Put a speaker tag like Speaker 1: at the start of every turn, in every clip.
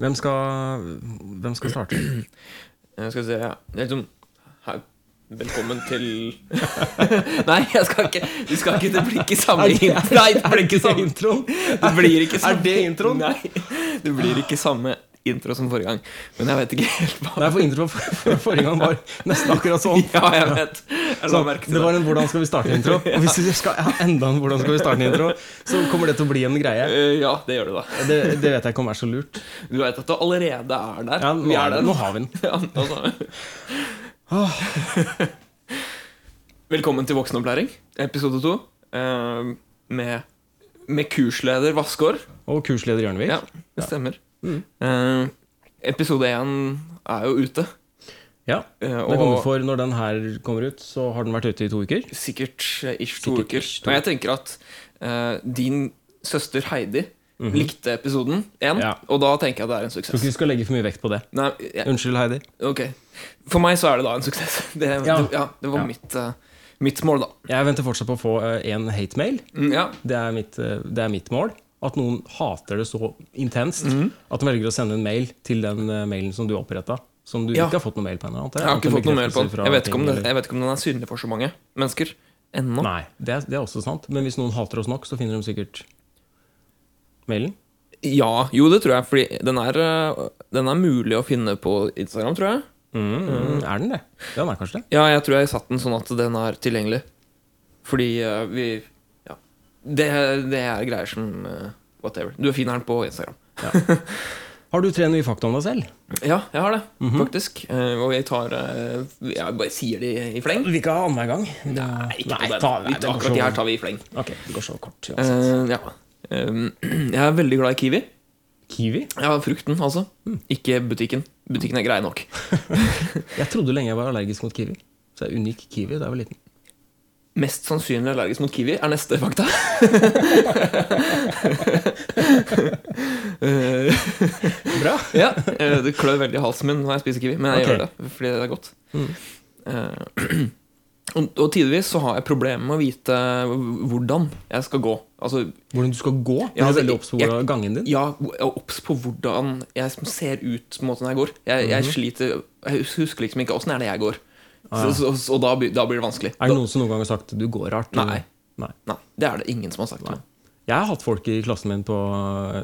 Speaker 1: Hvem skal, hvem skal starte?
Speaker 2: Jeg skal se ja. Det er liksom, her, Velkommen til Nei, jeg skal ikke Vi skal ikke Det blir ikke samme Nei, det blir ikke samme
Speaker 1: introen?
Speaker 2: Det blir ikke samme
Speaker 1: Er det introen?
Speaker 2: Nei, det blir ikke samme intro som forrige gang Men jeg vet ikke helt hva
Speaker 1: Nei, for introen for, for forrige gang var nesten akkurat sånn.
Speaker 2: Ja, jeg vet Jeg la
Speaker 1: Så det
Speaker 2: merke til det
Speaker 1: var en 'hvordan skal vi starte'-intro. Og hvis vi skal ha enda en 'hvordan skal vi starte'-intro, så kommer det til å bli en greie.
Speaker 2: Eh, Ja, det gjør du da
Speaker 1: Det, det vet jeg ikke om er så lurt.
Speaker 2: Du vet at du allerede er der
Speaker 1: Ja, nå,
Speaker 2: Vi
Speaker 1: er
Speaker 2: er
Speaker 1: det,
Speaker 2: der
Speaker 1: nå har vi den.
Speaker 2: Ja, altså.
Speaker 1: Ah.
Speaker 2: Velkommen til voksenopplæring, episode 2 med, med kursleder Vassgård.
Speaker 1: Og kursleder Jørnevik.
Speaker 2: Ja, det stemmer.
Speaker 1: Mm.
Speaker 2: Eh, episode 1 er jo ute.
Speaker 1: Ja.
Speaker 2: eh,
Speaker 1: Det kommer for Når den her kommer ut, så har den vært ute i to uker.
Speaker 2: sikkert eh, ish to
Speaker 1: Sikkert
Speaker 2: uker.
Speaker 1: ish to
Speaker 2: Og jeg tenker at eh, din søster Heidi likte episoden 1,
Speaker 1: Mhm. Ja.
Speaker 2: og da tenker jeg at det er en
Speaker 1: Tror
Speaker 2: suksess.
Speaker 1: ikke vi skal legge for mye vekt på det.
Speaker 2: Nei, jeg,
Speaker 1: Unnskyld, Heidi.
Speaker 2: ok. For meg så er det da en suksess. Det,
Speaker 1: Ja.
Speaker 2: ja. det var
Speaker 1: Ja.
Speaker 2: Mitt, eh, mitt mål, da.
Speaker 1: Jeg venter fortsatt på å få eh, én hate-mail.
Speaker 2: Mm, ja.
Speaker 1: Det, er mitt, eh, det er mitt mål. At noen hater det så intenst
Speaker 2: Mm.
Speaker 1: at de velger å sende en mail til den eh, mailen som du oppretta. Som du
Speaker 2: Ja.
Speaker 1: ikke har fått noe mail på ennå. antar
Speaker 2: Jeg har
Speaker 1: Annet
Speaker 2: ikke
Speaker 1: enn
Speaker 2: fått noe mer på
Speaker 1: bekreftelser
Speaker 2: den.
Speaker 1: fra
Speaker 2: Jeg vet, ikke om
Speaker 1: ting
Speaker 2: den.
Speaker 1: eller-
Speaker 2: jeg vet ikke om den er synlig for så mange mennesker ennå.
Speaker 1: Nei, det er, det er også sant. Men hvis noen hater oss nok, så finner de sikkert mailen.
Speaker 2: Ja, jo, det tror jeg, fordi den er, øh, den er mulig å finne på Instagram, tror jeg.
Speaker 1: Mm, Er den det? Ja, den er kanskje det.
Speaker 2: Ja, jeg tror jeg satt den sånn at den er tilgjengelig. Fordi øh, vi Ja. Det, det er greier som øh, Whatever. Du finner den på Instagram.
Speaker 1: Har du tre nye fakta om deg selv?
Speaker 2: Ja, jeg har det, faktisk. Eh, Og jeg tar øh, Jeg bare sier det i fleng.
Speaker 1: Vi ikke ha annenhver gang.
Speaker 2: Nei, ikke på
Speaker 1: Nei,
Speaker 2: den.
Speaker 1: ta, sånn. nei,
Speaker 2: Vi
Speaker 1: det
Speaker 2: tar-
Speaker 1: går
Speaker 2: akkurat de her
Speaker 1: så-
Speaker 2: tar vi i fleng.
Speaker 1: Ok, det går så kort. Ja.
Speaker 2: Eh, ja. Eh, Jeg er veldig glad i Kiwi.
Speaker 1: Kiwi?
Speaker 2: Ja, frukten, altså. Ikke butikken. Butikken er grei nok.
Speaker 1: Jeg trodde lenge jeg var allergisk mot kiwi. Så jeg unngikk kiwi da jeg var liten.
Speaker 2: Mest sannsynlig allergisk mot kiwi er neste fakta. Eh,
Speaker 1: Bra.
Speaker 2: ja, eh, Det klør veldig i halsen min når jeg spiser kiwi, men
Speaker 1: Ok.
Speaker 2: jeg
Speaker 1: Mm.
Speaker 2: gjør det fordi det er godt. Eh, og, og tidvis så har jeg problemer med å vite hvordan jeg skal gå. Altså,
Speaker 1: Hvordan du skal gå?
Speaker 2: Ja,
Speaker 1: Ja,
Speaker 2: altså,
Speaker 1: veldig
Speaker 2: jeg-
Speaker 1: obs på hvordan- gangen din.
Speaker 2: ja, jeg er obs på hvordan jeg som ser ut på en måte når jeg går. Jeg, jeg
Speaker 1: Mhm.
Speaker 2: sliter Jeg husker liksom ikke åssen er det jeg går.
Speaker 1: Ah,
Speaker 2: Så, så, så, og da, by- da blir det vanskelig.
Speaker 1: Er det noen som noen gang har sagt 'du går rart'?
Speaker 2: Nei.
Speaker 1: eller? Nei.
Speaker 2: Nei, det er det ingen som har sagt til meg.
Speaker 1: Jeg har hatt folk i klassen min på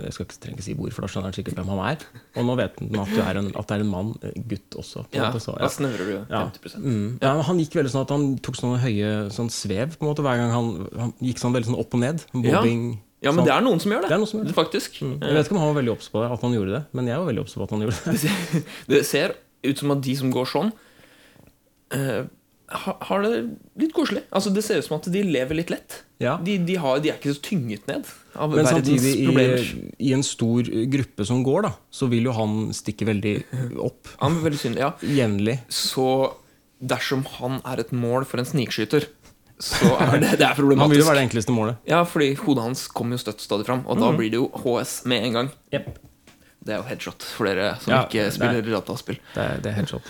Speaker 1: Jeg skal ikke trenger ikke si hvor, for da skjønner han sikkert hvem han er. Og nå vet han at, du er en, at det er en mann, eh, gutt også. På en
Speaker 2: Ja,
Speaker 1: måte, så,
Speaker 2: da snører du
Speaker 1: Ja.
Speaker 2: 50
Speaker 1: Mm. Ja, men han gikk veldig sånn at han tok sånne høye sånn svev på en måte hver gang han, han gikk sånn veldig sånn opp og ned.
Speaker 2: Ja.
Speaker 1: Bobbing.
Speaker 2: Ja, men
Speaker 1: sånn.
Speaker 2: det er noen som gjør det.
Speaker 1: Det er noen som gjør det. Mm.
Speaker 2: Faktisk.
Speaker 1: Jeg vet ikke om han var veldig obs på det, at han gjorde det, men jeg var veldig obs på at han gjorde det.
Speaker 2: Eh, Det ser ut som at de som går sånn, eh, ha- har det litt koselig. Altså, det ser ut som at de lever litt lett.
Speaker 1: Ja.
Speaker 2: De, de, har, de er ikke så tynget ned av
Speaker 1: Men
Speaker 2: verdens
Speaker 1: samtidig, eh, i,
Speaker 2: problemer.
Speaker 1: i en stor gruppe som går, da, så vil jo han stikke veldig opp
Speaker 2: Ja, men veldig synd. Ja.
Speaker 1: jevnlig.
Speaker 2: Så dersom han er et mål for en snikskyter, så er det, det er
Speaker 1: Han vil jo
Speaker 2: problematisk.
Speaker 1: være det enkleste målet.
Speaker 2: Ja, fordi hodet hans kommer jo støtt stadig fram, og da
Speaker 1: Mm.
Speaker 2: blir det jo HS med en gang. Det er jo headshot for dere som
Speaker 1: Ja,
Speaker 2: ikke
Speaker 1: det er-
Speaker 2: spiller dataspill.
Speaker 1: Det er, det er helt sånn.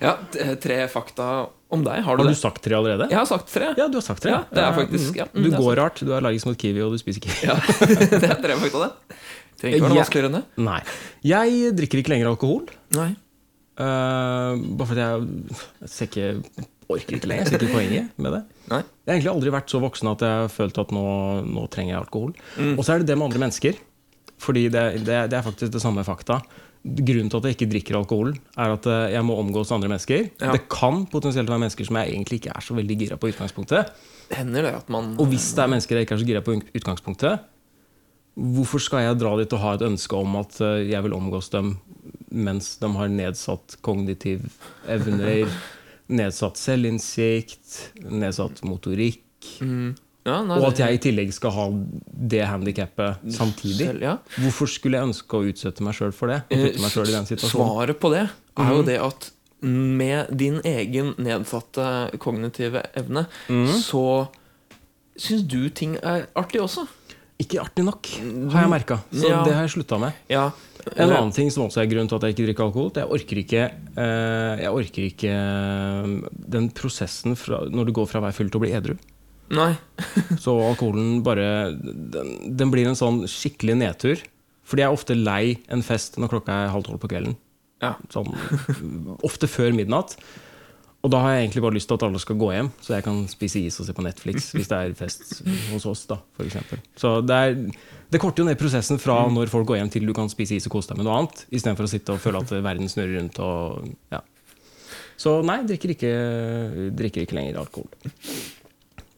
Speaker 2: Ja, t- tre fakta om deg. Har du
Speaker 1: Har
Speaker 2: det?
Speaker 1: du sagt tre allerede?
Speaker 2: Jeg har sagt tre.
Speaker 1: Ja, du har sagt tre.
Speaker 2: Ja, det er faktisk- ja, mm,
Speaker 1: du
Speaker 2: det er
Speaker 1: går rart, du er allergisk mot kiwi, og du spiser kiwi.
Speaker 2: Ja, det er tre fakta, det. Trenger ikke være noe
Speaker 1: Ja.
Speaker 2: vanskeligere enn det.
Speaker 1: Nei. Jeg drikker ikke lenger alkohol.
Speaker 2: Nei.
Speaker 1: eh, bare fordi jeg, jeg ser ikke orker ikke lenger. Jeg ser ikke poenget med det.
Speaker 2: Nei.
Speaker 1: Jeg har egentlig aldri vært så voksen at jeg har følt at nå, nå trenger jeg alkohol. Og så er det det med andre mennesker. Fordi det, det, det er faktisk det samme fakta. Grunnen til at jeg ikke drikker alkohol, er at eh, jeg må omgås andre mennesker.
Speaker 2: Ja.
Speaker 1: Det kan potensielt være mennesker som jeg egentlig ikke er så veldig gira på i utgangspunktet.
Speaker 2: Hender det at man
Speaker 1: Og hvis det er mennesker jeg ikke er så gira på i utgangspunktet, hvorfor skal jeg dra dit og ha et ønske om at eh, jeg vil omgås dem mens de har nedsatt kognitiv evner, nedsatt selvinnsikt, nedsatt motorikk,
Speaker 2: ja, nei,
Speaker 1: og
Speaker 2: det-
Speaker 1: at jeg i tillegg skal ha det handikappet samtidig?
Speaker 2: Selv, ja.
Speaker 1: Hvorfor skulle jeg ønske å utsette meg sjøl for det? Og putte meg selv
Speaker 2: Eh,
Speaker 1: i den situasjonen? Mm-hmm.
Speaker 2: Svaret på det er jo det at med din egen nedsatte kognitive evne,
Speaker 1: Mm-hmm.
Speaker 2: så syns du ting er artig også.
Speaker 1: Ikke artig nok, har jeg merka. Så
Speaker 2: Ja.
Speaker 1: det har jeg slutta med.
Speaker 2: Ja.
Speaker 1: En annen ting som også er grunnen til at jeg ikke drikker alkohol, det er jeg orker ikke, eh, jeg orker ikke eh, den prosessen fra, når du går fra å være full til å bli edru.
Speaker 2: Nei.
Speaker 1: Så alkoholen bare den, den blir en sånn skikkelig nedtur Fordi jeg er ofte lei en fest når klokka er halv tolv på kvelden.
Speaker 2: Ja.
Speaker 1: Sånn, ofte før midnatt. Og da har jeg egentlig bare lyst til at alle skal gå hjem, så jeg kan spise is og se på Netflix hvis det er fest hos oss. da, for eksempel. Så det, er, det korter jo ned prosessen fra når folk går hjem til du kan spise is og kose deg med noe annet, istedenfor å sitte og føle at verden snurrer rundt og ja. Så nei, drikker ikke, drikker ikke lenger alkohol.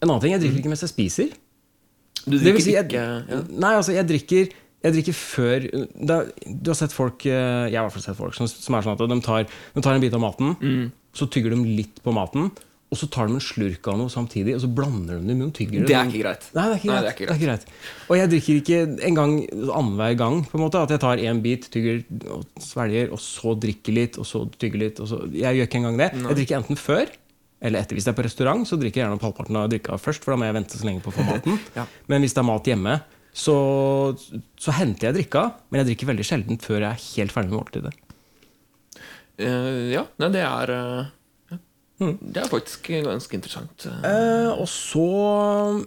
Speaker 1: En annen ting, jeg drikker ikke mens jeg spiser.
Speaker 2: Du
Speaker 1: Det vil
Speaker 2: drikker
Speaker 1: si, jeg,
Speaker 2: ikke ja.
Speaker 1: Nei, altså, jeg drikker jeg drikker før da, Du har sett folk eh, Jeg har i hvert fall sett folk som, som er sånn at de tar, de tar en bit av maten,
Speaker 2: Mm.
Speaker 1: så tygger de litt på maten, og så tar de en slurk av noe samtidig, og så blander de det i munnen. og Tygger
Speaker 2: Det er ikke greit.
Speaker 1: Nei, det er ikke greit.
Speaker 2: Nei, det er ikke greit.
Speaker 1: Og jeg drikker ikke en gang annenhver gang. på en måte, At jeg tar en bit, tygger og svelger, og så drikker litt, og så tygger litt. og så... Jeg gjør ikke engang det. Jeg drikker enten før eller etter. Hvis det er på restaurant, så drikker jeg gjerne opp halvparten av drikka først. for da må jeg vente så lenge på å få maten.
Speaker 2: Ja.
Speaker 1: Men hvis det er mat hjemme, så, så henter jeg drikka, men jeg drikker veldig sjelden før jeg er helt ferdig med måltidet.
Speaker 2: Eh, ja, nei, det er eh, ja.
Speaker 1: Mm.
Speaker 2: Det er faktisk ganske interessant. eh.
Speaker 1: Eh, og så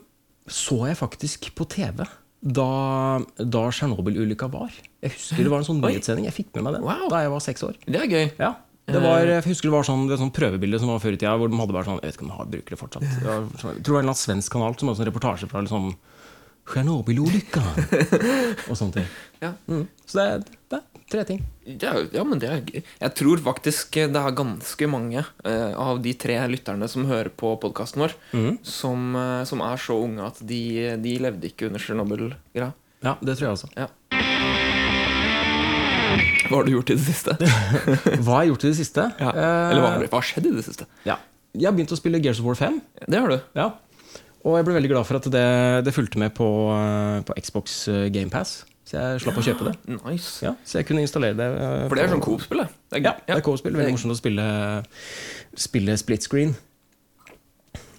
Speaker 1: så jeg faktisk på TV da, da Tsjernobyl-ulykka var. Jeg husker det var en sånn
Speaker 2: Oi.
Speaker 1: nyhetssending. Jeg fikk med meg den
Speaker 2: Wow.
Speaker 1: da jeg var seks år.
Speaker 2: Det er gøy.
Speaker 1: Ja. Det var, jeg husker det var sånn, det var sånn prøvebilde som var før i tida, hvor de hadde bare sånn Jeg vet ikke om de har, bruker det fortsatt. Det var, sånn- jeg tror det var en eller annen svensk kanal som hadde sånn reportasje fra liksom Tsjernobyl-ulykka og sånne ting.
Speaker 2: Ja.
Speaker 1: Mm. Så det, er- det er tre ting.
Speaker 2: Det er, ja, men det er gøy. Jeg tror faktisk det er ganske mange eh, av de tre lytterne som hører på podkasten vår,
Speaker 1: Mm.
Speaker 2: som, eh, som er så unge at de, de levde ikke under Tsjernobyl-greia.
Speaker 1: Ja, det tror jeg også.
Speaker 2: Ja. Hva har du gjort i det siste?
Speaker 1: Hva har jeg gjort i det siste?
Speaker 2: Ja.
Speaker 1: Eh,
Speaker 2: Eller hva har, hva har skjedd i det siste?
Speaker 1: ja. Jeg har begynt å spille Gears of War 5.
Speaker 2: Det har du.
Speaker 1: Ja. Og jeg ble veldig glad for at det, det fulgte med på, eh, på Xbox GamePass. Så jeg slapp å kjøpe det.
Speaker 2: Nice.
Speaker 1: Ja, så jeg kunne installere det. eh,
Speaker 2: For det er
Speaker 1: på-
Speaker 2: sånn Coop-spill, det. Det er-
Speaker 1: Ja, det
Speaker 2: ja.
Speaker 1: er co-spill. Veldig morsomt å spille, spille split screen.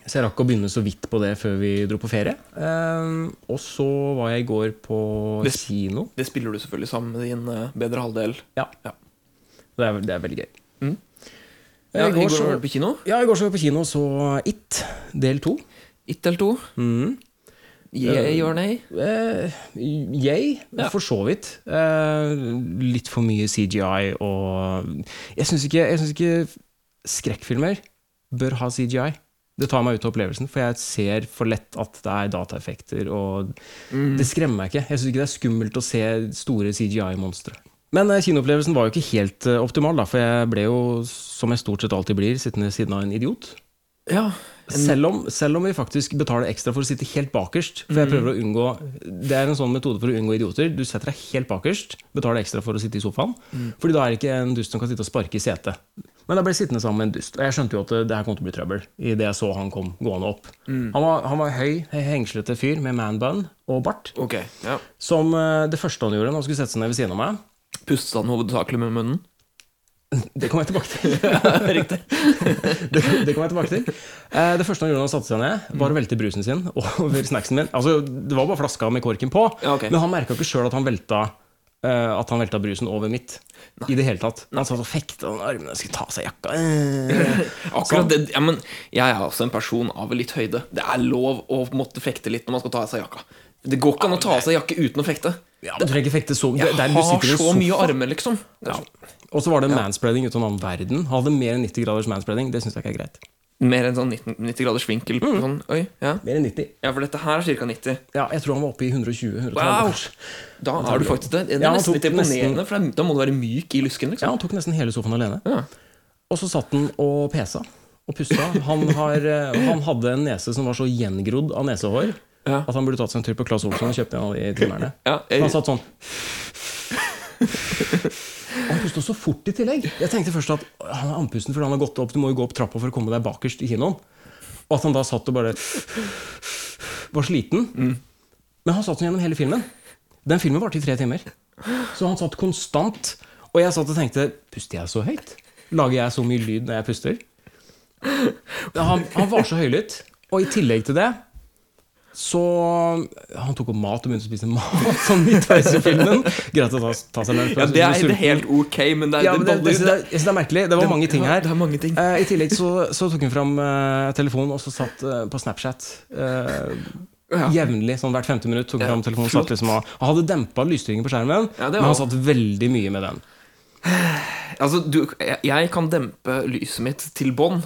Speaker 1: Så jeg rakk å begynne så vidt på det før vi dro på ferie. Eh, og så var jeg i går på
Speaker 2: Det-
Speaker 1: kino.
Speaker 2: Det spiller du selvfølgelig sammen med din eh, bedre halvdel.
Speaker 1: Ja.
Speaker 2: Ja.
Speaker 1: Det er, det er veldig gøy.
Speaker 2: Mm.
Speaker 1: Eh,
Speaker 2: Ja,
Speaker 1: I går,
Speaker 2: var
Speaker 1: så,
Speaker 2: du på kino.
Speaker 1: ja, I går så var jeg på kino og så It del to.
Speaker 2: It eller to.
Speaker 1: Mm.
Speaker 2: Yeah or nay?
Speaker 1: Eh, yay,
Speaker 2: Ja.
Speaker 1: for så vidt. Eh, litt for mye CGI og Jeg syns ikke, jeg synes ikke skrekkfilmer bør ha CGI. Det tar meg ut av opplevelsen, for jeg ser for lett at det er dataeffekter. Og Det skremmer meg ikke. Jeg syns ikke det er skummelt å se store CGI-monstre. Men eh, kinoopplevelsen var jo ikke helt eh, optimal, da, for jeg ble jo, som jeg stort sett alltid blir, sittende ved siden av en idiot.
Speaker 2: Ja.
Speaker 1: Selv om, selv om vi faktisk betaler ekstra for å sitte helt bakerst. For jeg prøver å unngå Det er en sånn metode for å unngå idioter. Du setter deg helt bakerst, betaler ekstra for å sitte i sofaen. Fordi da er det ikke en dust som kan sitte og sparke i setet. Men da ble jeg sittende sammen med en dust. Og jeg skjønte jo at det, det her kom til å bli trøbbel. I det jeg så han kom gående opp han, var, han var høy, hengslete fyr med man bun og bart.
Speaker 2: Ok. Ja.
Speaker 1: Som eh, det første han gjorde når han skulle sette seg ned ved siden av meg
Speaker 2: Pustet han hovedsakelig med munnen?
Speaker 1: Det kommer jeg tilbake til.
Speaker 2: Riktig.
Speaker 1: det, det kommer jeg tilbake til. Eh, det første han gjorde da han satte seg ned, var å
Speaker 2: Mm.
Speaker 1: velte brusen sin over snacksen min. Altså, det var bare flaska med korken på,
Speaker 2: Ja, ok.
Speaker 1: men han merka ikke sjøl at, han velta, eh, at han velta brusen over mitt. I det hele tatt. Han satt og fekta med armene, skulle ta av seg jakka eh.
Speaker 2: Akkurat det, ja, men Jeg er også en person av litt høyde. Det er lov å måtte fekte litt når man skal ta av seg jakka. Det går ikke an å ta av seg jakke uten å fekte.
Speaker 1: ja, men Du trenger ikke fekte så
Speaker 2: Jeg
Speaker 1: det- det er- du
Speaker 2: har
Speaker 1: sitter i en
Speaker 2: så
Speaker 1: sofa.
Speaker 2: mye armer, liksom.
Speaker 1: Ja. Og så var det manspreading uten annen verden. Han hadde mer enn 90 graders manspreading. Det syns jeg ikke er greit.
Speaker 2: Mer enn sånn 90, 90 graders vinkel. Sånn, oi, ja.
Speaker 1: Mer enn 90.
Speaker 2: ja, for dette her er ca. 90.
Speaker 1: Ja, jeg tror han var oppe i 120-130.
Speaker 2: Wow! Da
Speaker 1: tar
Speaker 2: er du
Speaker 1: du
Speaker 2: faktisk det. Det er
Speaker 1: Ja, han tok
Speaker 2: nesten litt imponerende, for da må du være myk i lysken,
Speaker 1: Ja,
Speaker 2: liksom.
Speaker 1: han tok nesten hele sofaen alene.
Speaker 2: Ja.
Speaker 1: Og så satt han og pesa og pusta. Han, har, eh, han hadde en nese som var så gjengrodd av nesehår
Speaker 2: Ja.
Speaker 1: at han burde tatt seg en tur på Claes Olsson og kjøpt en av de trimmerne.
Speaker 2: Ja,
Speaker 1: Så
Speaker 2: jeg,
Speaker 1: Han satt sånn Han pusta så fort i tillegg. Jeg tenkte først at «Å, han er andpusten fordi han har gått opp. Du må jo gå opp trappa for å komme deg bakerst i kinoen. Og at han da satt og bare var sliten. Men han satt sånn gjennom hele filmen. Den filmen varte i tre timer. Så han satt konstant. Og jeg satt og tenkte Puster jeg så høyt? Lager jeg så mye lyd når jeg puster? Ja, Han, han var så høylytt. Og i tillegg til det så Han tok opp mat og begynte å spise mat sånn midtveis i filmen. Greit å ta, ta seg lunsj.
Speaker 2: ja, det er det er helt ok, men det er
Speaker 1: Ja, men det, det,
Speaker 2: baller-
Speaker 1: jeg synes det, er- jeg synes det er merkelig. Det var mange ting her.
Speaker 2: Det er mange ting.
Speaker 1: Eh, I tillegg så, så tok hun fram eh, telefonen og så satt eh, på Snapchat eh,
Speaker 2: Ja.
Speaker 1: Jevnlig, sånn hvert femte minutt. tok
Speaker 2: Ja,
Speaker 1: fram telefonen satt
Speaker 2: flott.
Speaker 1: liksom og Han hadde dempa lysstyrken på skjermen,
Speaker 2: Ja, det
Speaker 1: men
Speaker 2: var-
Speaker 1: han satt veldig mye med den.
Speaker 2: Altså, du, jeg, jeg kan dempe lyset mitt til bånn,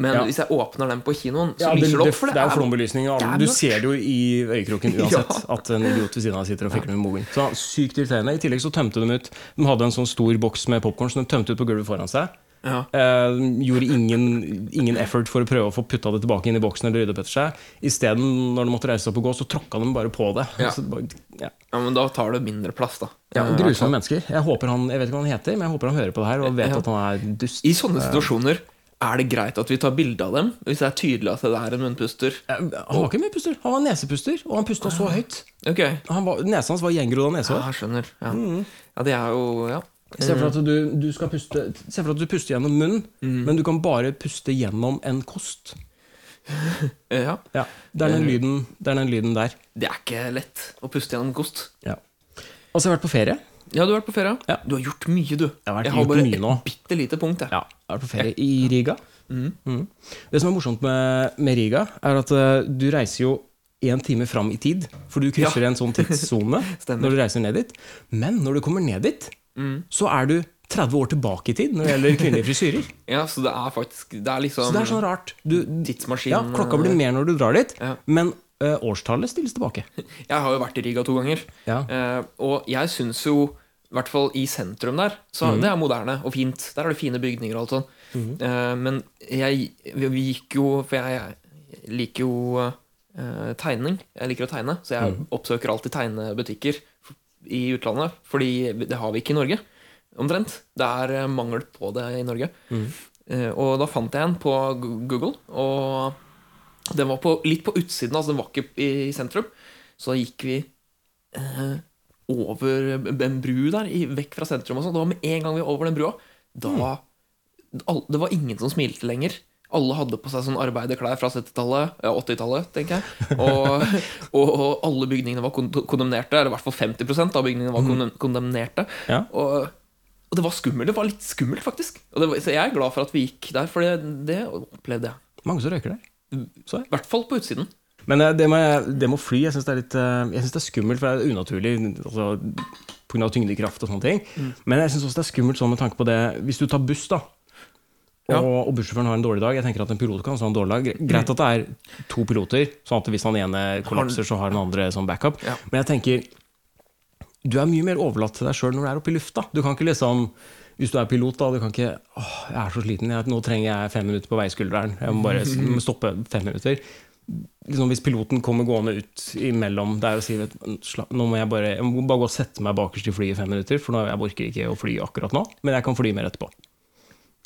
Speaker 2: men
Speaker 1: Ja.
Speaker 2: hvis jeg åpner den på kinoen, så
Speaker 1: Ja, det,
Speaker 2: lyser det
Speaker 1: det,
Speaker 2: opp. For
Speaker 1: det er jo
Speaker 2: det er
Speaker 1: flombelysning. og
Speaker 2: det er
Speaker 1: Du
Speaker 2: mørkt.
Speaker 1: ser det jo i øyekroken uansett
Speaker 2: Ja.
Speaker 1: at en idiot ved siden av sitter og fikler med mobilen. Så Sykt irriterende. I tillegg så tømte de ut De hadde en sånn stor boks med popkorn som de tømte ut på gulvet foran seg.
Speaker 2: ja.
Speaker 1: Eh, gjorde ingen, ingen effort for å prøve å få putta det tilbake inn i boksen. eller rydde opp etter seg Isteden, når de måtte reise seg opp og gå, så tråkka de bare på det.
Speaker 2: Ja.
Speaker 1: Så det bare, ja.
Speaker 2: ja, men da tar det mindre plass, da.
Speaker 1: Ja,
Speaker 2: Eh,
Speaker 1: grusomme mennesker. Jeg, håper han, jeg vet ikke hva han heter, men jeg håper han hører på det her og vet
Speaker 2: Ja.
Speaker 1: at han er dust.
Speaker 2: I sånne situasjoner er det greit at vi tar bilde av dem, hvis det er tydelig at det er en munnpuster.
Speaker 1: Eh, Han var ikke mye puster. Han var nesepuster, og han pusta så høyt.
Speaker 2: Ok, ja,
Speaker 1: Han var, nesa hans var gjengrodd av nesehår.
Speaker 2: jeg skjønner. Ja.
Speaker 1: Mm.
Speaker 2: ja, det er jo Ja.
Speaker 1: Se for, at du, du skal puste, se for at du puster gjennom munnen, men du kan bare puste gjennom en kost.
Speaker 2: Eh, ja.
Speaker 1: Ja, Det er den lyden, det er den lyden der.
Speaker 2: Det er ikke lett å puste gjennom kost.
Speaker 1: Ja. Altså, jeg har vært på ferie.
Speaker 2: Ja, du har vært på ferie.
Speaker 1: Ja.
Speaker 2: Du har gjort mye, du.
Speaker 1: Jeg har vært-
Speaker 2: har
Speaker 1: gjort
Speaker 2: bare
Speaker 1: mye nå.
Speaker 2: et bitte lite punkt. Jeg.
Speaker 1: Ja, jeg har vært på ferie i Riga. Mhm. Det som er morsomt med, med Riga, er at eh, du reiser jo én time fram i tid. For du krysser en sånn tidssone
Speaker 2: Stemmer.
Speaker 1: når du reiser ned dit. Men når du kommer ned dit, så er du 30 år tilbake i tid når det gjelder kvinnelige frisyrer.
Speaker 2: Ja. så det er faktisk Det er liksom
Speaker 1: Så det er sånn rart. Du,
Speaker 2: tidsmaskin. eh,
Speaker 1: ja, klokka blir mer når du drar dit,
Speaker 2: Ja.
Speaker 1: men eh, årstallet stilles tilbake.
Speaker 2: Jeg har jo vært i Riga to ganger.
Speaker 1: Ja.
Speaker 2: Eh, og jeg syns jo, i hvert fall i sentrum der, så det er moderne og fint. Der er det fine bygninger og alt sånn. Eh, men jeg vi, vi gikk jo For jeg, jeg liker jo eh, tegning. Jeg liker å tegne, så jeg oppsøker alltid tegnebutikker f- i utlandet. Fordi det har vi ikke i Norge, omtrent. Det er eh, mangel på det i Norge. Eh, og da fant jeg en på Gu- Google, og den var på, litt på utsiden, altså den var ikke i sentrum. Så da gikk vi eh, over en bru der, i, vekk fra sentrum og sånn. Det var med en gang vi var over den brua, da all, Det var ingen som smilte lenger. Alle hadde på seg sånn arbeiderklær fra 70-tallet, ja, 80-tallet, tenker jeg. Og, og, og alle bygningene var kon- kondemnerte, eller i hvert fall 50 av bygningene var kondem- kondemnerte.
Speaker 1: Ja.
Speaker 2: Og, og det var skummelt. Det var litt skummelt, faktisk. Og det var, så jeg er glad for at vi gikk der, for det, det opplevde jeg.
Speaker 1: Mange som røyker der. Så jeg.
Speaker 2: I hvert fall på utsiden.
Speaker 1: Men eh, det med, det med å fly, jeg syns det, er litt, eh, jeg synes det er skummelt, for det er unaturlig altså, pga. tyngdekraft og sånne ting.
Speaker 2: Mm.
Speaker 1: Men jeg syns også det er skummelt sånn med tanke på det Hvis du tar buss, da. Og,
Speaker 2: Ja.
Speaker 1: og bussjåføren har en dårlig dag. Jeg tenker at En pilot kan også ha en dårlig dag. Gre- Greit at det er to piloter, sånn at hvis han ene kollapser, så har den andre som backup.
Speaker 2: Ja.
Speaker 1: Men jeg tenker du er mye mer overlatt til deg sjøl når du er oppe i lufta. Du kan ikke liksom, Hvis du er pilot, da, du kan ikke åh, 'Jeg er så sliten. Jeg, nå trenger jeg fem minutter på veiskulderen.' Jeg må bare s- stoppe fem minutter liksom, hvis piloten kommer gående ut imellom der og sier vet, du, sla- nå må jeg bare, jeg må bare gå og sette meg bakerst i flyet i fem minutter, for nå, jeg orker ikke å fly akkurat nå, men jeg kan fly mer etterpå.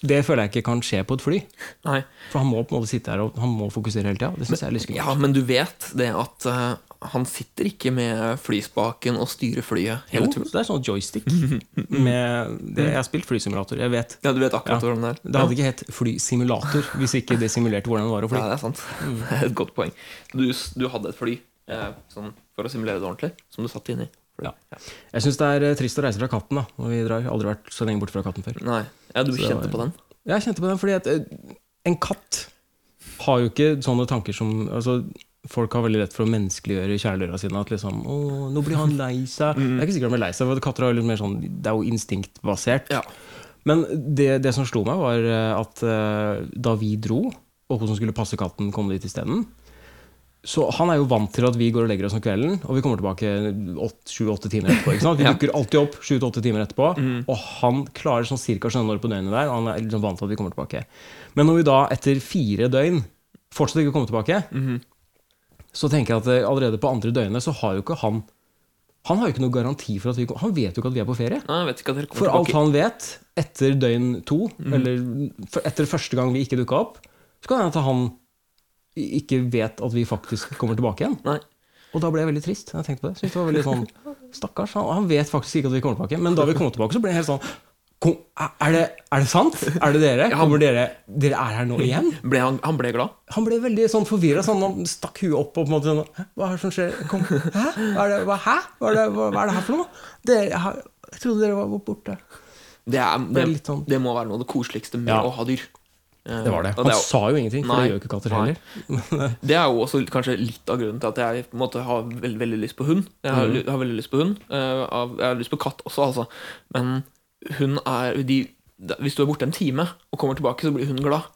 Speaker 1: Det føler jeg ikke kan skje på et fly.
Speaker 2: Nei.
Speaker 1: For han må på en måte sitte her og han må fokusere hele tida. Det synes jeg er litt skummelt.
Speaker 2: Ja, men du vet det at eh, han sitter ikke med flyspaken og styrer flyet hele
Speaker 1: Jo,
Speaker 2: turen.
Speaker 1: det er sånn joystick. Med det, jeg har spilt flysimulator, jeg vet.
Speaker 2: Ja, du vet akkurat hvordan det er.
Speaker 1: Det hadde ikke hett flysimulator hvis ikke det simulerte hvordan det var å
Speaker 2: Nei,
Speaker 1: fly. Mm.
Speaker 2: det er sant. Det er et godt poeng. Du, s- du hadde et fly, eh, sånn, for å simulere det ordentlig, som du satt inni.
Speaker 1: Ja. Jeg syns det er eh, trist å reise fra katten, da, når vi drar. Jeg har Aldri vært så lenge borte fra katten før.
Speaker 2: Nei, ja, du
Speaker 1: Så det
Speaker 2: kjente
Speaker 1: var-
Speaker 2: på den?
Speaker 1: Jeg kjente på den fordi at eh, en katt har jo ikke sånne tanker som altså, Folk har veldig lett for å menneskeliggjøre kjæledyra sine. At liksom, å, nå blir han lei seg. Jeg er ikke sikker om jeg er lei seg, for katter har jo litt mer sånn, det er jo instinktbasert.
Speaker 2: Ja.
Speaker 1: Men det, det som slo meg, var eh, at eh, da vi dro, og hun som skulle passe katten, kom dit isteden Så han er jo vant til at vi går og legger oss om kvelden, og vi kommer tilbake sju-åtte timer etterpå. Ikke sant? Vi
Speaker 2: Ja.
Speaker 1: dukker alltid opp sju-åtte timer etterpå, og han klarer sånn cirka å skjønne når på døgnet der. Og han er liksom vant til at vi kommer tilbake. Men når vi da etter fire døgn fortsatt ikke kommer tilbake, så tenker jeg at eh, allerede på andre døgnet så har jo ikke han Han har jo ikke noe garanti for at vi kom- Han vet jo ikke at vi er på ferie.
Speaker 2: Nei, jeg vet ikke at dere kommer
Speaker 1: For alt
Speaker 2: tilbake.
Speaker 1: han vet, etter døgn to, eller f- etter første gang vi ikke dukka opp, så kan det hende at han i- ikke vet at vi faktisk kommer tilbake igjen.
Speaker 2: Nei.
Speaker 1: Og da ble jeg veldig trist. når Jeg tenkte på det. Synes det var veldig sånn, Stakkars, han, han vet faktisk ikke at vi kommer tilbake. Men da vi kom tilbake, så ble jeg helt sånn kom, Er det, er det sant? Er det dere? Kommer dere? Dere er her nå igjen?
Speaker 2: Ble han, han ble glad?
Speaker 1: Han ble veldig sånn forvirra. Sånn, han stakk huet opp og på en måte sånn Hæ? Hva er det som skjer? Kom. Hæ? Hva er det, hva, hæ? Hva, er det, hva, hva er det her for noe? Dere, jeg, har- jeg trodde dere var borte.
Speaker 2: Det, er,
Speaker 1: er
Speaker 2: det,
Speaker 1: litt sånn-
Speaker 2: det må være noe av det koseligste med
Speaker 1: Ja.
Speaker 2: å ha dyr. Eh,
Speaker 1: Det var det.
Speaker 2: Og
Speaker 1: Han
Speaker 2: er jo-
Speaker 1: sa jo ingenting, for
Speaker 2: Nei.
Speaker 1: det gjør jo ikke katter
Speaker 2: Nei.
Speaker 1: heller.
Speaker 2: Det er jo også kanskje litt av grunnen til at jeg på en måte har veldig, veldig lyst på hund. Jeg har, ly- har veldig lyst på hund. eh, av- Jeg har lyst på katt også, altså. Men hun er de, da- Hvis du er borte en time og kommer tilbake, så blir hun glad.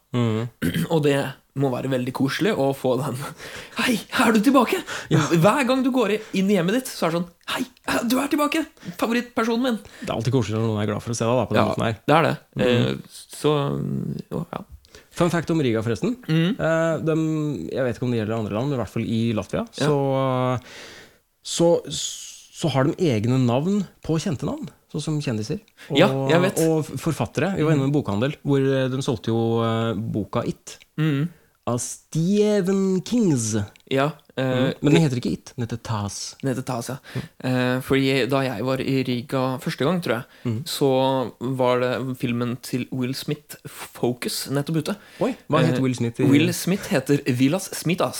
Speaker 2: Og det må være veldig koselig å få den Hei, er du tilbake? Hver gang du går i- inn i hjemmet ditt, så er det sånn Hei, eh, du er tilbake! Favorittpersonen min.
Speaker 1: Det er alltid koselig når noen er glad for å se deg. da, på den måten her.
Speaker 2: det er det. Eh, Så jo, ja.
Speaker 1: Fun fact om Riga, forresten.
Speaker 2: Mm.
Speaker 1: Eh, dem- jeg vet ikke om det gjelder i andre land, men i hvert fall i Latvia. Så, eh, så, så har de egne navn på kjente navn, sånn som kjendiser. Og,
Speaker 2: Ja, jeg vet.
Speaker 1: og forfattere. Vi var innom en bokhandel hvor eh, de solgte jo eh, boka It.
Speaker 2: Mm.
Speaker 1: Av Stephen Kings.
Speaker 2: ja eh,
Speaker 1: Men den heter ikke It, den heter Tas.
Speaker 2: Den heter Tasia. Eh, fordi da jeg var i Riga første gang, tror jeg,
Speaker 1: Mm.
Speaker 2: så var det filmen til Will Smith, 'Focus', nettopp ute. Eh,
Speaker 1: Oi, Hva het Will Smith? i-
Speaker 2: Will Smith heter Vilas Smitas.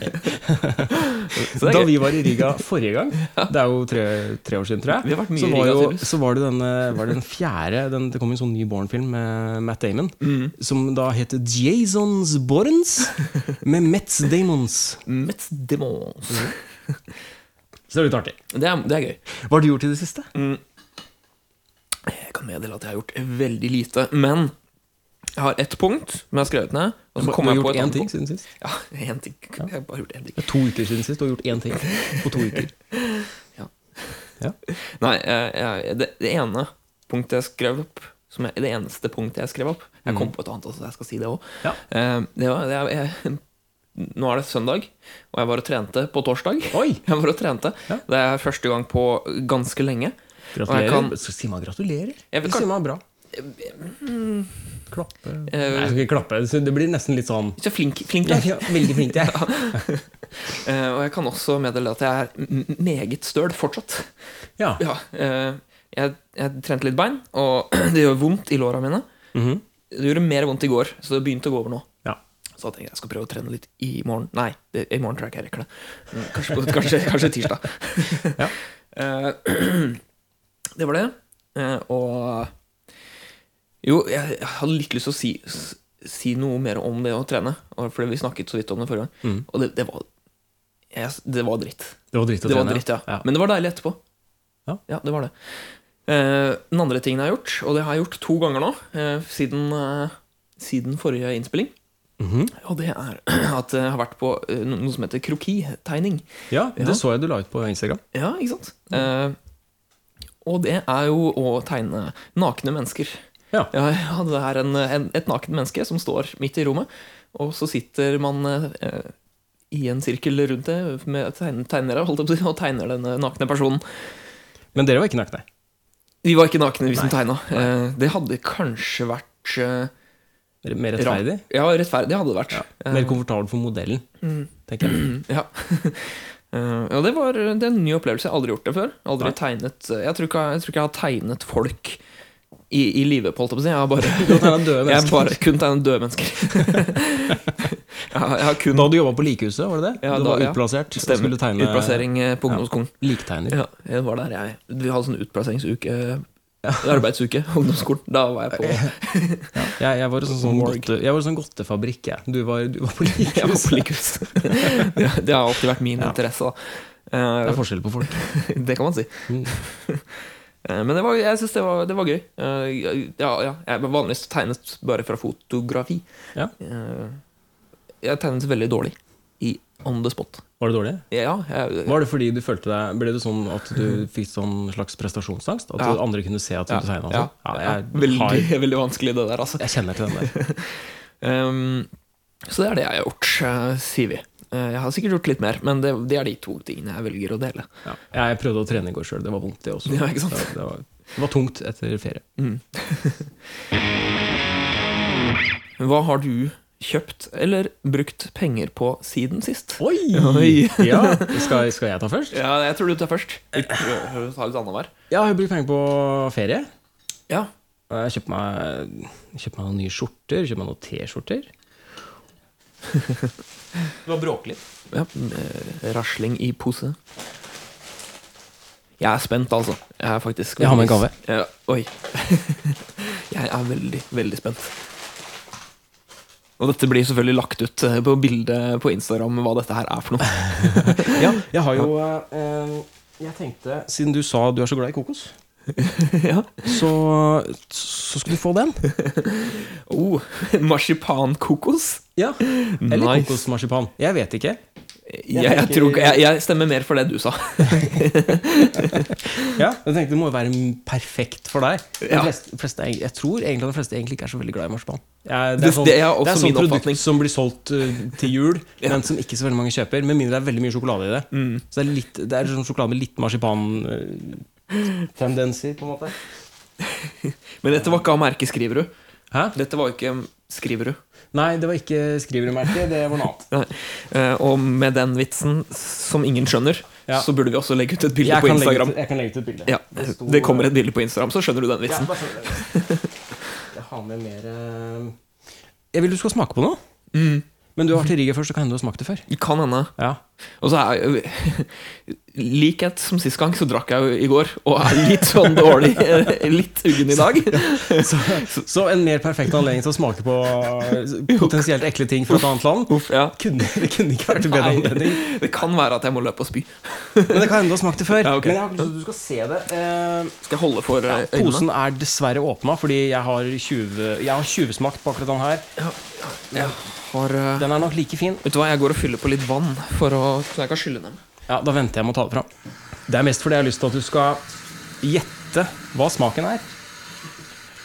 Speaker 2: så det
Speaker 1: Da
Speaker 2: er gøy.
Speaker 1: vi var i Riga forrige gang, det er jo tre, tre år siden, tror
Speaker 2: Vi har vært
Speaker 1: jeg,
Speaker 2: mye
Speaker 1: så
Speaker 2: i
Speaker 1: var,
Speaker 2: Riga,
Speaker 1: jo,
Speaker 2: tydeligvis.
Speaker 1: så var det denne var det den fjerde den, Det kom en sånn ny Born-film med Matt Damon,
Speaker 2: Mm.
Speaker 1: som da het Jasons Borns med Metz Damons.
Speaker 2: Mets Demons.
Speaker 1: Mm. Så det er litt artig.
Speaker 2: Det er, det er gøy. Mm.
Speaker 1: Hva har du gjort i det siste?
Speaker 2: Jeg kan meddele at jeg har gjort veldig lite. Men jeg har ett punkt som jeg har skrevet ned. Og
Speaker 1: Du
Speaker 2: så kommer
Speaker 1: har
Speaker 2: jeg på
Speaker 1: gjort
Speaker 2: et
Speaker 1: én
Speaker 2: annet
Speaker 1: ting
Speaker 2: punkt.
Speaker 1: siden sist.
Speaker 2: Ja, én ting. Jeg har bare gjort én ting.
Speaker 1: Det er to uker siden sist. Du har gjort én ting på to uker.
Speaker 2: Nei, jeg, jeg, det, det ene punktet jeg skrev opp som jeg, Det eneste punktet jeg skrev opp Jeg kom på et annet også, så jeg skal si det òg.
Speaker 1: Mm. Ja.
Speaker 2: det var, det, er- jeg, nå er det søndag, og jeg var og trente på torsdag.
Speaker 1: Oi!
Speaker 2: Jeg var og trente
Speaker 1: Ja.
Speaker 2: Det er første gang på ganske lenge.
Speaker 1: Gratulerer.
Speaker 2: Og jeg kan-
Speaker 1: Så Si meg gratulerer.
Speaker 2: Jeg vil Mm.
Speaker 1: Eller Si meg bra. Klappe Nei, jeg skal ikke klappe. Så Det blir nesten litt sånn
Speaker 2: Eh, Så flink, flink
Speaker 1: jeg
Speaker 2: jeg.
Speaker 1: er Veldig flink til jeg.
Speaker 2: Eh, og jeg kan også meddele at jeg er m- meget støl fortsatt.
Speaker 1: Ja.
Speaker 2: Ja, eh, jeg, jeg trente litt bein, og det gjør vondt i låra mine.
Speaker 1: Mhm.
Speaker 2: Det gjorde mer vondt i går, så det begynte å gå over nå.
Speaker 1: ja.
Speaker 2: Så da tenkte jeg jeg skal prøve å trene litt i morgen. Nei, det, i morgen tror jeg ikke jeg rekker det. Men Kanskje, på, kanskje, kanskje tirsdag.
Speaker 1: Ja.
Speaker 2: Eh, det var det. Eh, og Jo, jeg jeg hadde litt lyst til å si, s- si noe mer om det å trene. og- Fordi vi snakket så vidt om det forrige gang.
Speaker 1: Mm.
Speaker 2: Og det, det var jeg, Det var dritt.
Speaker 1: Det var dritt å
Speaker 2: Det var
Speaker 1: trene.
Speaker 2: dritt, ja.
Speaker 1: Ja.
Speaker 2: Men det var deilig etterpå.
Speaker 1: Ja.
Speaker 2: det var det. Eh, den andre tingen jeg har gjort, og det har jeg gjort to ganger nå eh, siden, eh, siden forrige innspilling,
Speaker 1: Mhm.
Speaker 2: og det er at jeg har vært på eh, no- noe som heter krokitegning.
Speaker 1: Ja,
Speaker 2: Ja.
Speaker 1: det så jeg du la ut på Instagram.
Speaker 2: Ja, ikke sant? Eh, og det er jo å tegne nakne mennesker.
Speaker 1: Ja.
Speaker 2: Ja, ja, det er en, en, et nakent menneske som står midt i rommet, og så sitter man eh, i en sirkel rundt det med tegn- tegnere holdt jeg på å si, og tegner denne nakne personen.
Speaker 1: Men dere var ikke nakne.
Speaker 2: Vi var ikke nakne, vi som tegna. Eh, det hadde kanskje vært eh,
Speaker 1: Dere er Mer
Speaker 2: ra-
Speaker 1: rettferdig.
Speaker 2: Ja, rettferdig hadde det vært. Eh,
Speaker 1: Mer komfortabel for modellen, tenker jeg.
Speaker 2: Ja. Eh, ja, det var det er en ny opplevelse. Jeg har aldri gjort det før. Aldri
Speaker 1: Nei.
Speaker 2: tegnet eh, Jeg tror ikke jeg, tror ikke jeg har tegnet folk i, i live, på holdt jeg på å si. Jeg har bare,
Speaker 1: Du har tegnet døde
Speaker 2: jeg har
Speaker 1: mennesker.
Speaker 2: bare kun tegnet døde mennesker. jeg, har, jeg har kun
Speaker 1: Da du jobba på likehuset, var det det?
Speaker 2: Ja,
Speaker 1: du
Speaker 2: da-
Speaker 1: var
Speaker 2: ja.
Speaker 1: utplassert. og
Speaker 2: stemmer.
Speaker 1: skulle tegne
Speaker 2: Utplassering eh, på ungdomsskolen.
Speaker 1: Liktegner.
Speaker 2: Ja, det var der jeg Vi hadde sånn utplasseringsuke. Arbeidsuke ungdomsskolen. Da var jeg på
Speaker 1: Jeg, jeg var en sånn, sånn,
Speaker 2: Morg.
Speaker 1: godte, jeg var en sånn godtefabrikk, jeg. Du var, du var på
Speaker 2: Jeg var
Speaker 1: likehuset.
Speaker 2: på likhus. det, det har alltid vært min
Speaker 1: Ja.
Speaker 2: interesse, da.
Speaker 1: Det
Speaker 2: Eh,
Speaker 1: er forskjell på folk.
Speaker 2: Det kan man si.
Speaker 1: Mm.
Speaker 2: Eh, Men det var, jeg syns det, var- det var gøy. Eh, Ja, ja, jeg var vanligvis tegnet bare fra fotografi.
Speaker 1: Ja.
Speaker 2: Eh, Jeg tegnet veldig dårlig. I on the spot.
Speaker 1: Var det dårlig?
Speaker 2: Ja, jeg,
Speaker 1: Var det fordi du følte deg Ble det sånn at du fikk sånn slags prestasjonsangst? At
Speaker 2: Mm. Ja.
Speaker 1: du- andre kunne se at du
Speaker 2: ja,
Speaker 1: tegna
Speaker 2: ja,
Speaker 1: sånn?
Speaker 2: ja,
Speaker 1: jeg, har,
Speaker 2: veldig, veldig vanskelig, det der, altså.
Speaker 1: jeg kjenner til den der.
Speaker 2: Ehm, så det er det jeg har gjort, eh, sier vi. Eh, Jeg har sikkert gjort litt mer, men det, det er de to tingene jeg velger å dele.
Speaker 1: Ja. Jeg prøvde å trene i går sjøl. Det var vondt, det også.
Speaker 2: Ja, ikke sant?
Speaker 1: Det, det, var, det var tungt etter ferie.
Speaker 2: Hva har du kjøpt eller brukt penger på siden sist?
Speaker 1: Oi!
Speaker 2: Oi.
Speaker 1: ja. skal, skal jeg ta først?
Speaker 2: Ja, jeg tror du tar først.
Speaker 1: Eh.
Speaker 2: Vi prøver å ta litt annenhver.
Speaker 1: Ja, jeg har brukt penger på ferie.
Speaker 2: Ja.
Speaker 1: Jeg kjøpte meg, kjøpt meg noen nye skjorter. Kjøpte meg noen T-skjorter. Det var bråklyd.
Speaker 2: Ja, eh, rasling i pose. Jeg er spent, altså. Jeg er faktisk
Speaker 1: Jeg har med en gave.
Speaker 2: Ja, oi. jeg Jeg er veldig, veldig spent. Og dette blir selvfølgelig lagt ut eh, på bildet på Instagram hva dette her er for noe.
Speaker 1: Ja, jeg har jo eh, Jeg tenkte, siden du sa du er så glad i kokos,
Speaker 2: ja.
Speaker 1: så, så skulle du få den.
Speaker 2: Oh, marsipankokos.
Speaker 1: Ja. Eller
Speaker 2: Nice.
Speaker 1: kokosmarsipan. Jeg vet ikke.
Speaker 2: Jeg, jeg,
Speaker 1: tenker-
Speaker 2: tror, ikke- jeg, jeg stemmer mer for det du sa.
Speaker 1: Ja, jeg tenkte Det må jo være perfekt for deg. De
Speaker 2: Ja.
Speaker 1: fleste, de fleste, jeg tror egentlig at de fleste egentlig ikke er så veldig glad i marsipan. Ja, det
Speaker 2: Det-
Speaker 1: er sånn,
Speaker 2: det er
Speaker 1: det er
Speaker 2: også min
Speaker 1: sånn
Speaker 2: oppfatning.
Speaker 1: produkt som blir solgt eh, til jul,
Speaker 2: Ja. Mm.
Speaker 1: men som ikke så veldig mange kjøper. Med mindre det er veldig mye sjokolade i det. Så det er, litt, det er sånn sjokolade med litt marsipan-tendenser, på en måte.
Speaker 2: Men dette var ikke av merket Skriverud.
Speaker 1: Hæ?
Speaker 2: Dette var ikke mm, Skriverud.
Speaker 1: Nei, det var ikke skrivermerket. Det var noe annet.
Speaker 2: Nei. Eh, Og med den vitsen som ingen skjønner,
Speaker 1: Ja.
Speaker 2: så burde vi også legge ut et bilde
Speaker 1: Jeg
Speaker 2: på
Speaker 1: kan, legge
Speaker 2: Instagram.
Speaker 1: ut, jeg kan legge ut et bilde.
Speaker 2: Ja,
Speaker 1: Det sto-
Speaker 2: Det kommer et bilde på Instagram, så skjønner du den
Speaker 1: Ja,
Speaker 2: vitsen.
Speaker 1: bare skjønner det. Jeg har med mer eh, Jeg vil du skal smake på noe.
Speaker 2: Mm.
Speaker 1: Men du har vært i Riga før, så kan hende du har smakt det før.
Speaker 2: Kan hende.
Speaker 1: Ja.
Speaker 2: Og så er Likhet som sist gang, så drakk jeg jo i går, og er litt sånn dårlig. eh, Litt uggen i dag.
Speaker 1: Så, så en mer perfekt anledning til å smake på eh, potensielt ekle ting fra et annet land
Speaker 2: Uff, ja.
Speaker 1: kunne, Det kunne ikke vært en bedre
Speaker 2: Nei,
Speaker 1: anledning.
Speaker 2: det kan være at jeg må løpe og spy.
Speaker 1: Men det kan hende du har smakt det før.
Speaker 2: Ja, ok.
Speaker 1: Men jeg har ikke lyst til at du skal se det. Eh,
Speaker 2: Skal jeg holde for eh, øynene?
Speaker 1: posen er dessverre åpna, fordi jeg har 20 Jeg har 20 smakt på akkurat den her.
Speaker 2: Jeg har eh,
Speaker 1: Den er nok like fin.
Speaker 2: Vet du hva, jeg går og fyller på litt vann, for å, så jeg kan skylle dem.
Speaker 1: Ja, Da venter jeg med å ta det fram. Det er mest fordi jeg har lyst til at du skal gjette hva smaken er.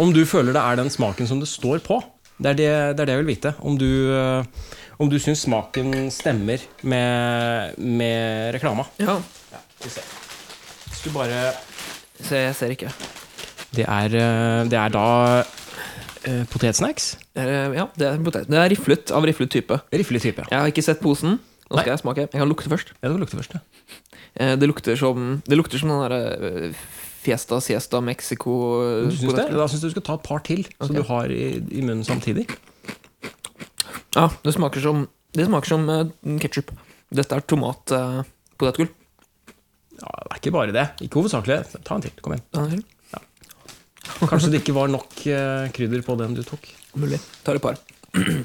Speaker 1: Om du føler det er den smaken som det står på. Det er det, det, er det jeg vil vite. Om du, øh, om du syns smaken stemmer med, med reklama.
Speaker 2: Ja,
Speaker 1: Ja, vi ser. Skulle bare
Speaker 2: så jeg ser ikke.
Speaker 1: Det er, øh, det er da øh, potetsnacks.
Speaker 2: Det er, eh, ja, det er en potet. Det er riflet av riflet type.
Speaker 1: Riflig type.
Speaker 2: Jeg har ikke sett posen. Nå
Speaker 1: Nei.
Speaker 2: skal jeg smake. Jeg kan lukte først.
Speaker 1: Ja, det lukter først, ja.
Speaker 2: Eh, Det lukter som Det lukter som den derre eh, Fiesta Siesta Mexico eh,
Speaker 1: Du syns det?
Speaker 2: potet.
Speaker 1: Da syns jeg du skal ta et par til, så
Speaker 2: Ok.
Speaker 1: du har i, i munnen samtidig.
Speaker 2: Ja, det smaker som Det smaker som ketsjup. Dette er tomat eh, potetgull.
Speaker 1: Ja, det er ikke bare det. Ikke hovedsakelig. Ta en til. Kom igjen.
Speaker 2: Ja, det er
Speaker 1: Kanskje det ikke var nok eh, krydder på den du tok.
Speaker 2: Mulig. Tar et par. Mm.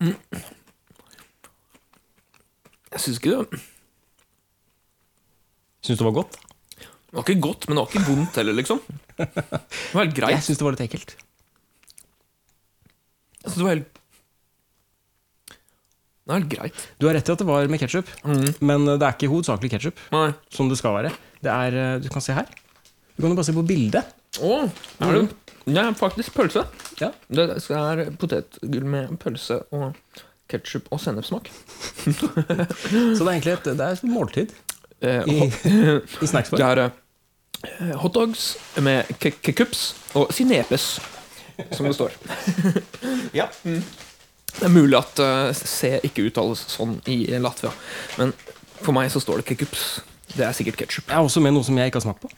Speaker 2: Mm. Jeg syns ikke det
Speaker 1: Syns du det var godt?
Speaker 2: Det var ikke godt, men det var ikke vondt heller, liksom. Det var helt greit.
Speaker 1: Jeg syns det var litt ekkelt.
Speaker 2: Jeg synes Altså, det var helt Det var helt greit. Mm.
Speaker 1: Du har rett i at det var med ketsjup, men eh, det er ikke hovedsakelig ketsjup.
Speaker 2: Nei.
Speaker 1: Som det skal være. Det er, eh, Du kan se her. Du kan jo bare se på bildet.
Speaker 2: Å, er det Det er faktisk pølse.
Speaker 1: Ja.
Speaker 2: Det er potetgull med pølse og ketsjup og sennepssmak.
Speaker 1: Så det er egentlig et, det er et måltid
Speaker 2: Eh,
Speaker 1: i,
Speaker 2: hot-
Speaker 1: i snacksform.
Speaker 2: det er eh, hotdogs med ke- kekups og sinepes, som det står.
Speaker 1: Ja.
Speaker 2: Det er mulig at eh, C ikke uttales sånn i Latvia, men for meg så står det kekups. Det er sikkert ketsjup.
Speaker 1: Jeg er også med noe som jeg ikke har smakt på.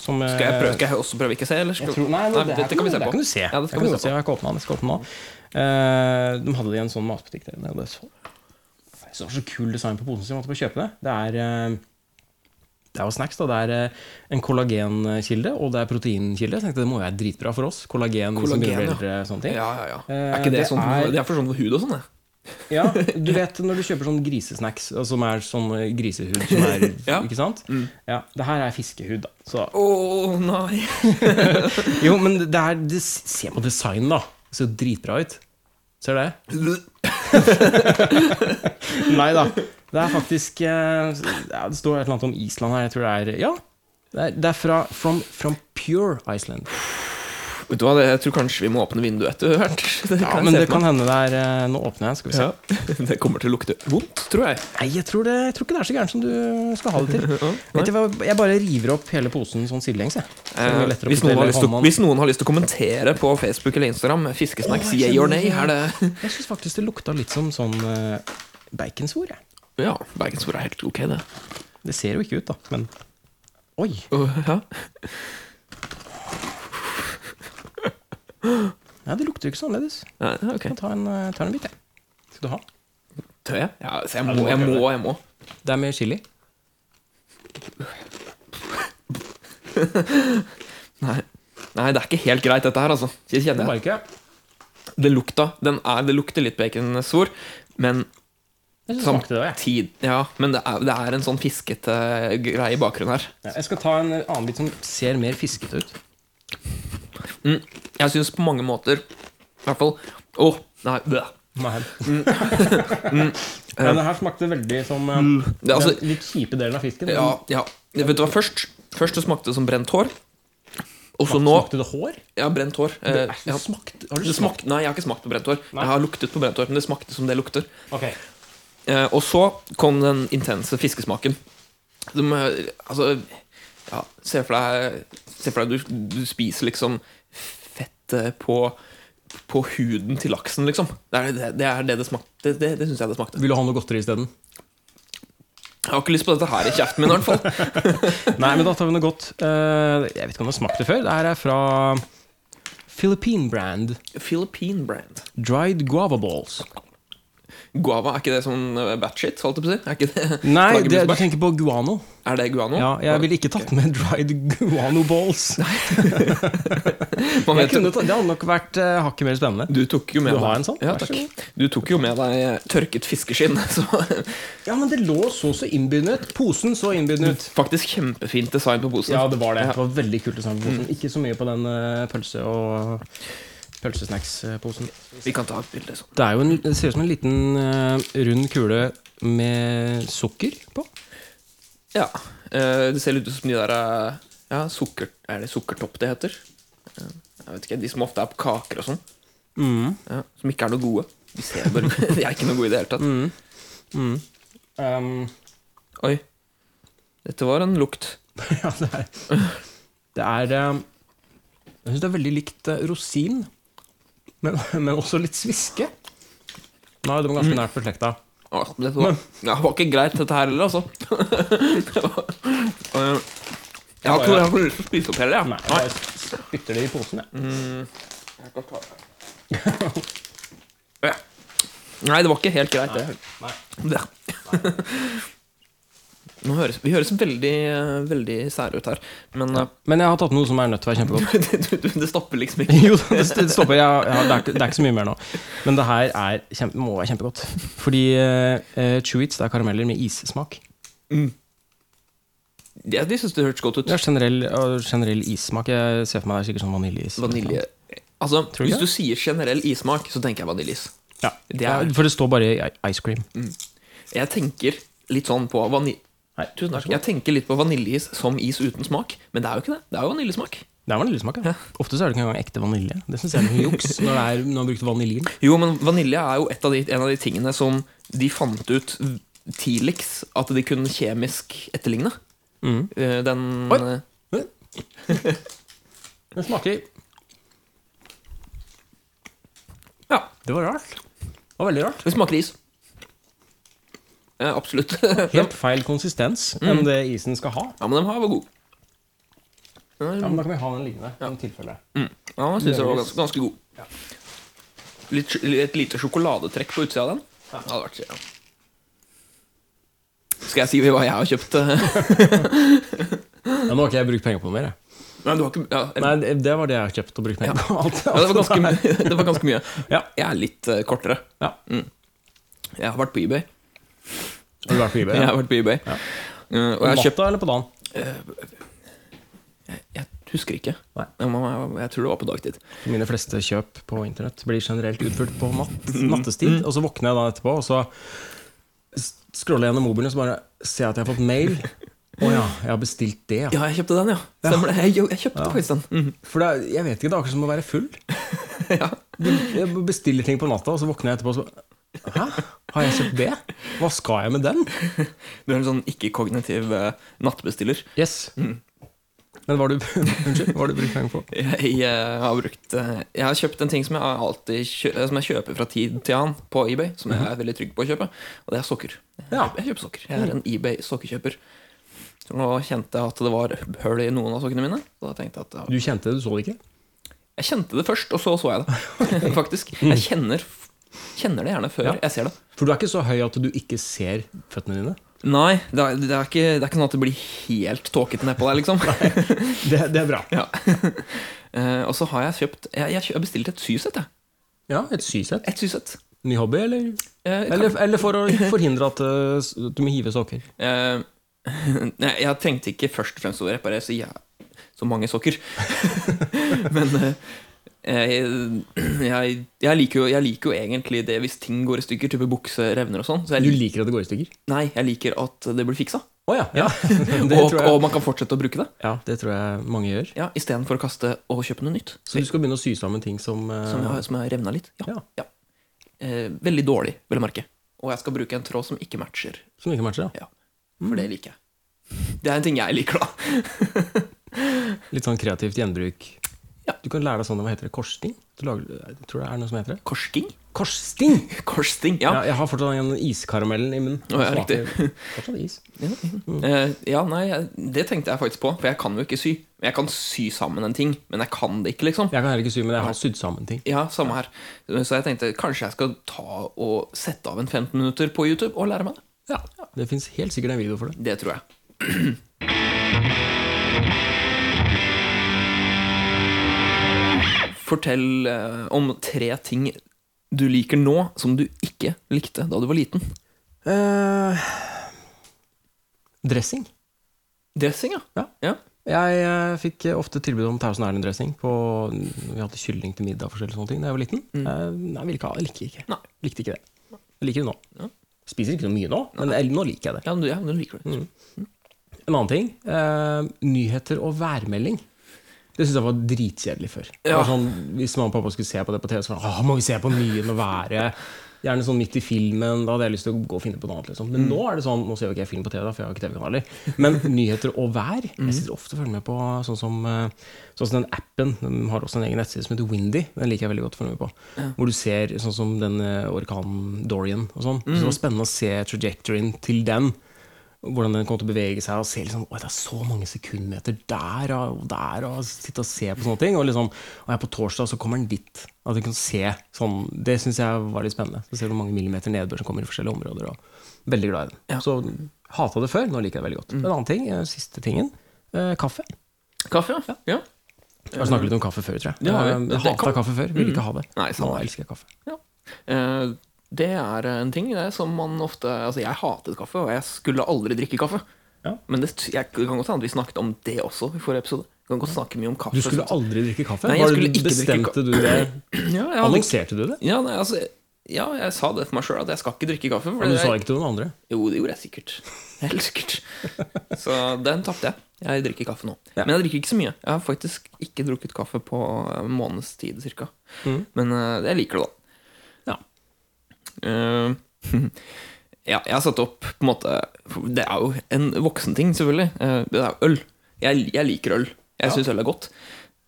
Speaker 1: Som, eh,
Speaker 2: Skal jeg, prøve, skal jeg også prøve ikke å se, eller? Skal...
Speaker 1: Jeg tror, nei, nei, det, her
Speaker 2: dette kan vi se
Speaker 1: det
Speaker 2: på.
Speaker 1: kan du se.
Speaker 2: Ja,
Speaker 1: Jeg
Speaker 2: dette kan vi
Speaker 1: godt
Speaker 2: se på.
Speaker 1: Jeg har ikke åpnet den. Jeg skal åpne den nå. Eh, de hadde det i en sånn matbutikk der nede. Så, jeg synes det var så kul design på posen, så jeg måtte bare kjøpe det. Det er, eh, det er jo snacks. da. Det er eh, en kollagenkilde, og det er proteinkilde. Jeg tenkte det må være dritbra for oss. Kollagen, vi som
Speaker 2: Kollagen,
Speaker 1: begynner å
Speaker 2: ja.
Speaker 1: bli eldre, sånne ting.
Speaker 2: Ja, ja, ja.
Speaker 1: Eh,
Speaker 2: Er ikke det,
Speaker 1: det
Speaker 2: sånn,
Speaker 1: er-
Speaker 2: det er for sånn for hud og sånn, det.
Speaker 1: Ja, du vet når du kjøper sånn grisesnacks, altså, som er sånn eh, grisehud som er
Speaker 2: Ja. Mm.
Speaker 1: Ikke sant? Ja, det her er fiskehud, da. Så,
Speaker 2: Å nei!
Speaker 1: jo, men det er det, Se på designen, da. Det ser jo dritbra ut. Ser du det? Nei da. Det er faktisk eh, ja, Det står et eller annet om Island her. Jeg tror det er Ja. Det er, det er fra from, from Pure Iceland.
Speaker 2: Vet du hva, det- jeg tror kanskje vi må åpne vinduet etter hvert. Det
Speaker 1: Ja,
Speaker 2: kan jeg
Speaker 1: men
Speaker 2: se
Speaker 1: det
Speaker 2: for
Speaker 1: kan hende det er eh, Nå åpner jeg, skal vi se.
Speaker 2: meg. Ja. Det kommer til å lukte vondt, tror jeg.
Speaker 1: Nei, jeg tror, det, jeg tror ikke det er så gærent som du skal ha det til.
Speaker 2: Ja,
Speaker 1: Vet du hva, Jeg bare river opp hele posen sånn sidelengs, jeg. Så det blir
Speaker 2: Eh,
Speaker 1: lettere å
Speaker 2: hvis, noen har
Speaker 1: fortelle
Speaker 2: lyst til,
Speaker 1: håndmann.
Speaker 2: hvis noen har lyst til å kommentere på Facebook eller Instagram eh, Fiskesnacks,
Speaker 1: Å, jeg
Speaker 2: yay or
Speaker 1: kjenner
Speaker 2: nay,
Speaker 1: det.
Speaker 2: er det
Speaker 1: Jeg syns faktisk det lukta litt som sånn eh, baconsvor, jeg.
Speaker 2: Ja, bergensord er helt ok, det.
Speaker 1: Det ser jo ikke ut, da, men Oi!
Speaker 2: Uh, ja.
Speaker 1: Nei, det lukter jo ikke så annerledes.
Speaker 2: Ja, ok.
Speaker 1: Jeg tar en, eh, tar en bit, jeg. Skal du ha?
Speaker 2: Tør jeg? Ja, så jeg
Speaker 1: Ja,
Speaker 2: må,
Speaker 1: du må
Speaker 2: jeg
Speaker 1: prøve.
Speaker 2: må, jeg må.
Speaker 1: Det er med chili.
Speaker 2: Nei. Nei, det er ikke helt greit, dette her, altså. Det
Speaker 1: Det
Speaker 2: kjenner jeg.
Speaker 1: var ikke
Speaker 2: Det lukta. Den er, det lukter litt baconsvor, men
Speaker 1: Jeg synes det
Speaker 2: Samt-
Speaker 1: smakte det også, jeg.
Speaker 2: tid Ja, men det er, det er en sånn fiskete greie i bakgrunnen her.
Speaker 1: Ja, Jeg skal ta en annen bit som ser mer fiskete ut.
Speaker 2: Mm. Jeg syns på mange måter I hvert fall Å, nei. bleh.
Speaker 1: Nei. Mm. Men det her smakte veldig som eh,
Speaker 2: Det er altså-
Speaker 1: den litt kjipe delen av fisken.
Speaker 2: Ja, ja. Vet du hva, først, først det smakte som brent hår. Og så nå
Speaker 1: Smakte det hår?
Speaker 2: Ja, brent hår. Eh,
Speaker 1: Det er-
Speaker 2: ja.
Speaker 1: smakte- har du
Speaker 2: Det smak- Nei, jeg har ikke smakt på brent hår.
Speaker 1: Nei.
Speaker 2: Jeg har luktet på brent hår, men det smakte som det lukter.
Speaker 1: Ok.
Speaker 2: Eh, og så kom den intense fiskesmaken. De, eh, altså ja, Se for deg, se for deg du, du spiser liksom fettet på, på huden til laksen, liksom. Det er det det, er det, det smakte. Det, det, det syns jeg det smakte.
Speaker 1: Vil du ha noe godteri isteden?
Speaker 2: Jeg har ikke lyst på dette her i kjeften min, i hvert fall.
Speaker 1: Nei, men da tar vi noe godt. Eh, jeg vet ikke om du har smakt det før. Det her er fra Philippine brand
Speaker 2: Philippine brand.
Speaker 1: Dried Guava Balls.
Speaker 2: Guava, er ikke det sånn eh, batshit, holdt jeg på å si? Er, ikke det,
Speaker 1: Nei, det, du
Speaker 2: flaggermusbær?
Speaker 1: tenker på guano.
Speaker 2: er det guano?
Speaker 1: Ja, jeg ville ikke tatt med dried guano balls.
Speaker 2: Man
Speaker 1: Jeg
Speaker 2: vet jo-
Speaker 1: kunne ta, det hadde nok vært eh, hakket mer spennende.
Speaker 2: Du tok jo med
Speaker 1: Du har
Speaker 2: deg-
Speaker 1: en sånn?
Speaker 2: Ja,
Speaker 1: Vær så
Speaker 2: takk. Du tok jo med deg eh, tørket fiskeskinn. Så
Speaker 1: Ja, men det lå så så innbydende ut. Posen så innbydende ut.
Speaker 2: faktisk kjempefint design på posen.
Speaker 1: Ja, det var det. Mm.
Speaker 2: Ja.
Speaker 1: Det var veldig kult design på posen. Ikke så mye på den eh, pølse- og eh, pølsesnacks-posen.
Speaker 2: Vi kan ta et bilde sånn.
Speaker 1: Det, er jo en, det ser ut som en liten eh, rund kule med sukker på.
Speaker 2: Ja. eh, Det ser litt ut som de der eh, ja, sukker, Er det sukkertopp det heter? Eh, Jeg vet ikke, De som ofte er på kaker og sånn.
Speaker 1: Mm.
Speaker 2: Ja, som ikke er noe gode. De, ser bare, de er ikke noe gode i det hele tatt.
Speaker 1: Mm. Um,
Speaker 2: Oi. Dette var en lukt.
Speaker 1: ja, det er Det er eh, Jeg syns det er veldig likt eh, rosin, men, men også litt sviske. Nei, de var ganske nært beslekta.
Speaker 2: Å, dette var, ja, det var ikke greit, dette her heller, altså. Det var- Eh, Jeg har ikke jeg har ikke lyst til å spise opp hele, jeg.
Speaker 1: Nei, jeg spytter det i posen, jeg.
Speaker 2: Ja. Nei, det var ikke helt greit, det.
Speaker 1: Nei.
Speaker 2: det. Nå høres, vi høres veldig, eh, veldig sære ut her, men eh,
Speaker 1: Men jeg har tatt noe som er nødt til å være kjempegodt.
Speaker 2: det, du- du- det stopper liksom ikke.
Speaker 1: Jo, det st- det stopper. Jeg, har- jeg, har- det, er, ikke- det er ikke så mye mer nå. Men det her er kjempe, må være kjempegodt. Fordi uh, Chewits det er karameller med issmak.
Speaker 2: Ja, de syns det hørtes godt ut.
Speaker 1: Det er generell, og generell issmak. Jeg ser for meg det er sikkert sånn vaniljeis.
Speaker 2: Vanilje Altså,
Speaker 1: Tror du
Speaker 2: Hvis
Speaker 1: det?
Speaker 2: du sier generell issmak, så tenker jeg vaniljeis.
Speaker 1: Ja.
Speaker 2: Det er-
Speaker 1: For det står bare i- ice cream.
Speaker 2: Jeg tenker litt sånn på vanilje...
Speaker 1: Nei,
Speaker 2: Tusen takk. Jeg tenker litt på vaniljeis som is uten smak, men det er jo ikke det. Det er jo vaniljesmak.
Speaker 1: Det er vaniljesmak, ja. Ofte så er det ikke engang ekte vanilje. Det syns jeg er mye juks når det er, når man har brukt vaniljen.
Speaker 2: Jo, men vanilje er jo et av de, en av de tingene som de fant ut tidligst at de kunne kjemisk etterligne. Eh, Den
Speaker 1: Oi.
Speaker 2: eh,
Speaker 1: Den smaker
Speaker 2: Ja,
Speaker 1: Det var rart. Det var veldig rart.
Speaker 2: det smaker is. Eh, Absolutt. ja, Mm.
Speaker 1: Helt feil konsistens enn det isen skal ha.
Speaker 2: men de her var gode.
Speaker 1: Ja, men Da kan vi ha den liggende. i tilfelle.
Speaker 2: Ja, jeg synes jeg var ganske, ganske god. Litt, sj- et lite sjokoladetrekk på utsida av den. Ja. Det hadde vært ja. Skal jeg si hva jeg har kjøpt? eh?
Speaker 1: Ja, nå har ikke jeg brukt penger på noe mer. jeg.
Speaker 2: Nei, du har ikke ja, eller-
Speaker 1: Nei, det, det var det jeg har kjøpt og brukt penger på. Alt,
Speaker 2: ja, det, var
Speaker 1: alt
Speaker 2: ganske,
Speaker 1: der.
Speaker 2: mye- det var ganske mye.
Speaker 1: Ja.
Speaker 2: Jeg er litt eh, kortere.
Speaker 1: ja.
Speaker 2: Jeg har vært på eBay.
Speaker 1: Har du vært på eBay?
Speaker 2: Jeg
Speaker 1: Ja.
Speaker 2: har vært på eBay. Eh, og
Speaker 1: På
Speaker 2: jeg har kjøpt
Speaker 1: natta eller på dagen?
Speaker 2: Jeg husker ikke.
Speaker 1: Nei.
Speaker 2: Jeg, må, jeg, jeg tror det var på dagtid.
Speaker 1: Mine fleste kjøp på internett blir generelt utført på natt, nattestid. Og så våkner jeg da etterpå, og så s- scroller jeg gjennom mobilen og så bare ser jeg at jeg har fått mail. Å ja, jeg har bestilt det. Ja.
Speaker 2: Ja, jeg kjøpte den, ja. Stemmer det. Jeg, jo- jeg kjøpte faktisk den. Mhm.
Speaker 1: For det, er- jeg vet ikke, det er akkurat som å være full.
Speaker 2: Ja.
Speaker 1: Jeg bestiller ting på natta, og så våkner jeg etterpå og så Hæ? Har jeg kjøpt det? Hva skal jeg med den?
Speaker 2: Du er en sånn ikke-kognitiv eh, nattbestiller.
Speaker 1: Yes. Mm. Men hva har du, unnskyld, hva har du brukt penger på?
Speaker 2: Jeg, eh, har brukt eh, Jeg har kjøpt en ting som jeg alltid kjø eh, Som jeg kjøper fra tid til annen på eBay, som jeg er veldig trygg på å kjøpe, og det er sokker.
Speaker 1: Mhm. Ja.
Speaker 2: Jeg kjøper sokker. Jeg er en eBay-sokkekjøper. Så nå kjente jeg at det var hull i noen av sokkene mine. Så da tenkte jeg at ja,
Speaker 1: Du kjente det, du så det ikke?
Speaker 2: Jeg kjente det først, og så så jeg det. Faktisk. Jeg kjenner f- Kjenner det gjerne før
Speaker 1: Ja.
Speaker 2: jeg ser det.
Speaker 1: For du er ikke så høy at du ikke ser føttene dine.
Speaker 2: Nei, det er, det er, ikke, det er ikke sånn at det blir helt tåkete nedpå der, liksom.
Speaker 1: Det, det er bra.
Speaker 2: Ja. Eh, og så har jeg kjøpt Jeg, jeg har bestilt et sysett, jeg.
Speaker 1: Ja, Et sysett.
Speaker 2: Et sysett.
Speaker 1: Ny hobby, eller?
Speaker 2: Eh, kan-
Speaker 1: Eller, eller for å forhindre at eh, s- at du må hive sokker.
Speaker 2: Eh, nei, jeg trengte ikke først og fremst å reparere så, jæ- så mange sokker. Men eh, jeg, jeg, jeg, liker jo, jeg liker jo egentlig det hvis ting går i stykker, type bukse, revner og sånn. Så jeg,
Speaker 1: Du
Speaker 2: lik-
Speaker 1: liker at det går i stykker?
Speaker 2: nei, jeg liker at det blir fiksa.
Speaker 1: Å ja. ja. Det,
Speaker 2: Og,
Speaker 1: tror
Speaker 2: og
Speaker 1: jeg,
Speaker 2: man kan fortsette å bruke det.
Speaker 1: ja, det tror jeg mange gjør.
Speaker 2: Ja, Istedenfor å kaste og kjøpe noe nytt.
Speaker 1: Så du skal begynne å sy sammen ting som, eh,
Speaker 2: Som har, som har revna litt. Ja.
Speaker 1: Ja.
Speaker 2: ja. Eh, veldig dårlig, vil jeg merke. Og jeg skal bruke en tråd som ikke matcher.
Speaker 1: som ikke matcher?
Speaker 2: Ja. For det liker jeg. Det er en ting jeg liker, da.
Speaker 1: da. Litt sånn kreativt gjenbruk.
Speaker 2: Ja.
Speaker 1: Du kan lære deg sånn hva heter det, korsting? Du lager, jeg tror det er noe som heter det.
Speaker 2: Korsting?
Speaker 1: Korsting!
Speaker 2: Korsting,
Speaker 1: Ja.
Speaker 2: ja.
Speaker 1: jeg har fortsatt den iskaramellen i munnen.
Speaker 2: Å, ja,
Speaker 1: Smaker Fortsatt is.
Speaker 2: Eh, ja, nei, jeg- det tenkte jeg faktisk på, for jeg kan jo ikke sy. Jeg kan sy sammen en ting, men jeg kan det ikke, liksom.
Speaker 1: Jeg kan heller ikke sy, men jeg har sydd sammen ting.
Speaker 2: Ja, samme her. Så jeg tenkte kanskje jeg skal ta og sette av en 15 minutter på YouTube og lære meg det.
Speaker 1: Ja, Det fins helt sikkert en video for det.
Speaker 2: Det tror jeg. Fortell eh, om tre ting du liker nå, som du ikke likte da du var liten.
Speaker 1: Eh, dressing.
Speaker 2: Dressing, ja.
Speaker 1: Ja.
Speaker 2: ja.
Speaker 1: Jeg eh, fikk eh, ofte tilbud om Thousand Island-dressing. på- når Vi hadde kylling til middag og forskjellige sånne ting da jeg var liten. Eh, Nei, ville ikke ha, jeg liker ikke.
Speaker 2: Mm. Nei.
Speaker 1: Likte ikke det. Jeg liker det nå.
Speaker 2: Ja.
Speaker 1: Spiser ikke så mye nå, men jeg, nå liker jeg det.
Speaker 2: Ja, men du, ja, men du liker det.
Speaker 1: En annen ting. eh, nyheter og værmelding. Det syns jeg var dritkjedelig før. Det var
Speaker 2: Ja.
Speaker 1: Sånn, hvis mamma og pappa skulle se på det på TV, så var det, «Åh, må vi se på mye med været. Gjerne sånn midt i filmen. Da hadde jeg lyst til å gå og finne på noe annet. Liksom. Men nå er det sånn, nå ser jo ikke jeg film på TV, da, for jeg har ikke TV-kanaler. Men nyheter og vær Jeg sitter ofte og følger med på sånn som, eh, sånn som den appen. Den har også en egen nettside som heter Windy. Den liker jeg veldig godt å følge med på. Hvor du ser sånn som den eh, orkanen Dorian og sånn. Så det var spennende å se trajectoryen til den hvordan den kommer til å bevege seg, og se liksom, «Oi, det er så mange sekundmeter der og og der, og sitte og se på sånne ting. Og liksom, og jeg på torsdag så kommer den dit. At du kan se sånn, Det syns jeg var litt spennende. Så ser du hvor mange millimeter nedbør som kommer i forskjellige områder. Og veldig glad i den.
Speaker 2: Ja. Mm.
Speaker 1: Så hata det før, nå liker jeg det veldig godt. En annen ting, eh, siste tingen, eh, kaffe.
Speaker 2: Kaffe, ja. ja.
Speaker 1: Vi har snakket litt om kaffe før, tror jeg.
Speaker 2: Det har vi.
Speaker 1: Eh,
Speaker 2: Det-
Speaker 1: Jeg
Speaker 2: det kan-
Speaker 1: hata kaffe før, ville ikke ha det.
Speaker 2: Nei,
Speaker 1: nå
Speaker 2: samme her.
Speaker 1: elsker jeg kaffe.
Speaker 2: Ja. Eh, Det er en ting det, som man ofte Altså, jeg hatet kaffe, og jeg skulle aldri drikke kaffe.
Speaker 1: Ja.
Speaker 2: Men det, jeg det kan godt hende at vi snakket om det også i forrige episode. Vi kan godt snakke mye om kaffe.
Speaker 1: Du skulle aldri drikke kaffe?
Speaker 2: Nei, jeg
Speaker 1: Var det-
Speaker 2: skulle ikke drikke
Speaker 1: bestemte du det?
Speaker 2: ja, jeg, hadde-
Speaker 1: Annonserte du det?
Speaker 2: ja, nei, altså, ja, jeg sa det til meg sjøl, at jeg skal ikke drikke kaffe. for
Speaker 1: Men du
Speaker 2: jeg,
Speaker 1: sa ikke til noen andre?
Speaker 2: Jo, det gjorde jeg sikkert. Helt sikkert. Så den tapte jeg. Jeg drikker kaffe nå.
Speaker 1: Ja.
Speaker 2: Men jeg drikker ikke så mye. Jeg har faktisk ikke drukket kaffe på en måneds tid ca.
Speaker 1: Mhm.
Speaker 2: Men eh, jeg liker det, da.
Speaker 1: Ja.
Speaker 2: Eh, ja, jeg har satt opp på en måte Det er jo en voksenting, selvfølgelig. Eh, det er jo øl. Jeg, jeg liker øl. Jeg
Speaker 1: Ja.
Speaker 2: syns øl er godt.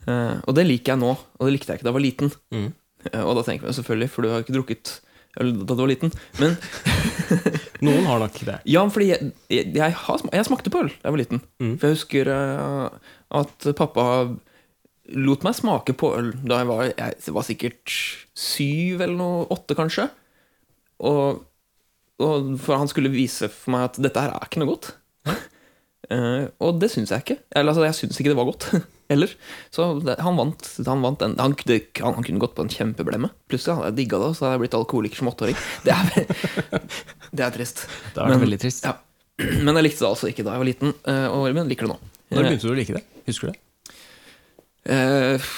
Speaker 2: Eh, og det liker jeg nå, og det likte jeg ikke da jeg var liten.
Speaker 1: Mhm.
Speaker 2: Eh, og da tenker jeg selvfølgelig, for du har jo ikke drukket øl da du var liten. Men
Speaker 1: Noen har nok det.
Speaker 2: ja, fordi jeg, jeg, jeg, har, sma- jeg smakte på øl da jeg var liten. For jeg husker eh, at pappa lot meg smake på øl da jeg var, jeg var sikkert syv eller noe, åtte kanskje. Og, og For han skulle vise for meg at dette her er ikke noe godt. Eh, og det syns jeg ikke. Eller altså, jeg syns ikke det var godt heller. Så det, han vant, han, vant den, han, det, han, han kunne gått på en kjempeblemme. Plutselig hadde jeg digga det, og så hadde jeg blitt alkoholiker som åtteåring. Det er, det er trist.
Speaker 1: Det har vært veldig trist.
Speaker 2: Ja. Men jeg likte det altså ikke da jeg var liten, eh, og men liker det nå.
Speaker 1: Når begynte du å like det? Husker du det?
Speaker 2: Eh,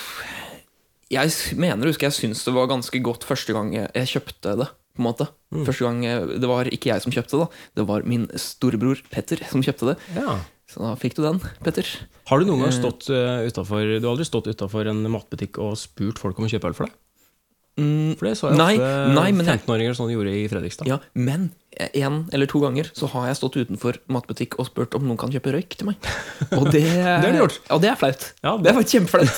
Speaker 2: Jeg s- mener, husker jeg syns det var ganske godt første gang jeg jeg kjøpte det. på en måte
Speaker 1: Mm.
Speaker 2: Første gang eh, Det var ikke jeg som kjøpte det, da. Det var min storebror Petter som kjøpte det.
Speaker 1: Ja.
Speaker 2: Så da fikk du den, Petter.
Speaker 1: Har du noen gang stått eh, utenfor Du har aldri stått utafor en matbutikk og spurt folk om å kjøpe øl for deg?
Speaker 2: Mm,
Speaker 1: For det så jeg
Speaker 2: Nei,
Speaker 1: ofte
Speaker 2: nei, men jeg-
Speaker 1: 15-åringer sånn gjorde i Fredrikstad.
Speaker 2: ja, men én eller to ganger så har jeg stått utenfor matbutikk og spurt om noen kan kjøpe røyk til meg. Og det,
Speaker 1: har du gjort.
Speaker 2: Og det er flaut.
Speaker 1: Ja,
Speaker 2: det, er faktisk kjempeflaut.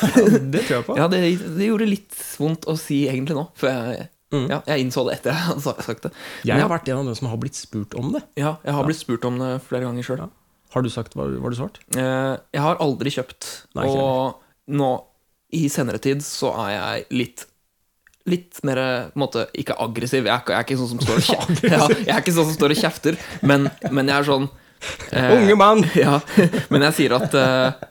Speaker 1: Det tror jeg på.
Speaker 2: Ja, det, det gjorde litt vondt å si egentlig nå, for jeg, ja, jeg innså det etter jeg hadde sa- sagt det. Men
Speaker 1: Mm. Jeg
Speaker 2: ja,
Speaker 1: har vært en av dem som har blitt spurt om det.
Speaker 2: Ja, jeg har blitt spurt om det flere ganger sjøl.
Speaker 1: Har du sagt hva, hva har du svart?
Speaker 2: Jeg har aldri kjøpt,
Speaker 1: Nei, ikke
Speaker 2: og nå i senere tid så er jeg litt litt mer på en måte, Ikke aggressiv. Jeg er, ikke- jeg er ikke sånn som står og kjefter. Ja, jeg er ikke sånn som står og kjefter, men, men jeg er sånn eh,
Speaker 1: Unge mann!
Speaker 2: Ja, men jeg sier at eh,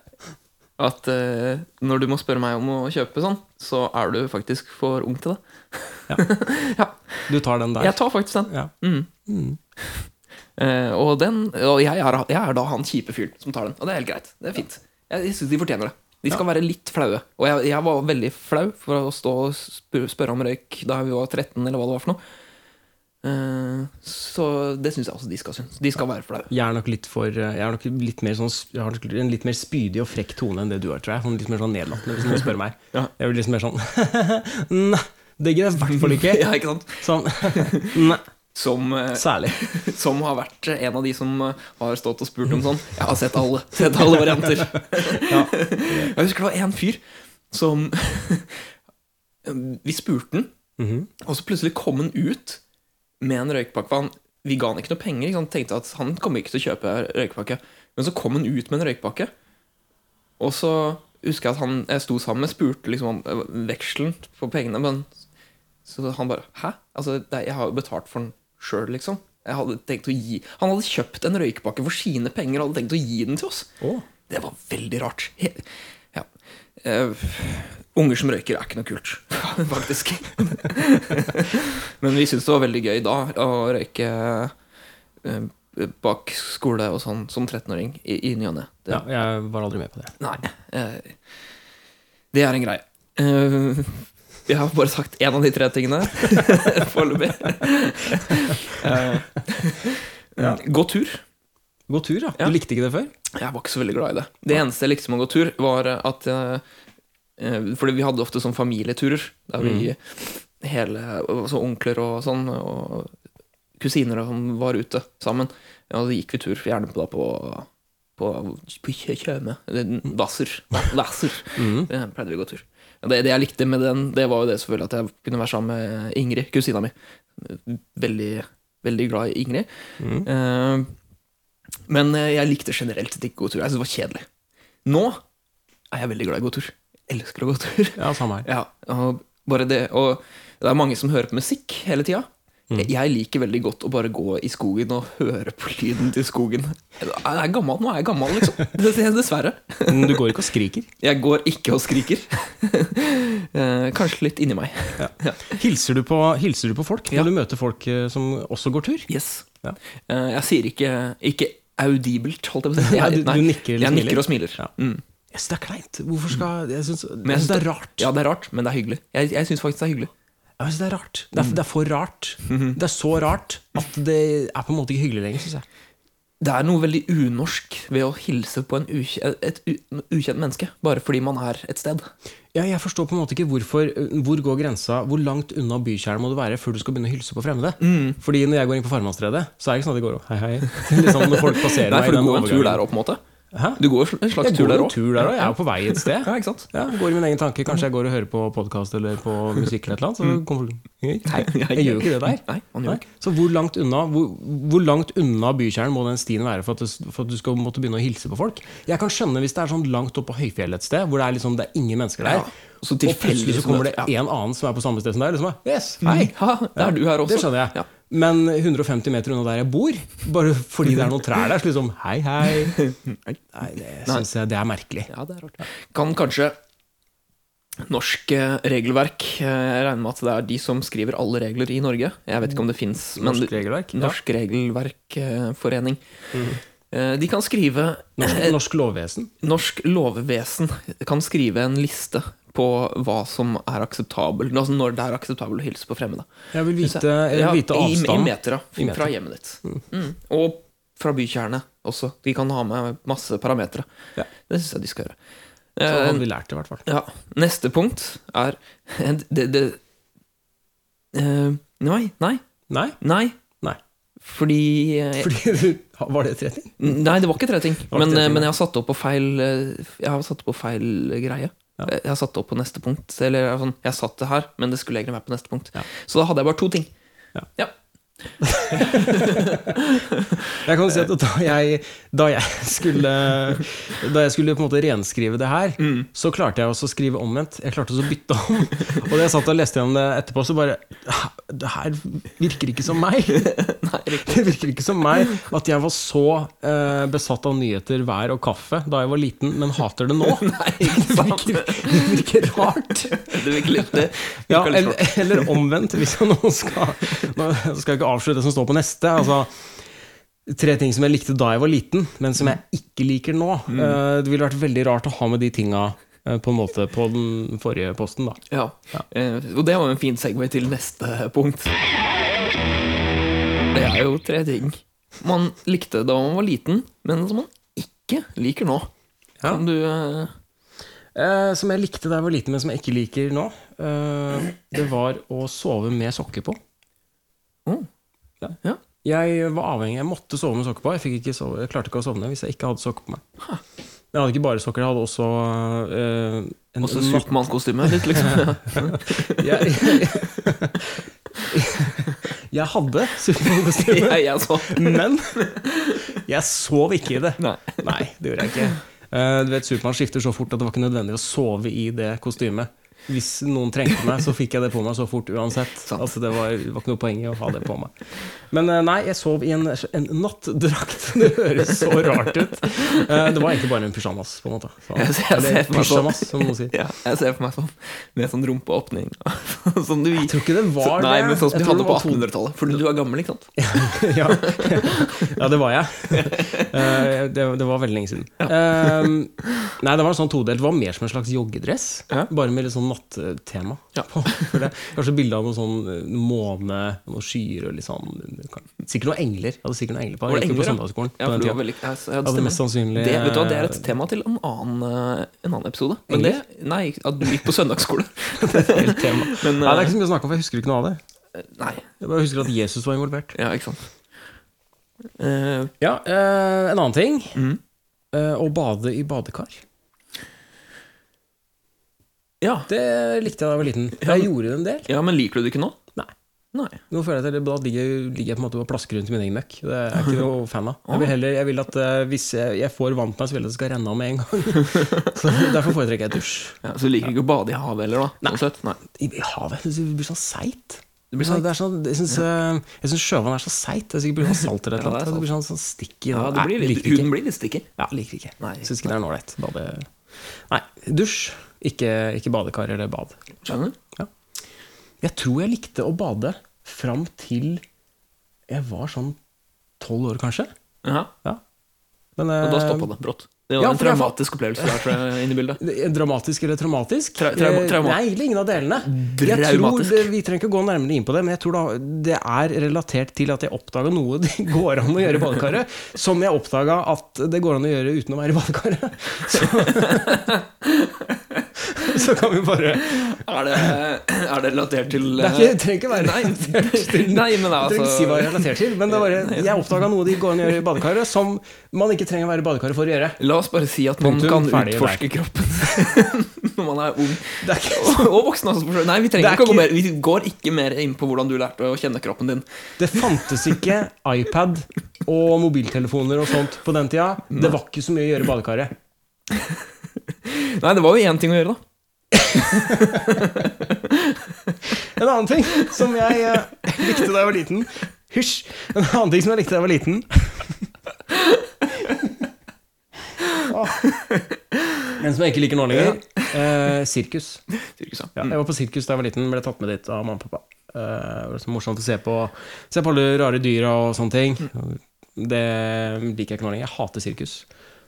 Speaker 2: At eh, når du må spørre meg om å kjøpe sånn, så er du faktisk for ung til det.
Speaker 1: Du tar den der.
Speaker 2: Jeg tar faktisk den.
Speaker 1: Ja.
Speaker 2: Mm.
Speaker 1: Mm.
Speaker 2: Eh, og den og jeg, er, jeg er da han kjipe fyren som tar den. Og det er helt greit. Det er fint. Jeg, jeg syns de fortjener det. De skal være litt flaue. Og jeg, jeg var veldig flau for å stå og spør- spørre om røyk da vi var 13, eller hva det var for noe. Eh, så det syns jeg også de skal synes. De skal være flaue.
Speaker 1: Jeg er nok litt for eh, Jeg er nok litt mer sånn sp- Jeg har nok en litt mer spydig og frekk tone enn det du er, tror jeg. Sånn, litt mer sånn nedlatende, hvis noen spør meg.
Speaker 2: Ja.
Speaker 1: Jeg blir liksom mer sånn Nei, det gidder jeg i hvert fall ikke.
Speaker 2: Ja, ikke sant?
Speaker 1: Sånn Nei,
Speaker 2: Som, eh,
Speaker 1: særlig.
Speaker 2: som har vært en av de som eh, har stått og spurt om sånn. Jeg har sett alle, sett alle varianter. Jeg husker det var en fyr som Vi spurte han,
Speaker 1: Mhm.
Speaker 2: og så plutselig kom han ut med en røykpakke. For han, vi ga han ikke noe penger. Ikke sant? Tenkte at han kommer ikke til å kjøpe røykpakke. Men så kom han ut med en røykpakke. Og så husker jeg at han jeg sto sammen med spurte liksom om eh, vekselen på pengene. Men så han bare Hæ? Altså, det, er- jeg har jo betalt for den sjøl, liksom. Jeg hadde tenkt å gi Han hadde kjøpt en røykpakke for sine penger og hadde tenkt å gi den til oss.
Speaker 1: Å.
Speaker 2: Det var veldig rart. He ja. Eh, unger som røyker er ikke noe kult, faktisk. Men vi syntes det var veldig gøy da å røyke eh, bak skole og sånn som 13-åring i, i ny og ne. Det-
Speaker 1: Ja, jeg var aldri med på det.
Speaker 2: Nei. eh, det er en greie. Eh, jeg har bare sagt én av de tre tingene foreløpig. Eh, Gå tur.
Speaker 1: God tur, ja.
Speaker 2: Ja.
Speaker 1: Du likte ikke det før?
Speaker 2: Jeg var ikke så veldig glad i det. Det eneste jeg likte med å gå tur, var at eh, eh, Fordi vi hadde ofte sånn familieturer, der vi hele altså onkler og sånn, og kusiner og sånn var ute sammen. Ja, Og så gikk vi tur, gjerne på, da, på, på, på Kjø- Tjøme. Eller Hvasser. Hvasser. Eh, pleide vi å gå tur. Og Det, det jeg likte med den, det var jo det selvfølgelig at jeg kunne være sammen med Ingrid, kusina mi. Veldig, veldig glad i Ingrid. Eh, men eh, jeg likte generelt sett ikke gåtur. Jeg syntes det var kjedelig. Nå er jeg veldig glad i gåtur. Jeg elsker å gå tur.
Speaker 1: Ja, samme her.
Speaker 2: Ja, og bare det Og det er mange som hører på musikk hele tida. Jeg- Jeg liker veldig godt å bare gå i skogen og høre på lyden til skogen. Jeg er gammel, nå er jeg gammel, liksom. Dessverre.
Speaker 1: Men du går ikke og skriker.
Speaker 2: Jeg går ikke og skriker. Eh, Kanskje litt inni meg.
Speaker 1: Hilser du på, hilser du på folk når
Speaker 2: Ja.
Speaker 1: du møter folk eh, som også går tur?
Speaker 2: Yes.
Speaker 1: Ja.
Speaker 2: Eh, Jeg sier ikke, ikke audibelt, holdt jeg på å si.
Speaker 1: Nei, du- du nikker eller
Speaker 2: jeg
Speaker 1: smiler.
Speaker 2: nikker og smiler.
Speaker 1: Ja.
Speaker 2: Mm.
Speaker 1: Jeg syns det er kleint. Hvorfor skal Jeg syns
Speaker 2: Men jeg
Speaker 1: det er rart.
Speaker 2: Ja, det er rart, men det er hyggelig. Jeg, jeg syns faktisk det er hyggelig.
Speaker 1: Jeg synes det er rart.
Speaker 2: Mm.
Speaker 1: Det er, det er for rart.
Speaker 2: Mhm.
Speaker 1: Det er så rart at det er på en måte ikke hyggelig lenger, syns jeg.
Speaker 2: Det er noe veldig unorsk ved å hilse på en ukjent, et u- ukjent menneske bare fordi man er et sted.
Speaker 1: Ja, jeg forstår på en måte ikke hvorfor eh, Hvor går grensa? Hvor langt unna bykjernen må du være før du skal begynne å hilse på fremmede?
Speaker 2: Mm.
Speaker 1: Fordi når jeg går inn på Farmannstredet, så er det ikke sånn at det går opp. Hei, hei. Liksom når folk passerer
Speaker 2: Nei,
Speaker 1: meg i
Speaker 2: for du
Speaker 1: den
Speaker 2: går en tur
Speaker 1: overgangen.
Speaker 2: der òg, på en måte.
Speaker 1: Hæ?
Speaker 2: Du går en slags
Speaker 1: Jeg
Speaker 2: tur
Speaker 1: går
Speaker 2: der
Speaker 1: en
Speaker 2: òg.
Speaker 1: tur der òg. Jeg er jo på vei et sted.
Speaker 2: Ja, ikke sant?
Speaker 1: Ja, går i min egen tanke. Kanskje jeg går og hører på podkast eller på musikk eller et eller annet.
Speaker 2: Mm.
Speaker 1: Så kommer folk Hei, jeg gjør jo ikke det der.
Speaker 2: Nei, man
Speaker 1: Nei.
Speaker 2: gjør ikke.
Speaker 1: Så hvor langt unna Hvor, hvor langt unna bykjernen må den stien være for at, du, for at du skal måtte begynne å hilse på folk? Jeg kan skjønne hvis det er sånn langt opp på høyfjellet et sted, hvor det er, liksom, det er ingen mennesker der,
Speaker 2: Ja, så
Speaker 1: og plutselig
Speaker 2: tilfeldig
Speaker 1: så
Speaker 2: som
Speaker 1: kommer det
Speaker 2: møter- ja.
Speaker 1: en annen som er på samme sted som deg. Liksom, yes, hei!
Speaker 2: Nei, ha, det er du her også.
Speaker 1: Det skjønner jeg.
Speaker 2: Ja.
Speaker 1: Men 150 meter unna der jeg bor, bare fordi det er noen trær der, så liksom Hei, hei. Nei, det syns jeg det er merkelig.
Speaker 2: Ja, det er rart. Kan kanskje norsk eh, regelverk eh, Jeg regner med at det er de som skriver alle regler i Norge. Jeg vet ikke om det fins, men
Speaker 1: Norsk regelverk? Ja.
Speaker 2: Norsk Regelverkforening. Eh, De kan skrive
Speaker 1: Norsk, norsk lovvesen?
Speaker 2: Norsk lovvesen kan skrive en liste på hva som er akseptabel Altså når det er akseptabel å hilse på fremmede.
Speaker 1: Jeg vil vite, jeg vil
Speaker 2: Ja,
Speaker 1: vite
Speaker 2: i, I
Speaker 1: avstanden.
Speaker 2: meter, da.
Speaker 1: I meter.
Speaker 2: Fra hjemmet ditt. Mm. Og fra bykjernet også. De kan ha med masse parametere.
Speaker 1: Ja.
Speaker 2: Det syns jeg de skal gjøre.
Speaker 1: Så
Speaker 2: Eh,
Speaker 1: hadde vi lært det, i hvert fall.
Speaker 2: ja. Neste punkt er det, det, eh, Nei, nei,
Speaker 1: Nei?
Speaker 2: nei.
Speaker 1: Nei.
Speaker 2: Fordi, eh,
Speaker 1: Fordi du Var det tre ting?
Speaker 2: Nei, det var ikke tre ting.
Speaker 1: var ikke tre
Speaker 2: Men,
Speaker 1: ting,
Speaker 2: eh, men
Speaker 1: nei.
Speaker 2: jeg har satt opp på feil eh, Jeg har satt opp på feil eh, greie.
Speaker 1: Ja.
Speaker 2: Jeg har satt opp på neste punkt. Eller jeg er sånn, jeg satt det her, men det skulle egentlig være på neste punkt.
Speaker 1: Ja.
Speaker 2: Så da hadde jeg bare to ting.
Speaker 1: Ja. Jeg kan si at da jeg, da jeg skulle, da jeg skulle på en måte renskrive det her, så klarte jeg også å skrive omvendt. Jeg klarte også å bytte om. Og da jeg satt og leste gjennom det etterpå, så bare Det her virker ikke som meg. Det virker ikke som meg at jeg var så eh, besatt av nyheter, vær og kaffe da jeg var liten, men hater det nå.
Speaker 2: Nei, ikke
Speaker 1: Det
Speaker 2: sant?
Speaker 1: virker, det virker rart.
Speaker 2: Det virker litt det.
Speaker 1: Ja,
Speaker 2: virker litt
Speaker 1: eller, eller omvendt, hvis jeg nå skal Nå skal jeg ikke avslutte det som står på neste. Altså, tre ting som jeg likte da jeg var liten, men som
Speaker 2: Mm.
Speaker 1: jeg ikke liker nå. Eh, Det ville vært veldig rart å ha med de tinga eh, på en måte på den forrige posten, da.
Speaker 2: Ja. Eh, og det var jo en fin segway til neste punkt. Det er jo tre ting man likte da man var liten, men som man ikke liker nå.
Speaker 1: Ja.
Speaker 2: Kan du eh,
Speaker 1: Eh, Som jeg likte da jeg var liten, men som jeg ikke liker nå. eh, Det var å sove med sokker på.
Speaker 2: Å.
Speaker 1: Ja.
Speaker 2: Ja.
Speaker 1: Jeg var avhengig, jeg måtte sove med sokker på. Jeg, fikk ikke sove, jeg klarte ikke å sovne hvis jeg ikke hadde sokker på meg. Jeg hadde ikke bare sokker, jeg hadde også eh, en
Speaker 2: Også
Speaker 1: natt-
Speaker 2: Supermann-kostyme litt, liksom.
Speaker 1: jeg, jeg, jeg hadde supermann
Speaker 2: jeg, jeg så.
Speaker 1: men jeg sov ikke i det.
Speaker 2: Nei.
Speaker 1: Nei, det gjorde jeg ikke. Eh, Du vet, Supermann skifter så fort at det var ikke nødvendig å sove i det kostymet. Hvis noen trengte meg, så fikk jeg det på meg så fort uansett.
Speaker 2: Sant.
Speaker 1: Altså, det var, det var ikke noe poeng i å ha det på meg. Men eh, nei, jeg sov i en, en nattdrakt. Det høres så rart ut. Eh, Det var egentlig bare en pysjamas, på en måte. Så,
Speaker 2: Jeg ser- jeg ser
Speaker 1: eller
Speaker 2: for meg sånn.
Speaker 1: pysjamas, som noen sier.
Speaker 2: Ja, jeg ser for meg sånn med sånn rumpeåpning. Sånn du
Speaker 1: Jeg tror ikke det var
Speaker 2: Nei,
Speaker 1: det.
Speaker 2: men sånn
Speaker 1: Jeg
Speaker 2: som de
Speaker 1: tror
Speaker 2: hadde
Speaker 1: det
Speaker 2: på
Speaker 1: var to-
Speaker 2: 1800-tallet. For du er gammel, ikke sant?
Speaker 1: ja. ja, det var jeg. Eh, Det, det var veldig lenge siden. Eh, Nei, det var en sånn todelt. Det var mer som en slags joggedress.
Speaker 2: Ja.
Speaker 1: Bare med litt sånn nattema.
Speaker 2: Ja.
Speaker 1: på. For det- Kanskje bilde av noen sånn eh, måne, noen skyer og litt sånn Sikkert noen engler. Jeg hadde sikkert noen engler på.
Speaker 2: Var det
Speaker 1: Jeg gikk jo på
Speaker 2: engler, ja?
Speaker 1: søndagsskolen
Speaker 2: Ja,
Speaker 1: på
Speaker 2: for
Speaker 1: den
Speaker 2: du var
Speaker 1: tiden.
Speaker 2: veldig, ja, så- ja,
Speaker 1: Jeg
Speaker 2: det
Speaker 1: hadde
Speaker 2: stemmer.
Speaker 1: mest sannsynlig
Speaker 2: Det, vet du hva, det er et tema til en annen, eh, en annen episode. Men det, nei, at du gikk på søndagsskole.
Speaker 1: helt eh, tema. Nei,
Speaker 2: Men,
Speaker 1: det er
Speaker 2: eh,
Speaker 1: ikke så mye å snakke om, for jeg husker ikke noe av det.
Speaker 2: nei,
Speaker 1: Jeg bare husker at Jesus var involvert.
Speaker 2: ja, ikke sant. Eh,
Speaker 1: Ja, eh, En annen ting.
Speaker 2: Mm.
Speaker 1: Eh, å bade i badekar.
Speaker 2: ja.
Speaker 1: Det likte jeg da jeg var liten. Jeg gjorde det en del.
Speaker 2: ja, men liker du det ikke nå?
Speaker 1: Nei.
Speaker 2: Nei.
Speaker 1: Nå føler jeg at det, Da ligger, ligger jeg på en måte og plasker rundt i min egen møkk. Det er jeg ikke noe fan av. Jeg vil heller, jeg vil at eh, Hvis jeg, jeg får vann på meg, så vil jeg at det skal renne av med en gang. Så Derfor foretrekker jeg dusj.
Speaker 2: Ja, så du liker ikke å bade i havet heller, da? Nei. Slett? nei.
Speaker 1: I i havet jeg synes det blir sånn seigt.
Speaker 2: Det blir
Speaker 1: Sånn,
Speaker 2: sånn
Speaker 1: det er sånn, jeg syns ja. sjøvann er så seigt. Det er sikkert blir sånn salt eller et eller
Speaker 2: Ja, det er
Speaker 1: annet. Det blir sånn, sånn stikk i
Speaker 2: ja, det
Speaker 1: Nei,
Speaker 2: blir litt,
Speaker 1: liker det ikke.
Speaker 2: Huden blir litt stikker.
Speaker 1: Ja, liker ikke.
Speaker 2: Nei.
Speaker 1: Syns ikke det er noe ålreit. Bade- Nei, dusj. Ikke, ikke badekar eller bad.
Speaker 2: Skjønner du?
Speaker 1: Jeg tror jeg likte å bade fram til jeg var sånn tolv år, kanskje.
Speaker 2: Ja,
Speaker 1: Ja. Men,
Speaker 2: og da
Speaker 1: eh,
Speaker 2: stoppa det brått. Det var
Speaker 1: ja,
Speaker 2: en
Speaker 1: for jeg fa-
Speaker 2: traumatisk opplevelse der, tror jeg, inne i bildet.
Speaker 1: det er Dramatisk eller traumatisk?
Speaker 2: Tra- trauma-
Speaker 1: Eh,
Speaker 2: trauma-
Speaker 1: Nei, ingen av delene. Jeg tror
Speaker 2: Dramatisk.
Speaker 1: det, vi trenger ikke gå nærmere inn på det, men jeg tror da, det er relatert til at jeg oppdaga noe det går an å gjøre i badekaret, som jeg oppdaga at det går an å gjøre uten å være i badekaret. Så, så kan vi bare
Speaker 2: Er det, er det relatert til eh,
Speaker 1: Det er ikke, det trenger ikke være
Speaker 2: Nei.
Speaker 1: relatert til
Speaker 2: Nei,
Speaker 1: Jeg trenger
Speaker 2: men altså
Speaker 1: ikke si hva jeg relaterer til, men det er bare, jeg oppdaga noe det går an å gjøre i badekaret, som man ikke trenger å være i badekaret for å gjøre.
Speaker 2: La oss bare si at man
Speaker 1: Punktum,
Speaker 2: kan
Speaker 1: ferdig,
Speaker 2: utforske kroppen når man er ung.
Speaker 1: Det er ikke
Speaker 2: Og- Og voksen. Altså, for så vidt. Nei, vi,
Speaker 1: Det
Speaker 2: trenger
Speaker 1: er
Speaker 2: ikke å gå
Speaker 1: ikke-
Speaker 2: mer. vi går ikke mer inn på hvordan du lærte å kjenne kroppen din.
Speaker 1: Det fantes ikke iPad og mobiltelefoner og sånt på den tida. Det var ikke så mye å gjøre i badekaret.
Speaker 2: Nei, det var jo én ting å gjøre, da.
Speaker 1: En annen ting som jeg eh, likte da jeg var liten Hysj! En annen ting som jeg likte da jeg var liten Åh. En som jeg ikke liker nå lenger. Eh, sirkus.
Speaker 2: Sirkus, ja.
Speaker 1: Ja, jeg var på sirkus da jeg var liten, ble tatt med dit av mamma og pappa. Eh, det var så morsomt å se på, se på alle rare dyra og sånne ting.
Speaker 2: Mm.
Speaker 1: Det liker jeg ikke nå lenger. Jeg hater sirkus.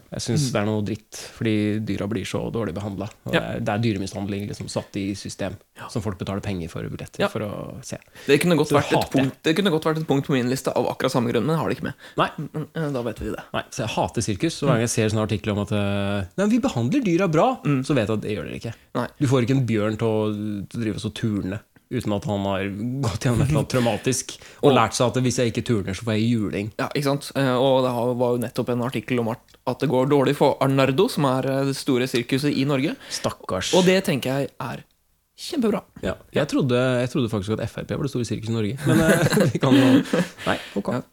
Speaker 1: Jeg syns det er noe dritt, fordi dyra blir så dårlig behandla. Det,
Speaker 2: Mm. Ja.
Speaker 1: er- det er dyremishandling liksom, satt i system, som folk betaler penger for billetter
Speaker 2: Ja.
Speaker 1: for å se.
Speaker 2: Det kunne godt
Speaker 1: Det
Speaker 2: vært et
Speaker 1: hater jeg.
Speaker 2: punkt Det kunne godt vært et punkt på min liste av akkurat samme grunn, men jeg har det ikke med.
Speaker 1: Nei,
Speaker 2: Men, eh, Da vet vi det.
Speaker 1: nei, så jeg hater sirkus. Og hver gang jeg ser sånne artikler om at eh, Nei, vi behandler dyra bra, så vet jeg at det gjør dere ikke.
Speaker 2: Mm. Nei.
Speaker 1: Du får ikke en bjørn til å drive oss og turne uten at han har gått gjennom et eller annet traumatisk og lært seg at hvis jeg ikke turner, så får jeg juling.
Speaker 2: Ja, ikke sant? Eh, Og det har- var jo nettopp en artikkel om at at det går dårlig for Arnardo, som er eh, det store sirkuset i Norge.
Speaker 1: Stakkars.
Speaker 2: Og det tenker jeg er Kjempebra.
Speaker 1: Ja. Jeg, trodde, jeg trodde faktisk at Frp var det store sirkuset i Norge, men eh, vi kan jo Nei, ok.
Speaker 2: Ja.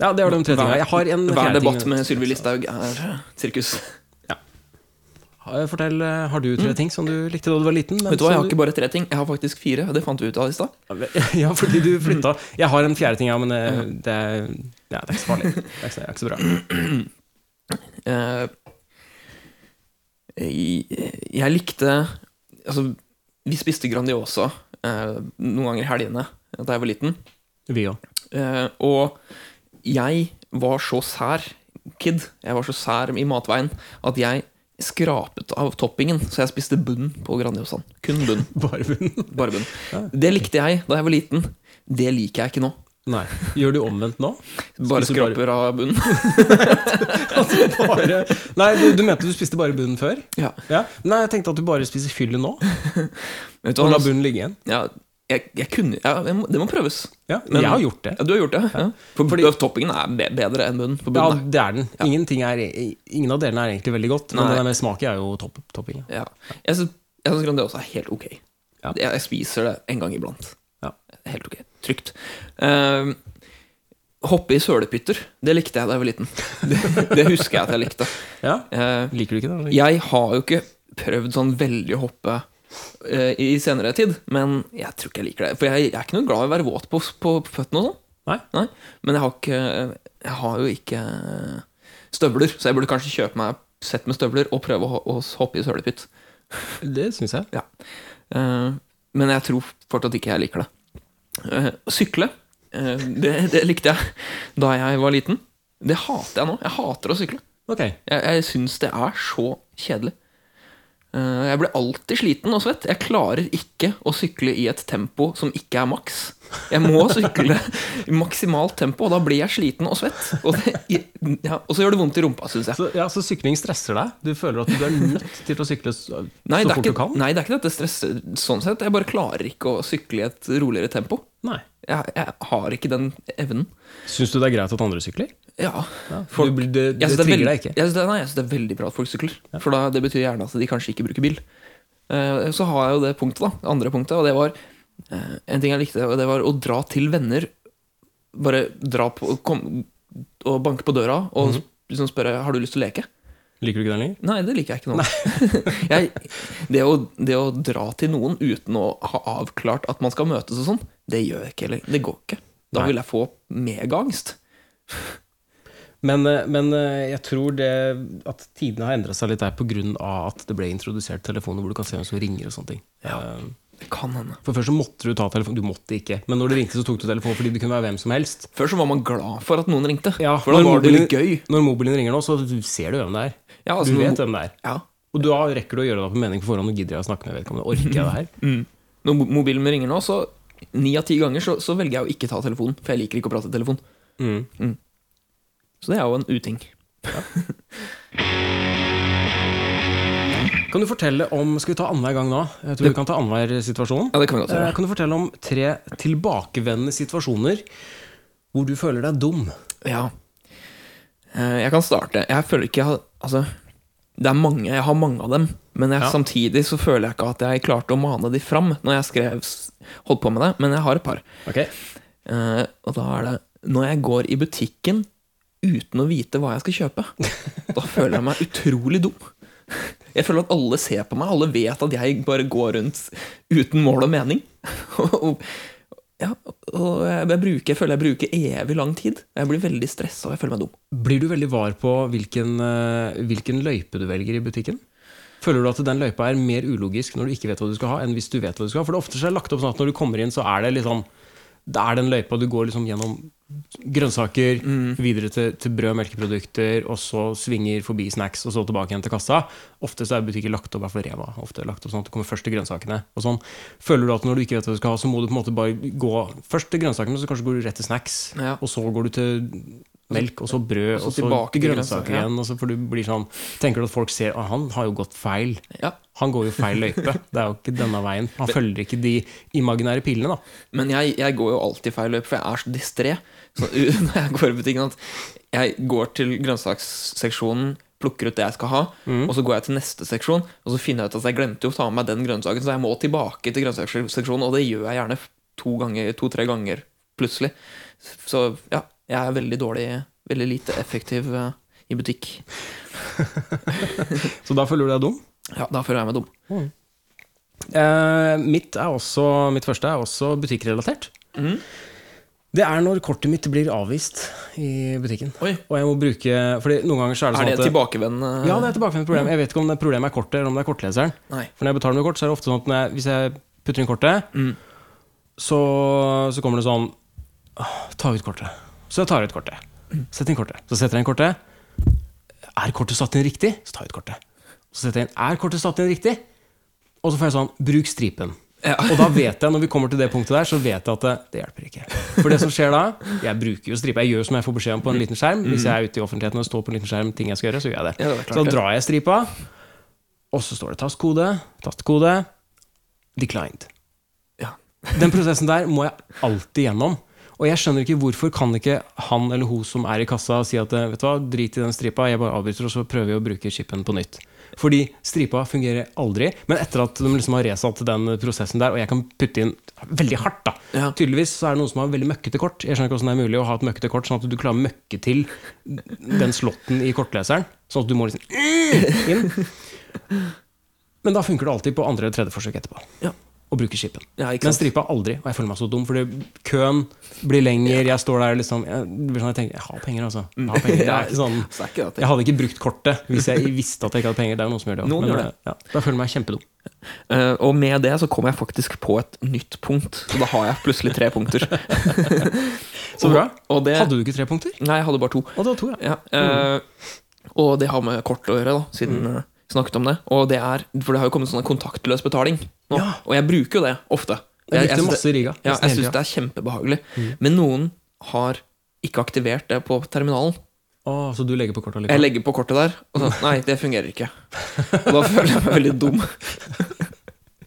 Speaker 1: Ja, det var de tre tinga. Jeg har en
Speaker 2: Hver
Speaker 1: fjerde ting.
Speaker 2: debatt med Sylvi Listhaug er eh, sirkus.
Speaker 1: Ha- Fortell, eh, har du tre ting som du likte da du var liten? men
Speaker 2: Mm. Vet du hva, Jeg
Speaker 1: som
Speaker 2: har ikke bare tre ting, jeg har faktisk fire. Det fant vi ut av i stad.
Speaker 1: Ja, fordi du flytta. Jeg har en fjerde ting, ja, men eh, det er, ja, det er ikke så farlig. Det er ikke så, det er ikke så bra.
Speaker 2: Eh, jeg, jeg likte Altså, vi spiste Grandiosa eh, noen ganger i helgene da jeg var liten.
Speaker 1: Vi òg.
Speaker 2: Eh, og jeg var så sær kid, jeg var så sær i matveien, at jeg skrapet av toppingen. Så jeg spiste bunn på Grandiosaen. Kun bunn.
Speaker 1: Bare bunnen.
Speaker 2: Bare bunn. Det likte jeg da jeg var liten. Det liker jeg ikke nå.
Speaker 1: Nei. Gjør du omvendt nå?
Speaker 2: Bare
Speaker 1: Spiser bare-
Speaker 2: skraper av bunn.
Speaker 1: Bare Nei, du, du mente du spiste bare bunnen før?
Speaker 2: ja.
Speaker 1: Ja. Nei, jeg tenkte at du bare spiser fyllet nå, og
Speaker 2: Vet du hva?
Speaker 1: la bunnen ligge igjen.
Speaker 2: Ja, jeg, jeg kunne ja, jeg må, Det må prøves.
Speaker 1: Ja,
Speaker 2: Men-
Speaker 1: jeg har gjort det.
Speaker 2: Ja, du har gjort det? Ja. For
Speaker 1: Fordi-
Speaker 2: toppingen er be- bedre enn bunnen. For
Speaker 1: Ja,
Speaker 2: bunnen
Speaker 1: det er den. Ingenting er, ingen av delene er egentlig veldig godt, men
Speaker 2: Nei.
Speaker 1: den der med smak er jo topp, topping.
Speaker 2: er, ja. Jeg syns jeg syns Grandiosa er helt ok.
Speaker 1: Ja.
Speaker 2: Jeg, jeg spiser det en gang iblant.
Speaker 1: Ja.
Speaker 2: Helt ok. Trygt. Eh, hoppe i sølepytter, det likte jeg da jeg var liten. Det, det husker jeg at jeg likte.
Speaker 1: Ja.
Speaker 2: Eh,
Speaker 1: Liker du ikke det?
Speaker 2: jeg har jo ikke prøvd sånn veldig å hoppe eh, i senere tid, men jeg tror ikke jeg liker det. For jeg, jeg er ikke noe glad i å være våt på, på føttene og sånn.
Speaker 1: Nei.
Speaker 2: Men jeg har, ikke, jeg har jo ikke støvler, så jeg burde kanskje kjøpe meg et sett med støvler og prøve å, å hoppe i sølepytt.
Speaker 1: Det syns jeg.
Speaker 2: Eh, men jeg tror fortsatt ikke jeg liker det. Eh, sykle, eh, det, det likte jeg da jeg var liten. Det hater jeg nå. Jeg hater å sykle.
Speaker 1: Ok.
Speaker 2: Jeg, jeg syns det er så kjedelig. Eh, jeg blir alltid sliten og svett. Jeg klarer ikke å sykle i et tempo som ikke er maks. Jeg må sykle i maksimalt tempo, og da blir jeg sliten og svett. Og, det, ja, og så gjør det vondt i rumpa, syns jeg.
Speaker 1: Så, ja, så sykling stresser deg? Du føler at du er nødt til å sykle så,
Speaker 2: Nei,
Speaker 1: så
Speaker 2: det er
Speaker 1: fort
Speaker 2: ikke,
Speaker 1: du kan?
Speaker 2: nei, det er ikke dette stresset sånn sett. Jeg bare klarer ikke å sykle i et roligere tempo.
Speaker 1: Nei.
Speaker 2: Jeg, jeg har ikke den evnen.
Speaker 1: Syns du det er greit at andre sykler?
Speaker 2: Ja.
Speaker 1: Folk, du, blir- det det
Speaker 2: Jeg synes
Speaker 1: trigger
Speaker 2: det, er
Speaker 1: deg
Speaker 2: veldig,
Speaker 1: ikke?
Speaker 2: jeg synes det, nei, jeg synes det er veldig bra at folk sykler. For da, det betyr gjerne at de kanskje ikke bruker bil. Eh, så har jeg jo det punktet, da. Andre punktet, og det var eh, En ting jeg likte, og det var å dra til venner. Bare dra på kom, og banke på døra og
Speaker 1: Mhm.
Speaker 2: liksom spørre Har du lyst til å leke.
Speaker 1: Liker du ikke den lenger?
Speaker 2: Nei, det liker jeg ikke nå. jeg, det, å, det å dra til noen uten å ha avklart at man skal møtes og sånn, det gjør jeg ikke. Eller, det går ikke. Da
Speaker 1: Nei.
Speaker 2: vil jeg få megaangst.
Speaker 1: Men, eh, men eh, jeg tror det at tidene har endra seg litt der pga. at det ble introdusert telefoner hvor du kan se hvem som ringer og sånne ting. Eh,
Speaker 2: Det kan hende.
Speaker 1: For før så måtte du ta telefonen. Du måtte ikke, men når det ringte, så tok du telefonen fordi det kunne være hvem som helst.
Speaker 2: Før så var man glad for at noen ringte.
Speaker 1: Ja,
Speaker 2: for da
Speaker 1: når
Speaker 2: var det
Speaker 1: mobilen-
Speaker 2: litt gøy.
Speaker 1: Når mobilen ringer nå, så ser du hvem det er.
Speaker 2: Ja, altså,
Speaker 1: du
Speaker 2: når
Speaker 1: vet
Speaker 2: mo-
Speaker 1: hvem det er.
Speaker 2: Ja.
Speaker 1: Og da rekker du å gjøre deg opp en mening på forhånd. Nå gidder jeg å snakke med vedkommende. Orker jeg det her?
Speaker 2: Mm. Når mo- mobilen min ringer nå, så ni av ti ganger så, så velger jeg å ikke ta telefonen. For jeg liker ikke å prate i telefon.
Speaker 1: Mm.
Speaker 2: Så det er jo en uting.
Speaker 1: Kan du fortelle om Skal vi ta annenhver gang nå? Jeg tror vi kan ta annenhver situasjon.
Speaker 2: Ja, det kan vi godt
Speaker 1: Eh,
Speaker 2: gjøre.
Speaker 1: Kan du fortelle om tre tilbakevendende situasjoner hvor du føler deg dum?
Speaker 2: Ja. Eh, Jeg kan starte. Jeg føler ikke jeg har Altså, det er mange. Jeg har mange av dem. Men jeg,
Speaker 1: Ja.
Speaker 2: samtidig så føler jeg ikke at jeg klarte å mane de fram når jeg skrev s- holdt på med det. Men jeg har et par.
Speaker 1: Ok,
Speaker 2: Eh, og da er det Når jeg går i butikken uten å vite hva jeg skal kjøpe, da føler jeg meg utrolig dum. Jeg føler at alle ser på meg, alle vet at jeg bare går rundt uten mål og mening. Og, ja, og jeg, bruker, jeg føler jeg bruker evig lang tid. Jeg blir veldig stressa og jeg føler meg dum.
Speaker 1: Blir du veldig var på hvilken, eh, hvilken løype du velger i butikken? Føler du at den løypa er mer ulogisk når du ikke vet hva du skal ha, enn hvis du vet hva du skal ha? For det er ofte så er det lagt opp sånn at når du kommer inn, så er det litt sånn Det er den løypa du går liksom gjennom grønnsaker, videre til, til brød og melkeprodukter, og så svinger forbi snacks, og så tilbake igjen til kassa. Ofte så er butikker lagt opp, i hvert fall Rema, ofte lagt opp sånn at du kommer først til grønnsakene. og sånn. Føler du at når du ikke vet hva du skal ha, så må du på en måte bare gå først til grønnsakene, så kanskje går du rett til snacks,
Speaker 2: Ja.
Speaker 1: og så går du til melk, og så brød, og så,
Speaker 2: så tilbake til grønnsaker,
Speaker 1: grønnsaker
Speaker 2: ja.
Speaker 1: igjen. Og så for du blir sånn, tenker du at folk ser at han har jo gått feil.
Speaker 2: Ja.
Speaker 1: Han går jo feil løype. Det er jo ikke denne veien. Han følger ikke de imaginære pilene, da.
Speaker 2: Men jeg, jeg går jo alltid feil løp, for jeg er så distré så, når jeg går i butikken. At jeg går til grønnsaksseksjonen plukker ut det jeg skal ha,
Speaker 1: Mhm.
Speaker 2: og så går jeg til neste seksjon, og så finner jeg ut at jeg glemte jo å ta med meg den grønnsaken, så jeg må tilbake til grønnsaksseksjonen, og det gjør jeg gjerne to-tre ganger, to, tre ganger plutselig. Så ja, jeg er veldig dårlig, veldig lite effektiv eh, i butikk.
Speaker 1: Så da føler du deg dum?
Speaker 2: Ja, da føler jeg meg dum.
Speaker 1: Eh, mitt, er også, mitt første er også butikkrelatert.
Speaker 2: Mhm.
Speaker 1: Det er når kortet mitt blir avvist i butikken.
Speaker 2: Oi,
Speaker 1: Og jeg må bruke Fordi noen ganger så er det
Speaker 2: er
Speaker 1: sånn
Speaker 2: det
Speaker 1: at
Speaker 2: et tilbakevendende
Speaker 1: Ja, det er et tilbakevendende problem. Jeg vet ikke om det problemet er kortet, eller om det er kortleseren.
Speaker 2: Nei.
Speaker 1: For når jeg betaler med kort, så er det ofte sånn at når jeg, hvis jeg putter inn kortet,
Speaker 2: Mm.
Speaker 1: så, så kommer det sånn «Åh, Ta ut kortet. Så jeg tar ut kortet. Sett inn kortet. Så setter jeg inn kortet. Er kortet satt inn riktig? Så tar jeg ut kortet. Så setter jeg inn Er kortet satt inn riktig? Og så får jeg sånn Bruk stripen.
Speaker 2: Ja.
Speaker 1: Og da vet jeg, når vi kommer til det punktet der, så vet jeg at det, det hjelper ikke. For det som skjer da Jeg bruker jo stripa. Jeg gjør som jeg får beskjed om på en liten skjerm. Hvis jeg er ute i offentligheten og står på en liten skjerm ting jeg skal gjøre, så gjør jeg det.
Speaker 2: Ja, det er klart
Speaker 1: så
Speaker 2: det.
Speaker 1: da drar jeg stripa, og så står det tastkode, tastkode, declined.
Speaker 2: Ja.
Speaker 1: Den prosessen der må jeg alltid gjennom. Og jeg skjønner ikke hvorfor kan ikke han eller hun som er i kassa si at eh, vet du hva, drit i den stripa, jeg bare avbryter, og så prøver jeg å bruke chipen på nytt. Fordi stripa fungerer aldri. Men etter at de liksom har resatt den prosessen der, og jeg kan putte inn veldig hardt, da.
Speaker 2: Ja.
Speaker 1: Tydeligvis så er det noen som har veldig møkkete kort. Jeg skjønner ikke hvordan det er mulig å ha et møkkete kort sånn at du klarer å møkke til den slåtten i kortleseren. Sånn at du må liksom eh, inn. Men da funker det alltid på andre eller tredje forsøk etterpå.
Speaker 2: Ja.
Speaker 1: Og bruker chipen.
Speaker 2: Ja, ikke
Speaker 1: Men
Speaker 2: sant?
Speaker 1: stripa aldri, og jeg føler meg så dum, fordi køen blir lenger, jeg står der liksom Jeg, det blir sånn, jeg tenker, jeg har penger, altså. Jeg, har penger. Jeg, er ikke sånn,
Speaker 2: Så er ikke det at jeg-
Speaker 1: jeg hadde ikke brukt kortet hvis jeg visste at jeg ikke hadde penger. Det er jo noen som gjør det. også.
Speaker 2: Noen gjør det.
Speaker 1: eh, Ja, da føler jeg meg kjempedum.
Speaker 2: Eh, og med det så kom jeg faktisk på et nytt punkt. Så da har jeg plutselig tre punkter.
Speaker 1: Så bra.
Speaker 2: Og, og det,
Speaker 1: Hadde du ikke tre punkter?
Speaker 2: Nei, jeg hadde bare to.
Speaker 1: Og det var to, ja.
Speaker 2: Ja, eh, Og det har med kort å gjøre, da, siden
Speaker 1: Mm.
Speaker 2: eh, vi snakket om det. Og det er, For det har jo kommet sånn kontaktløs betaling nå.
Speaker 1: Ja.
Speaker 2: Og jeg bruker jo det ofte.
Speaker 1: Jeg brukte
Speaker 2: synes det-
Speaker 1: masse i Mm. Riga.
Speaker 2: ja,
Speaker 1: nesten
Speaker 2: jeg
Speaker 1: hele
Speaker 2: syns
Speaker 1: tida.
Speaker 2: det er kjempebehagelig. Men noen har ikke aktivert det på terminalen.
Speaker 1: Å, så du legger på kortet
Speaker 2: Jeg
Speaker 1: likevel?
Speaker 2: legger på kortet der, og sånn Nei, det fungerer ikke. Og da føler jeg meg veldig dum.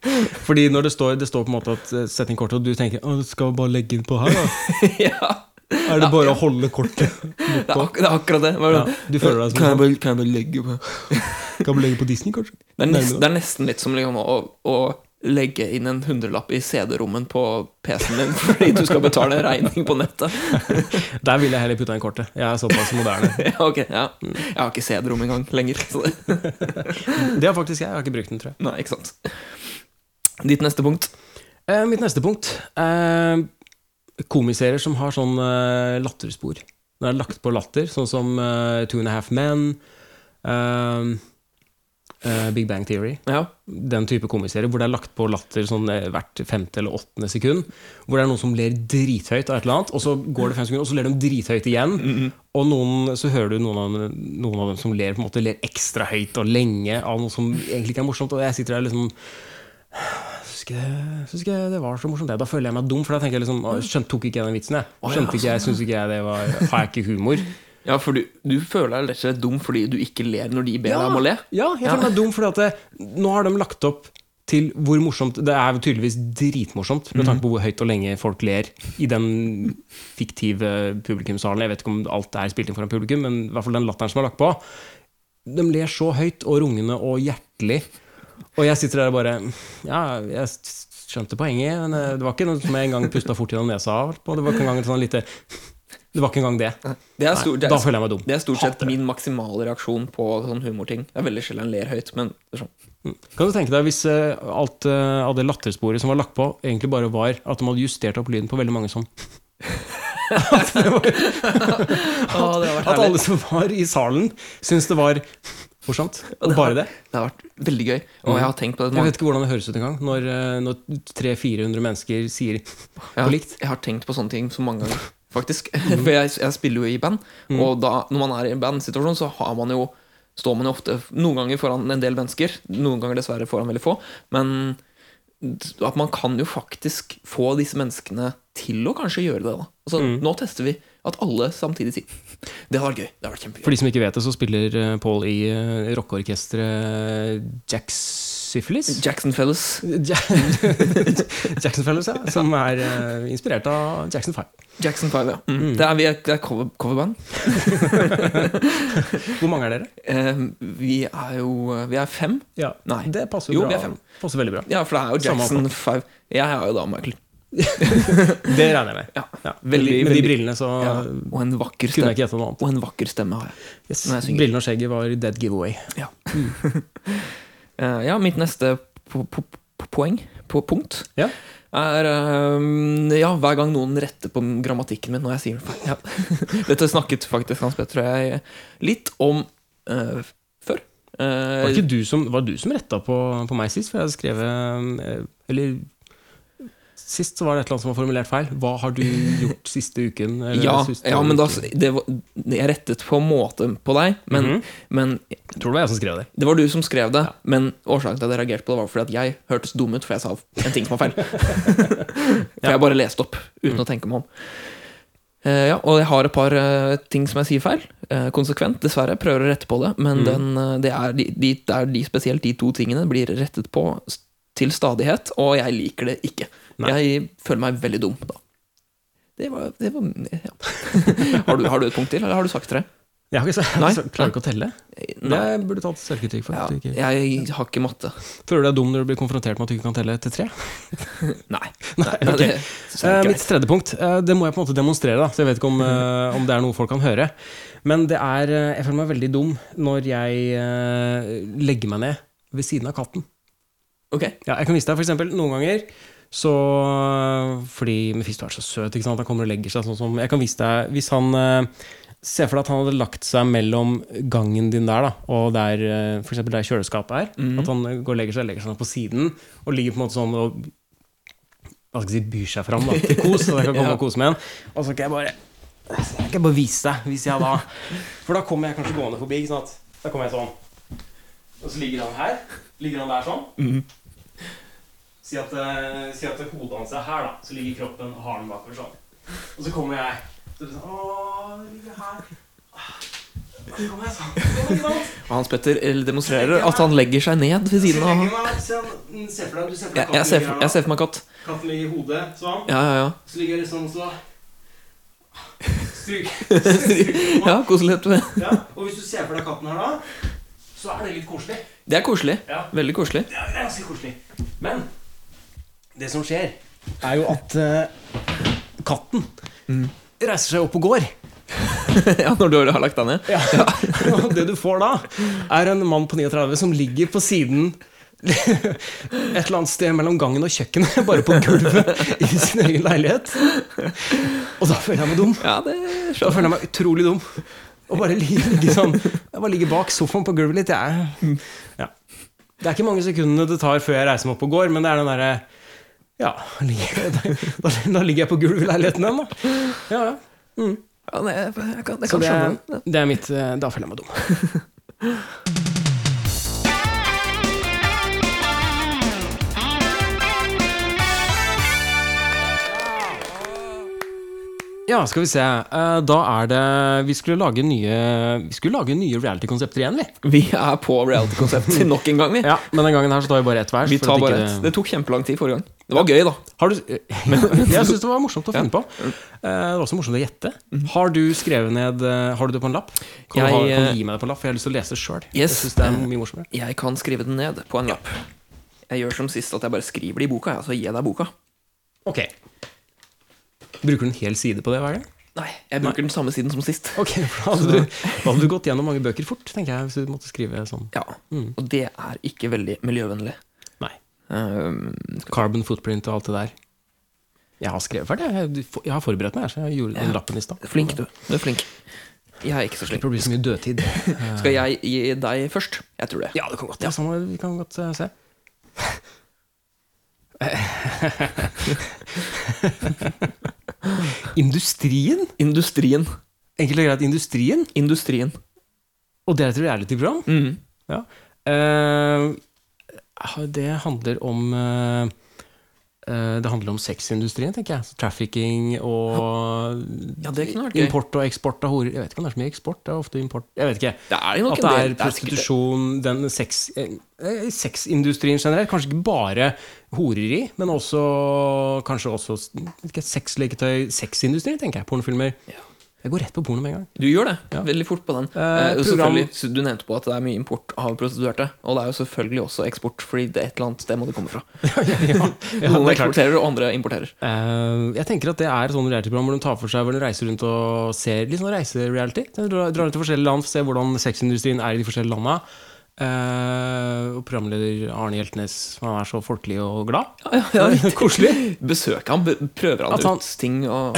Speaker 1: Fordi når det står, det står på en måte at eh, sett inn kortet, og du tenker å, du skal bare legge inn på her, da.
Speaker 2: ja,
Speaker 1: Er det bare å holde kortet?
Speaker 2: det er, ak det er akkurat det. Bare
Speaker 1: Ja,
Speaker 2: sånn,
Speaker 1: du føler deg som
Speaker 2: kan,
Speaker 1: en
Speaker 2: jeg bare, kan jeg bare legge på
Speaker 1: Kan du legge på Disney, kanskje?
Speaker 2: Det er, nesten,
Speaker 1: Nærmere.
Speaker 2: det er nesten litt som liksom å, å legge inn en hundrelapp i CD-rommen på PC-en din fordi du skal betale regning på nettet.
Speaker 1: Der ville jeg heller putta inn kortet. Jeg er såpass moderne.
Speaker 2: Ja, ok, ja. Jeg har ikke CD-rom engang lenger. Så det,
Speaker 1: Det har faktisk jeg. Jeg har ikke brukt den, tror jeg.
Speaker 2: nei, ikke sant. Ditt neste punkt.
Speaker 1: Eh, mitt neste punkt eh, Komiserier som har sånn eh, latterspor. Det er lagt på latter, sånn som eh, Two and a Half Men, eh, eh, Big Bang Theory.
Speaker 2: Ja.
Speaker 1: Den type komiserier hvor det er lagt på latter sånn, eh, hvert femte eller åttende sekund. Hvor det er noen som ler drithøyt av et eller annet, og så går det fem sekunder, og så ler de drithøyt igjen. Og noen, så hører du noen av, dem- noen av dem som ler på en måte ler ekstra høyt og lenge av noe som egentlig ikke er morsomt. Og jeg sitter der liksom Syns ikke, det- syns ikke det var så morsomt. det. Da føler jeg meg dum, for da tenker jeg liksom «Å, skjønt, Tok ikke jeg den vitsen, jeg? Skjønte ikke jeg, Syns ikke jeg det var Har jeg ikke humor?
Speaker 2: ja, for du, du føler deg rett og slett dum fordi du ikke ler når de ber deg om å le.
Speaker 1: Ja, jeg føler
Speaker 2: Ja.
Speaker 1: meg dum fordi at det, nå har de lagt opp til hvor morsomt Det er jo tydeligvis dritmorsomt med tanke på hvor høyt og lenge folk ler i den fiktive publikumssalen. Jeg vet ikke om alt er spilt inn foran publikum, men i hvert fall den latteren som er lagt på. De ler så høyt og rungende og hjertelig, og jeg sitter der og bare Ja, jeg s- skjønte poenget, men eh, det var ikke noe som jeg engang pusta fort gjennom nesa av. på. Det var ikke engang et sånn lite Det var ikke engang det.
Speaker 2: Det er,
Speaker 1: Nei,
Speaker 2: stor, det
Speaker 1: da
Speaker 2: er,
Speaker 1: føler jeg meg dum.
Speaker 2: det er stort
Speaker 1: Hater
Speaker 2: sett min maksimale reaksjon på sånn humorting. Det er veldig sjelden jeg ler høyt, men det er sånn.
Speaker 1: Kan du tenke deg hvis eh, alt eh, av det lattersporet som var lagt på, egentlig bare var at de hadde justert opp lyden på veldig mange sånn? at, det var,
Speaker 2: Å, det har vært
Speaker 1: at
Speaker 2: herlig.
Speaker 1: alle som var i salen, syntes det var morsomt? Og bare det?
Speaker 2: Det har vært veldig gøy, og jeg har tenkt på det
Speaker 1: Mm. Jeg vet ikke hvordan det høres ut engang, når, eh, når 300-400 mennesker sier
Speaker 2: Ja,
Speaker 1: på likt.
Speaker 2: Jeg har tenkt på sånne ting så mange ganger, faktisk. For jeg, jeg spiller jo i band,
Speaker 1: Mm.
Speaker 2: og da, når man er i en bandsituasjon, så har man jo, står man jo ofte noen ganger foran en del mennesker, noen ganger dessverre foran veldig få, men
Speaker 1: Mm.
Speaker 2: at man kan jo faktisk få disse menneskene til å kanskje gjøre det. da altså, Nå tester vi At alle samtidig sier Det hadde vært gøy. Det hadde vært kjempegøy.
Speaker 1: For de som ikke vet det, så spiller eh, Paul i uh, rockeorkesteret Jack Syphilis.
Speaker 2: Jackson Fellas.
Speaker 1: Ja- Jackson Fellows, ja. Som er eh, inspirert av Jackson 5.
Speaker 2: Jackson Five, ja.
Speaker 1: Mm.
Speaker 2: Det er, vi er, det er cover, coverband.
Speaker 1: Hvor mange er dere?
Speaker 2: Eh, vi er jo eh, Vi er fem.
Speaker 1: Ja,
Speaker 2: Nei.
Speaker 1: Det passer
Speaker 2: Jo,
Speaker 1: bra.
Speaker 2: vi er fem.
Speaker 1: Passer veldig bra.
Speaker 2: Ja, for det er jo
Speaker 1: Samme
Speaker 2: Jackson Five. Jeg er jo da Michael.
Speaker 1: Det regner jeg med.
Speaker 2: Ja.
Speaker 1: Ja.
Speaker 2: Veldig,
Speaker 1: Med de
Speaker 2: veldig-
Speaker 1: brillene så
Speaker 2: Ja. Og en vakker
Speaker 1: kunne
Speaker 2: stemme.
Speaker 1: jeg ikke gjette noe annet.
Speaker 2: Og en vakker stemme har jeg.
Speaker 1: Yes.
Speaker 2: Nei, jeg synger.
Speaker 1: Brillene og skjegget var dead giveaway.
Speaker 2: Ja.
Speaker 1: Mm.
Speaker 2: Eh, ja, mitt neste po po po poeng, på punkt,
Speaker 1: Ja.
Speaker 2: er eh, Ja, hver gang noen retter på grammatikken min når jeg sier det feil. Ja. Dette snakket faktisk Hans Petter og jeg litt om eh, før. Eh,
Speaker 1: Var det ikke du som, var det du som retta på, på meg sist? For jeg hadde skrevet eh, Eller Sist så var det et eller annet som var formulert feil. Hva har du gjort siste uken? Eller
Speaker 2: ja,
Speaker 1: siste
Speaker 2: ja, men da,
Speaker 1: uken?
Speaker 2: det var, jeg rettet på en måte på deg, men,
Speaker 1: Mhm.
Speaker 2: men
Speaker 1: Tror det var jeg som skrev det.
Speaker 2: det var du som skrev det. Men årsaken til at jeg reagerte på det, var fordi at jeg hørtes dum ut, for jeg sa en ting som var feil. for jeg bare leste opp uten
Speaker 1: Mm.
Speaker 2: å tenke meg om. Eh, ja, og jeg har et par eh, ting som jeg sier feil. eh, konsekvent, dessverre. Prøver å rette på det.
Speaker 1: Mm.
Speaker 2: Men den, eh, det, er de, de, det er de, spesielt de to tingene blir rettet på s- til stadighet, og jeg liker det ikke.
Speaker 1: Nei.
Speaker 2: Jeg føler meg veldig dum da. Det var, det var ja. har, du, har du et punkt til, eller har du sagt tre?
Speaker 1: Jeg har ikke sagt,
Speaker 2: Nei.
Speaker 1: så- klarer ikke å telle. Det
Speaker 2: Nei.
Speaker 1: burde tatt selvkritikk for.
Speaker 2: Ja,
Speaker 1: at du ikke-
Speaker 2: jeg har ikke matte.
Speaker 1: Føler du deg dum når du blir konfrontert med at du ikke kan telle til tre?
Speaker 2: Nei.
Speaker 1: Nei,
Speaker 2: Ja,
Speaker 1: ok.
Speaker 2: det synes jeg
Speaker 1: Eh,
Speaker 2: er
Speaker 1: mitt
Speaker 2: greit.
Speaker 1: tredje punkt, eh, det må jeg på en måte demonstrere, da, så jeg vet ikke om, eh, om det er noe folk kan høre. Men det er eh, Jeg føler meg veldig dum når jeg eh, legger meg ned ved siden av katten.
Speaker 2: Ok.
Speaker 1: Ja, jeg kan vise deg for eksempel noen ganger så Fordi Mefisto er så søt, ikke sant? han kommer og legger seg sånn som Jeg kan vise deg Hvis han eh, Se for deg at han hadde lagt seg mellom gangen din der da, og der, eh, for eksempel der kjøleskapet er. At han går og legger seg, legger seg på siden og ligger på en måte sånn og hva skal jeg si, byr seg fram da, til kos. Så jeg kan komme
Speaker 2: Ja.
Speaker 1: og kose med en. Og så kan jeg bare så kan jeg bare vise deg, hvis jeg da For da kommer jeg kanskje gående forbi. ikke sant? Da kommer jeg sånn. Og så ligger han her. Ligger han der sånn. Si at, eh, si at hodet hans er her, da. Så ligger kroppen og halen bakover sånn. Og så kommer jeg så er det sånn, Åh, det ligger her. Ah, Så kommer jeg sånn. Ikke sant?
Speaker 2: Og Hans Petter eh, demonstrerer at han legger seg ned
Speaker 1: Så
Speaker 2: ved siden av
Speaker 1: legger jeg meg, se, mm, se for deg, du ser for
Speaker 2: jeg,
Speaker 1: deg
Speaker 2: jeg, ser,
Speaker 1: katten ligger
Speaker 2: for- jeg
Speaker 1: her, da.
Speaker 2: ser for meg katt.
Speaker 1: Katten ligger i hodet, sånn.
Speaker 2: Ja, ja, ja.
Speaker 1: Så ligger jeg liksom så Stryk.
Speaker 2: ja koselig. vet du.
Speaker 1: Ja. Og hvis du ser for deg katten her, da, så er det litt koselig.
Speaker 2: Det er koselig.
Speaker 1: Ja.
Speaker 2: Veldig koselig.
Speaker 1: Det er ganske koselig. Men det som skjer, er jo at eh, katten reiser seg opp og går.
Speaker 2: ja, når du har lagt deg ned.
Speaker 1: Og det du får da, er en mann på 39 som ligger på siden et eller annet sted mellom gangen og kjøkkenet, bare på gulvet i sin egen leilighet. Og da føler jeg meg dum.
Speaker 2: Ja, det
Speaker 1: Da
Speaker 2: skjønner jeg.
Speaker 1: føler jeg meg utrolig dum. Og bare ligge sånn Jeg bare ligger bak sofaen på gulvet litt. Jeg, ja. Det er ikke mange sekundene det tar før jeg reiser meg opp og går, men det er den derre Ja, ligger, da, da ligger jeg på gulvet i leiligheten igjen, da. Ja, ja.
Speaker 2: Ja, nei, jeg, jeg kan, jeg
Speaker 1: Så
Speaker 2: kan
Speaker 1: det,
Speaker 2: skjønne det.
Speaker 1: det er mitt eh, Da føler jeg meg dum. Ja, skal vi se. Eh, Da er det Vi skulle lage nye Vi skulle lage nye reality-konsepter igjen, vi.
Speaker 2: Vi er på reality-konsept nok en gang, vi.
Speaker 1: Ja, Men den gangen her så tar vi bare ett hver.
Speaker 2: Vi
Speaker 1: for
Speaker 2: tar
Speaker 1: at
Speaker 2: bare
Speaker 1: ikke
Speaker 2: ett.
Speaker 1: det-
Speaker 2: Det tok kjempelang tid forrige gang. Det var gøy, da.
Speaker 1: Har du Jeg syns det var morsomt å finne på. Eh, Det var også morsomt å gjette. Har du skrevet ned eh, Har du det på en lapp? Kan,
Speaker 2: Mhm. Jeg,
Speaker 1: du, ha, kan
Speaker 2: eh,
Speaker 1: du gi meg det på en lapp? For jeg har lyst til å lese det sjøl. Jeg
Speaker 2: Yes.
Speaker 1: synes det er mye morsommere.
Speaker 2: Jeg kan skrive den ned på en lapp. Jeg gjør som sist, at jeg bare skriver det i boka, ja, så gir jeg deg boka.
Speaker 1: Ok Bruker du en hel side på det hver gang?
Speaker 2: Nei, jeg bruker den samme siden som sist.
Speaker 1: Ok, for da hadde, du, da hadde du gått gjennom mange bøker fort, tenker jeg, hvis du måtte skrive sånn.
Speaker 2: Ja, Og det er ikke veldig miljøvennlig.
Speaker 1: Nei.
Speaker 2: Um,
Speaker 1: Carbon footprint og alt det der. Jeg har skrevet ferdig. jeg. Jeg, for- jeg har forberedt meg, jeg, så jeg gjorde den lappen i stad.
Speaker 2: flink, du. Du er flink. Jeg er ikke så flink.
Speaker 1: Slipper å bli så mye dødtid.
Speaker 2: Skal jeg gi deg først? Jeg tror det.
Speaker 1: Ja, det kan godt ja, sånn, Vi kan godt eh, se. Industrien?
Speaker 2: Industrien.
Speaker 1: Enkelt og greit industrien.
Speaker 2: Industrien.
Speaker 1: Og det er et reality-program?
Speaker 2: Mm.
Speaker 1: Ja. Eh, det handler om eh, eh, det handler om sexindustrien, tenker jeg. Så Trafficking og
Speaker 2: Ja, det kunne vært gøy.
Speaker 1: import og eksport av horer. Jeg vet ikke om det er så mye eksport. Det er ofte import. Jeg vet ikke.
Speaker 2: Det er jo nok
Speaker 1: At det
Speaker 2: en del-
Speaker 1: er
Speaker 2: det er sikkert det.
Speaker 1: prostitusjon, den sex, eh, eh, sexindustrien generelt. Kanskje ikke bare horeri, men også kanskje også s- vet ikke, sexleketøy. Sexindustrien, tenker jeg. Pornofilmer. Jeg går rett på porno med en gang.
Speaker 2: Du gjør det.
Speaker 1: Ja.
Speaker 2: Veldig fort på den.
Speaker 1: Eh,
Speaker 2: Eh,
Speaker 1: program-
Speaker 2: og selvfølgelig, så du nevnte på at det er mye import av prostituerte. Og det er jo selvfølgelig også eksport, fordi det er et eller annet sted må det komme fra.
Speaker 1: Ja,
Speaker 2: Noen
Speaker 1: det er klart.
Speaker 2: eksporterer, og andre importerer.
Speaker 1: Eh, jeg tenker at det er et sånt reality-program hvor de tar for seg hvor de reiser rundt og ser litt sånn reisereality. De drar drar rundt til forskjellige land for å se hvordan sexindustrien er i de forskjellige landa. Eh, og programleder Arne Hjeltnes han er så folkelig og glad. Koselig.
Speaker 2: Besøker han, be- prøver han,
Speaker 1: At han-
Speaker 2: ut ting og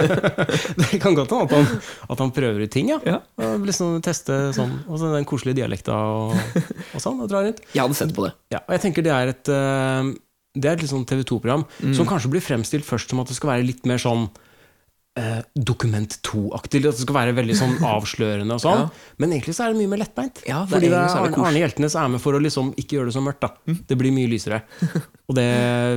Speaker 1: Det kan godt hende at, han- at han prøver ut ting. Ja.
Speaker 2: Ja.
Speaker 1: Og Liksom teste sånn. Og så den koselige dialekta og, og sånn. Og drar rundt.
Speaker 2: Jeg hadde sett på det.
Speaker 1: Ja, og jeg tenker det er et eh, Det er et litt sånn TV 2-program
Speaker 2: Mm.
Speaker 1: som kanskje blir fremstilt først som at det skal være litt mer sånn eh, Dokument 2-aktig. At det skal være veldig sånn avslørende og sånn.
Speaker 2: Ja.
Speaker 1: Men egentlig så er det mye mer lettbeint.
Speaker 2: Ja, det er
Speaker 1: fordi det
Speaker 2: egentlig
Speaker 1: er
Speaker 2: så er det Mm.
Speaker 1: Arne, Arne Hjeltnes er med for å liksom ikke gjøre det så mørkt. da Det blir mye lysere. Og det,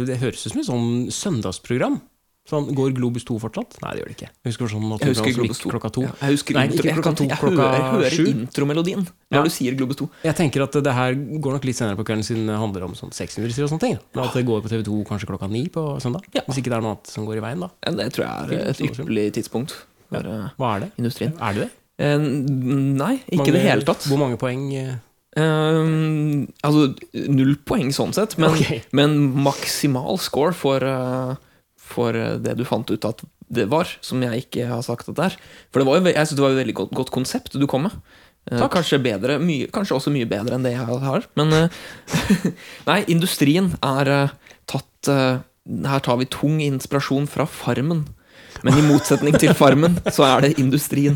Speaker 1: det høres ut som et sånn søndagsprogram. Sånn, Går Globus 2 fortsatt? Nei, det gjør det ikke. Jeg husker sånn
Speaker 2: Jeg husker
Speaker 1: naturprogram som
Speaker 2: Globus
Speaker 1: gikk
Speaker 2: 2.
Speaker 1: klokka to.
Speaker 2: Ja, jeg husker
Speaker 1: Nei,
Speaker 2: intro,
Speaker 1: ikke
Speaker 2: jeg
Speaker 1: klokka
Speaker 2: kan-
Speaker 1: to,
Speaker 2: jeg
Speaker 1: klokka
Speaker 2: hører, jeg hører
Speaker 1: sju.
Speaker 2: intromelodien når
Speaker 1: Ja.
Speaker 2: du sier Globus 2.
Speaker 1: Jeg tenker at det her går nok litt senere på kvelden siden det handler om sånn sexindustri og sånne ting. Men at det går på TV2 kanskje klokka ni på søndag.
Speaker 2: Ja.
Speaker 1: Hvis ikke det er noe annet som går i veien, da.
Speaker 2: Ja, det tror jeg er et
Speaker 1: Film, film.
Speaker 2: ypperlig tidspunkt for eh,
Speaker 1: Hva er det?
Speaker 2: industrien.
Speaker 1: Er det det?
Speaker 2: Eh, nei, ikke i
Speaker 1: Mange-
Speaker 2: det hele tatt.
Speaker 1: Hvor mange poeng eh,
Speaker 2: Eh, altså null poeng sånn sett, men,
Speaker 1: Ok.
Speaker 2: men maksimal score for, eh, for eh, det du fant ut at det var, som jeg ikke har sagt at det er. For det var jo, ve- jeg synes det var et veldig godt, godt konsept du kom med. Eh,
Speaker 1: Takk.
Speaker 2: Kanskje, bedre, mye, kanskje også mye bedre enn det jeg har. Men eh, nei, industrien er eh, tatt eh, Her tar vi tung inspirasjon fra Farmen. Men i motsetning til Farmen, så er det industrien.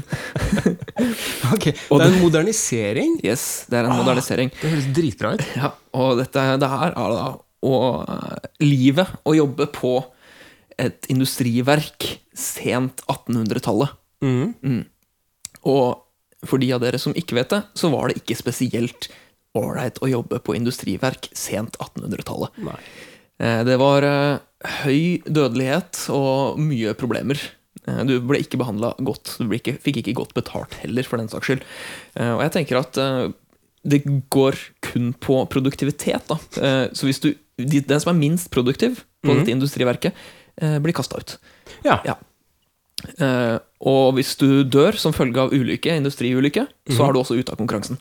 Speaker 1: Og det er en modernisering.
Speaker 2: Yes, det er en
Speaker 1: Ah.
Speaker 2: modernisering.
Speaker 1: Det høres dritbra ut.
Speaker 2: Ja, og dette, det her er da å, eh, livet å jobbe på et industriverk sent 1800-tallet.
Speaker 1: Mhm.
Speaker 2: Mm. Og for de av dere som ikke vet det, så var det ikke spesielt ålreit å jobbe på industriverk sent 1800-tallet.
Speaker 1: Nei.
Speaker 2: Eh, Det var eh, høy dødelighet og mye problemer. Eh, Du ble ikke behandla godt. Du ble ikke, fikk ikke godt betalt heller, for den saks skyld. Eh, Og jeg tenker at eh, det går kun på produktivitet, da. Eh, Så hvis du, de- den som er minst produktiv på
Speaker 1: Mhm.
Speaker 2: dette industriverket, eh, blir kasta ut.
Speaker 1: Ja.
Speaker 2: Ja. Eh, Og hvis du dør som følge av ulykke, industriulykke,
Speaker 1: Mhm.
Speaker 2: så er du også ute av konkurransen.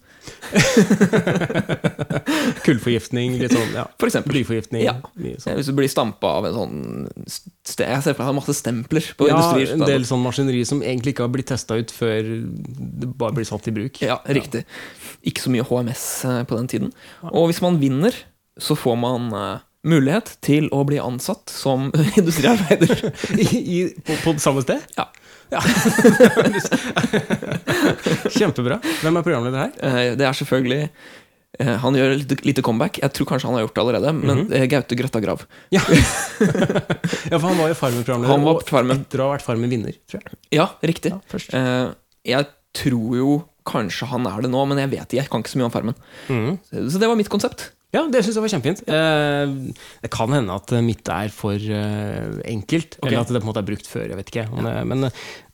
Speaker 1: Kullforgiftning, litt sånn. Ja.
Speaker 2: For eksempel.
Speaker 1: Blyforgiftning.
Speaker 2: Ja.
Speaker 1: Mye sånn.
Speaker 2: Eh, Hvis du blir stampa av en sånn ste- Jeg ser for meg at det er masse stempler på
Speaker 1: Ja,
Speaker 2: industrier.
Speaker 1: en del sånn maskineri som egentlig ikke har blitt testa ut før det bare blir satt i bruk.
Speaker 2: Ja, riktig. Ikke så mye HMS eh, på den tiden. Og hvis man vinner, så får man eh, mulighet til å bli ansatt som industriarbeider.
Speaker 1: I, i, på, på samme sted?
Speaker 2: Ja.
Speaker 1: Ja. Kjempebra. Hvem er programleder her?
Speaker 2: Eh, Det er selvfølgelig eh, Han gjør et lite, lite comeback. Jeg tror kanskje han har gjort det allerede, men
Speaker 1: Mhm.
Speaker 2: eh, Gaute Grøtta Grav.
Speaker 1: Ja. ja, for han var jo Farmen-programleder.
Speaker 2: Han var
Speaker 1: og
Speaker 2: på Farmen.
Speaker 1: Etter å ha vært Farmen-vinner, tror jeg.
Speaker 2: Ja, riktig.
Speaker 1: Ja, først.
Speaker 2: Eh, Jeg tror jo kanskje han er det nå, men jeg vet ikke. Jeg kan ikke så mye om Farmen.
Speaker 1: Mhm.
Speaker 2: Så det var mitt konsept.
Speaker 1: Ja, det syns jeg var kjempefint. Eh, det kan hende at mitt er for eh, enkelt,
Speaker 2: Ok.
Speaker 1: eller at det på en måte er brukt før. Jeg vet ikke. Om det, men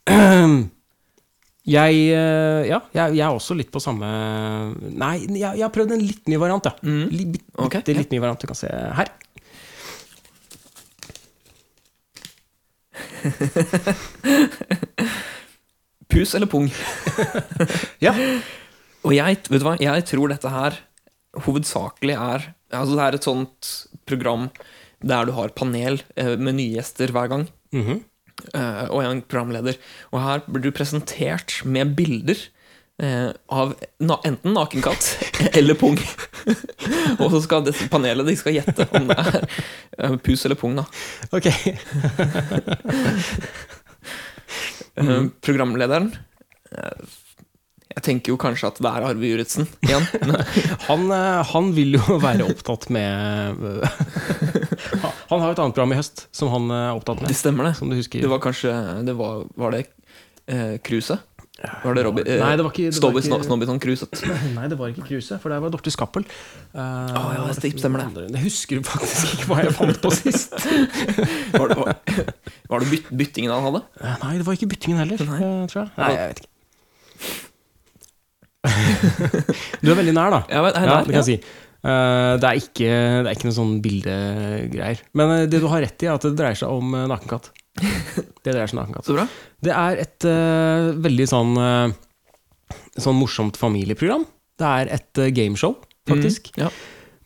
Speaker 1: eh, jeg, eh, ja, jeg, jeg er også litt på samme Nei, jeg, jeg har prøvd en litt ny variant. Ja.
Speaker 2: Mhm.
Speaker 1: Li- bit-
Speaker 2: Ok,
Speaker 1: bitte litt ny variant. Du kan se her.
Speaker 2: Pus eller pung?
Speaker 1: Ja.
Speaker 2: Og jeg, vet du hva, jeg tror dette her hovedsakelig er Altså det er et sånt program der du har panel eh, med nye gjester hver gang,
Speaker 1: Mhm.
Speaker 2: eh, og en programleder. Og her blir du presentert med bilder eh, av na enten nakenkatt eller pung. og så skal dette panelet de skal gjette om det er eh, pus eller pung, da.
Speaker 1: Ok.
Speaker 2: Eh, Programlederen eh, Jeg tenker jo kanskje at det er Arve Juritzen igjen.
Speaker 1: Han, eh, han vil jo være opptatt med Han har et annet program i høst som han eh, er opptatt
Speaker 2: Det
Speaker 1: med.
Speaker 2: stemmer, det.
Speaker 1: Som du husker.
Speaker 2: Det var kanskje Det var, var det eh, Kruse? Var det Robbie?
Speaker 1: Nei, det var ikke- det var
Speaker 2: Stobby
Speaker 1: ikke-
Speaker 2: Sno- Snobbyton Cruset.
Speaker 1: Nei, det var ikke Kruse, for der var Dorte Skappel. Uh,
Speaker 2: ja, det stemmer det.
Speaker 1: Jeg husker faktisk ikke hva jeg fant på sist.
Speaker 2: Var det, var, var det byt, byttingen han hadde?
Speaker 1: Eh, Nei, det var ikke byttingen heller,
Speaker 2: Nei.
Speaker 1: eh, tror jeg. Nei, jeg vet ikke. du er veldig nær, da.
Speaker 2: Jeg vet, jeg
Speaker 1: Ja,
Speaker 2: der,
Speaker 1: det kan jeg si. Eh, det, er ikke, det er ikke noe sånn bildegreier. Men eh, det du har rett i, er at det dreier seg om eh, nakenkatt. Det dreier seg om nakenkatt.
Speaker 2: Så bra.
Speaker 1: Det er et eh, veldig sånn eh, Sånn morsomt familieprogram. Det er et eh, gameshow, faktisk.
Speaker 2: Mm, ja.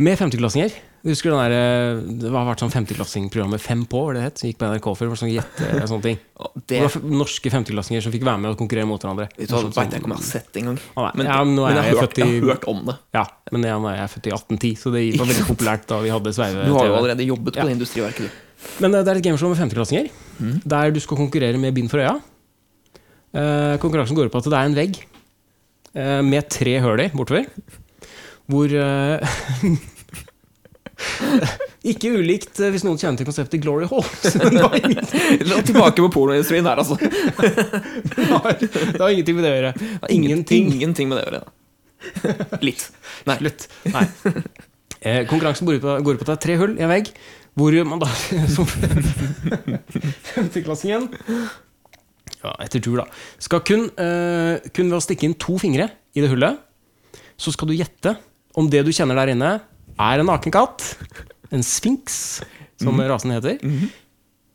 Speaker 1: Med femteklassinger. Husker du den der, eh, det har vært sånn femteklassingprogrammet Fem på, var det det het? Som gikk på NRK før. Det var sånn gjette og sånne ting.
Speaker 2: Å,
Speaker 1: Det
Speaker 2: Det
Speaker 1: var f- norske femteklassinger som fikk være med og konkurrere mot hverandre.
Speaker 2: Vet du hva,
Speaker 1: Morsomt sånn.
Speaker 2: vet jeg ikke om jeg har sett det engang.
Speaker 1: Ah, nei.
Speaker 2: Men,
Speaker 1: ja, men nå er
Speaker 2: men
Speaker 1: jeg,
Speaker 2: jeg, har hørt,
Speaker 1: født i
Speaker 2: jeg har hørt om det.
Speaker 1: Ja, men jeg, nå er jeg født i 1810, så det var veldig populært da vi hadde sveive-TV.
Speaker 2: Du har jo allerede jobbet
Speaker 1: Ja. Mm.
Speaker 2: på det industriverket, du.
Speaker 1: Men eh, det er et gameshow med femteklassinger, der du skal konkurrere med bind for øya. Eh, konkurransen går ut på at det er en vegg eh, med tre høl i bortover, hvor eh, Ikke ulikt eh, hvis noen kjenner til konseptet Glory Hall. men det har ingenting-
Speaker 2: La oss Tilbake på pornoindustrien der, altså. Det
Speaker 1: det har ingenting med det å gjøre.
Speaker 2: har
Speaker 1: Ingenting.
Speaker 2: Ingenting med det å gjøre. da. Litt. Nei.
Speaker 1: Slutt. Nei. Eh, konkurransen går ut, på, går ut på at det er tre hull i en vegg, hvor man da som femteklassingen ja, etter tur, da skal kun, eh, kun ved å stikke inn to fingre i det hullet, så skal du gjette om det du kjenner der inne, er en naken katt, en sfinks, som rasen heter,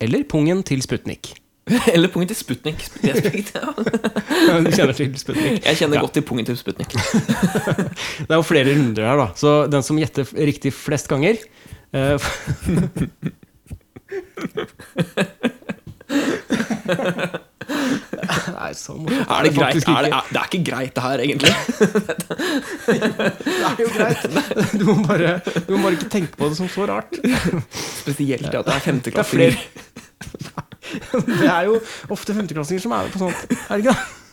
Speaker 1: eller pungen til Sputnik.
Speaker 2: Eller pungen til Sputnik. Spesifikt, ja.
Speaker 1: Du kjenner til Sputnik.
Speaker 2: Jeg kjenner
Speaker 1: Ja.
Speaker 2: godt til pungen til Sputnik.
Speaker 1: Det er jo flere runder her, da. Så den som gjetter f- riktig flest ganger eh, f- Det er så morsomt.
Speaker 2: Er det,
Speaker 1: er
Speaker 2: greit?
Speaker 1: faktisk
Speaker 2: Er det, er, det er ikke greit, det her, egentlig.
Speaker 1: ikke- det er jo greit. Du må, bare, du må bare ikke tenke på det som så rart.
Speaker 2: Spesielt at det er
Speaker 1: Det er
Speaker 2: femteklassinger.
Speaker 1: flere Det er jo ofte femteklassinger som er med på sånt. Er det ikke det?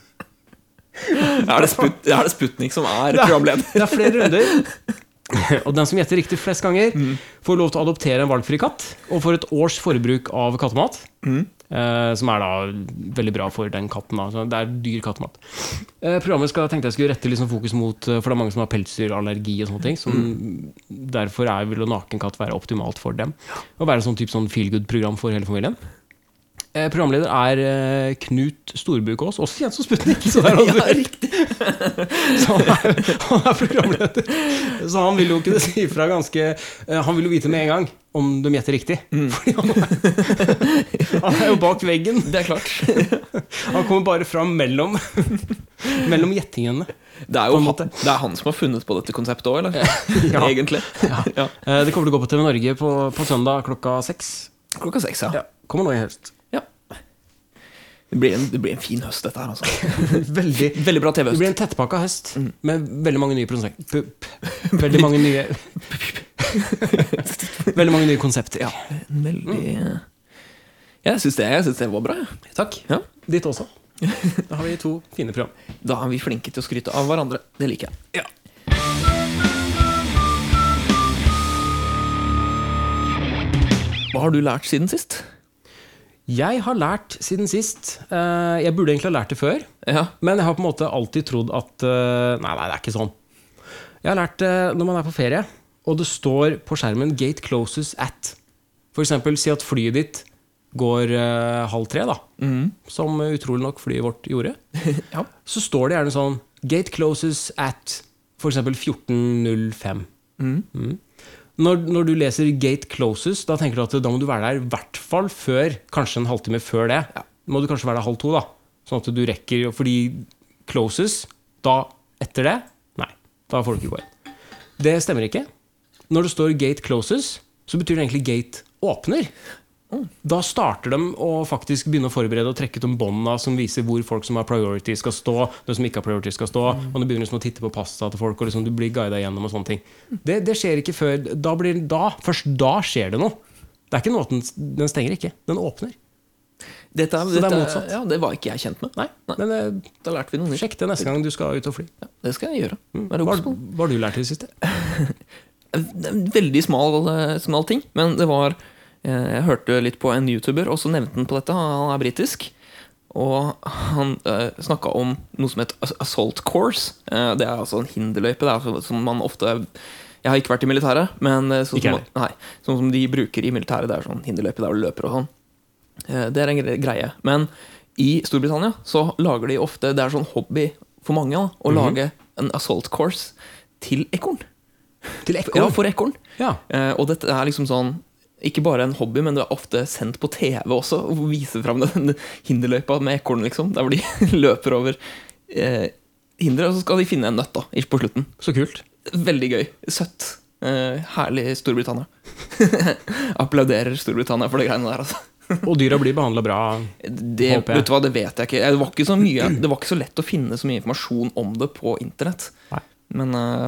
Speaker 2: Er det, Sput, er det Sputnik som er
Speaker 1: Det er-
Speaker 2: programleder?
Speaker 1: Det er flere runder. Og den som gjetter riktig flest ganger, får lov til å adoptere en valgfri katt. Og får et års forbruk av kattemat. Eh, som er da veldig bra for den katten. Da. Så Det er dyr kattemat. Eh, programmet skal, tenkte jeg skulle rette liksom fokus mot eh, For det er mange som har pelsdyrallergi og sånne ting. Som, Derfor er, vil å nakenkatt være optimalt for dem. Og være sånn type sånn feel good-program for hele familien. Eh, programleder er eh, Knut Storbukås, også kjent som Sputnik. Så der,
Speaker 2: Ja, riktig.
Speaker 1: så han er, han er programleder. Så han vil jo kunne si fra ganske eh, Han vil jo vite med en gang om de gjetter riktig.
Speaker 2: Mm.
Speaker 1: Fordi han er, han er jo bak veggen.
Speaker 2: Det er klart.
Speaker 1: Han kommer bare fram mellom Mellom gjettingene.
Speaker 2: Det
Speaker 1: På
Speaker 2: er jo
Speaker 1: en
Speaker 2: han,
Speaker 1: måte.
Speaker 2: det er han som har funnet på dette konseptet òg, eller?
Speaker 1: Ja.
Speaker 2: Egentlig. Ja.
Speaker 1: Eh, Det kommer til å gå på TV Norge på, på søndag klokka seks.
Speaker 2: Klokka seks, ja.
Speaker 1: Ja, kommer nå i høst.
Speaker 2: Det blir, en, det blir en fin høst, dette her, altså.
Speaker 1: Veldig
Speaker 2: Veldig Mm. bra
Speaker 1: det blir
Speaker 2: TV-høst.
Speaker 1: en tettpakka høst med veldig mange nye prosent... pu- pu- Veldig mange nye Veldig mange nye konsepter.
Speaker 2: Ja, en veldig
Speaker 1: Mm.
Speaker 2: Jeg syns det, jeg synes det var bra. jeg.
Speaker 1: Takk.
Speaker 2: Ja.
Speaker 1: Ditt også. Da har vi to fine program.
Speaker 2: Da er vi flinke til å skryte av hverandre. Det liker jeg.
Speaker 1: Ja.
Speaker 2: Hva har du lært siden sist?
Speaker 1: Jeg har lært siden sist. eh, jeg burde egentlig ha lært det før,
Speaker 2: Ja.
Speaker 1: men jeg har på en måte alltid trodd at eh, Nei, nei, det er ikke sånn. Jeg har lært eh, når man er på ferie, og det står på skjermen 'Gate closes at'. For eksempel si at flyet ditt går eh, halv tre, da.
Speaker 2: Mm.
Speaker 1: Som eh, utrolig nok flyet vårt gjorde.
Speaker 2: ja.
Speaker 1: Så står det gjerne sånn 'Gate closes at' f.eks. 14.05. Mm. Når, når du leser 'Gate closes', da tenker du at da må du være der i hvert fall før kanskje en halvtime før det.
Speaker 2: Ja.
Speaker 1: Må du kanskje være der halv to, da. Sånn at du rekker Fordi closes, da etter det Nei, da får du ikke gå inn. Det stemmer ikke. Når det står 'gate closes', så betyr det egentlig 'gate åpner'. Da starter de å faktisk begynne å forberede og trekke ut de bånda som viser hvor folk som har priority, skal stå. De som ikke har priority skal stå Og du begynner liksom å titte på pasta til folk, og liksom du blir guida gjennom. og sånne ting Det, det skjer ikke før da blir, da, Først da skjer det noe. Det er ikke noe at den, den stenger ikke. Den åpner.
Speaker 2: Dette,
Speaker 1: det er
Speaker 2: dette,
Speaker 1: motsatt.
Speaker 2: Ja, det var ikke jeg kjent med.
Speaker 1: Nei, men eh,
Speaker 2: Da lærte vi noe nytt.
Speaker 1: Sjekk det neste gang du skal ut og fly.
Speaker 2: Ja, det skal jeg gjøre. Være
Speaker 1: Hva har
Speaker 2: obs på.
Speaker 1: hva har du lært i det siste?
Speaker 2: En Veldig smal, eh, smal ting, men det var eh, Jeg hørte litt på en YouTuber, og så nevnte han på dette. Han er britisk. Og han uh, snakka om noe som het ass- assault course. Eh, det er altså en hinderløype. Det er altså som man ofte Jeg har ikke vært i militæret, men eh, sånn
Speaker 1: Ikke
Speaker 2: som, nei, sånn som de bruker i militæret, det er sånn hinderløype der hvor du løper og sånn. Eh, det er en gre- greie. Men i Storbritannia så lager de ofte Det er sånn hobby for mange da, å lage en assault course til ekorn.
Speaker 1: Til
Speaker 2: Ja,
Speaker 1: ekorn?
Speaker 2: for ekorn.
Speaker 1: Ja.
Speaker 2: Eh, og dette er liksom sånn ikke bare en hobby, men det er ofte sendt på TV også. Å vise fram den hinderløypa med ekorn, liksom. Der hvor de løper over eh, hinderet, og så skal de finne en nøtt da, i- på slutten.
Speaker 1: Så kult.
Speaker 2: Veldig gøy. Søtt. Eh, herlig Storbritannia. Applauderer Storbritannia for det greiene der, altså.
Speaker 1: Og dyra blir behandla bra. Håper
Speaker 2: Det,
Speaker 1: jeg.
Speaker 2: vet du hva, det vet jeg ikke. Det var ikke, så mye, det var ikke så lett å finne så mye informasjon om det på internett.
Speaker 1: Nei.
Speaker 2: Men eh,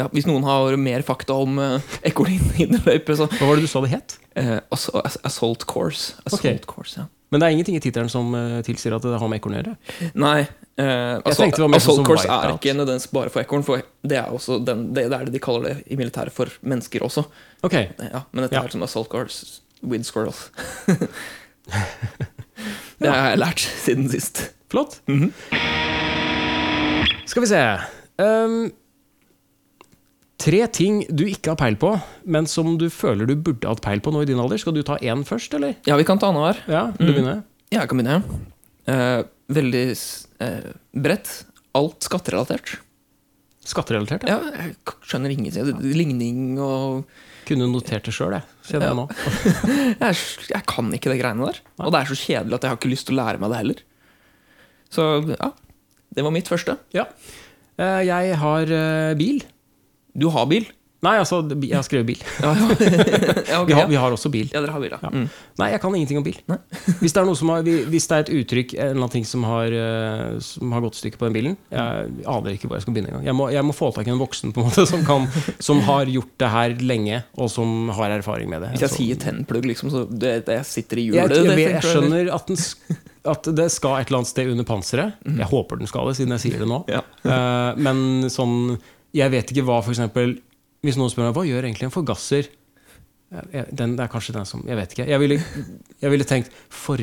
Speaker 2: ja, hvis noen har mer fakta om eh, ekorn i hinderløype, så
Speaker 1: Hva var det du sa det het?
Speaker 2: Eh, ass- ass- assault course. Assault
Speaker 1: Ok.
Speaker 2: course, ja.
Speaker 1: Men det er ingenting i tittelen som eh, tilsier at det har med ekorn å gjøre.
Speaker 2: Nei, eh, altså,
Speaker 1: tenkte det var mer sånn
Speaker 2: assault
Speaker 1: som
Speaker 2: course er
Speaker 1: Wipeout.
Speaker 2: ikke nødvendigvis bare for ekorn. For det er, også den, det, det er det de kaller det i militæret for mennesker også.
Speaker 1: Ok,
Speaker 2: Eh, Ja, men dette
Speaker 1: Ja.
Speaker 2: er sånn assault course with squirrels. det har jeg lært siden sist.
Speaker 1: flott. Skal vi se Ehm, Tre ting du ikke har peil på, men som du føler du burde hatt peil på nå i din alder. Skal du ta én først, eller?
Speaker 2: Ja, vi kan ta annenhver.
Speaker 1: Ja, du begynner.
Speaker 2: Ja, jeg kan begynne. Eh, veldig s- eh, bredt. Alt skatterelatert.
Speaker 1: Skatterelatert? Ja.
Speaker 2: Ja, jeg k- skjønner ingenting. Altså, Ligning og
Speaker 1: Kunne notert det sjøl, jeg. Kjenner jeg nå.
Speaker 2: jeg, er s- jeg kan ikke de greiene der. Og det er så kjedelig at jeg har ikke lyst til å lære meg det heller. Så ja, det var mitt første.
Speaker 1: Ja. Eh, Jeg har eh, bil.
Speaker 2: Du har bil?
Speaker 1: Nei, altså, jeg har skrevet bil.
Speaker 2: Ja, ja. ja, ok,
Speaker 1: Vi har,
Speaker 2: ja.
Speaker 1: vi har også bil.
Speaker 2: ja dere har bil, ja.
Speaker 1: Ja.
Speaker 2: Mm.
Speaker 1: Nei, jeg kan ingenting om bil. Hvis det er, noe som har, hvis det er et uttrykk en eller annen ting som har, eh, som har gått i stykker på den bilen Jeg aner ikke hvor jeg skal begynne engang. Jeg, må- jeg må få tak i en voksen på en måte som, kan, som har gjort det her lenge, og som har erfaring med det.
Speaker 2: Hvis jeg
Speaker 1: Så-
Speaker 2: sier tennplugg, liksom, så det, det, jeg sitter i
Speaker 1: jeg,
Speaker 2: hjulet.
Speaker 1: jeg,
Speaker 2: det
Speaker 1: vet-
Speaker 2: tenker
Speaker 1: jeg skjønner at, den, sk- at det skal et eller annet sted under panseret. Jeg håper den skal det, siden jeg sier det nå.
Speaker 2: Ja.
Speaker 1: Eh, men sånn Jeg vet ikke hva, for eksempel Hvis noen spør meg hva gjør egentlig en forgasser Jeg- jeg- den, Det er kanskje den som Jeg vet ikke. Jeg ville, jeg ville tenkt for,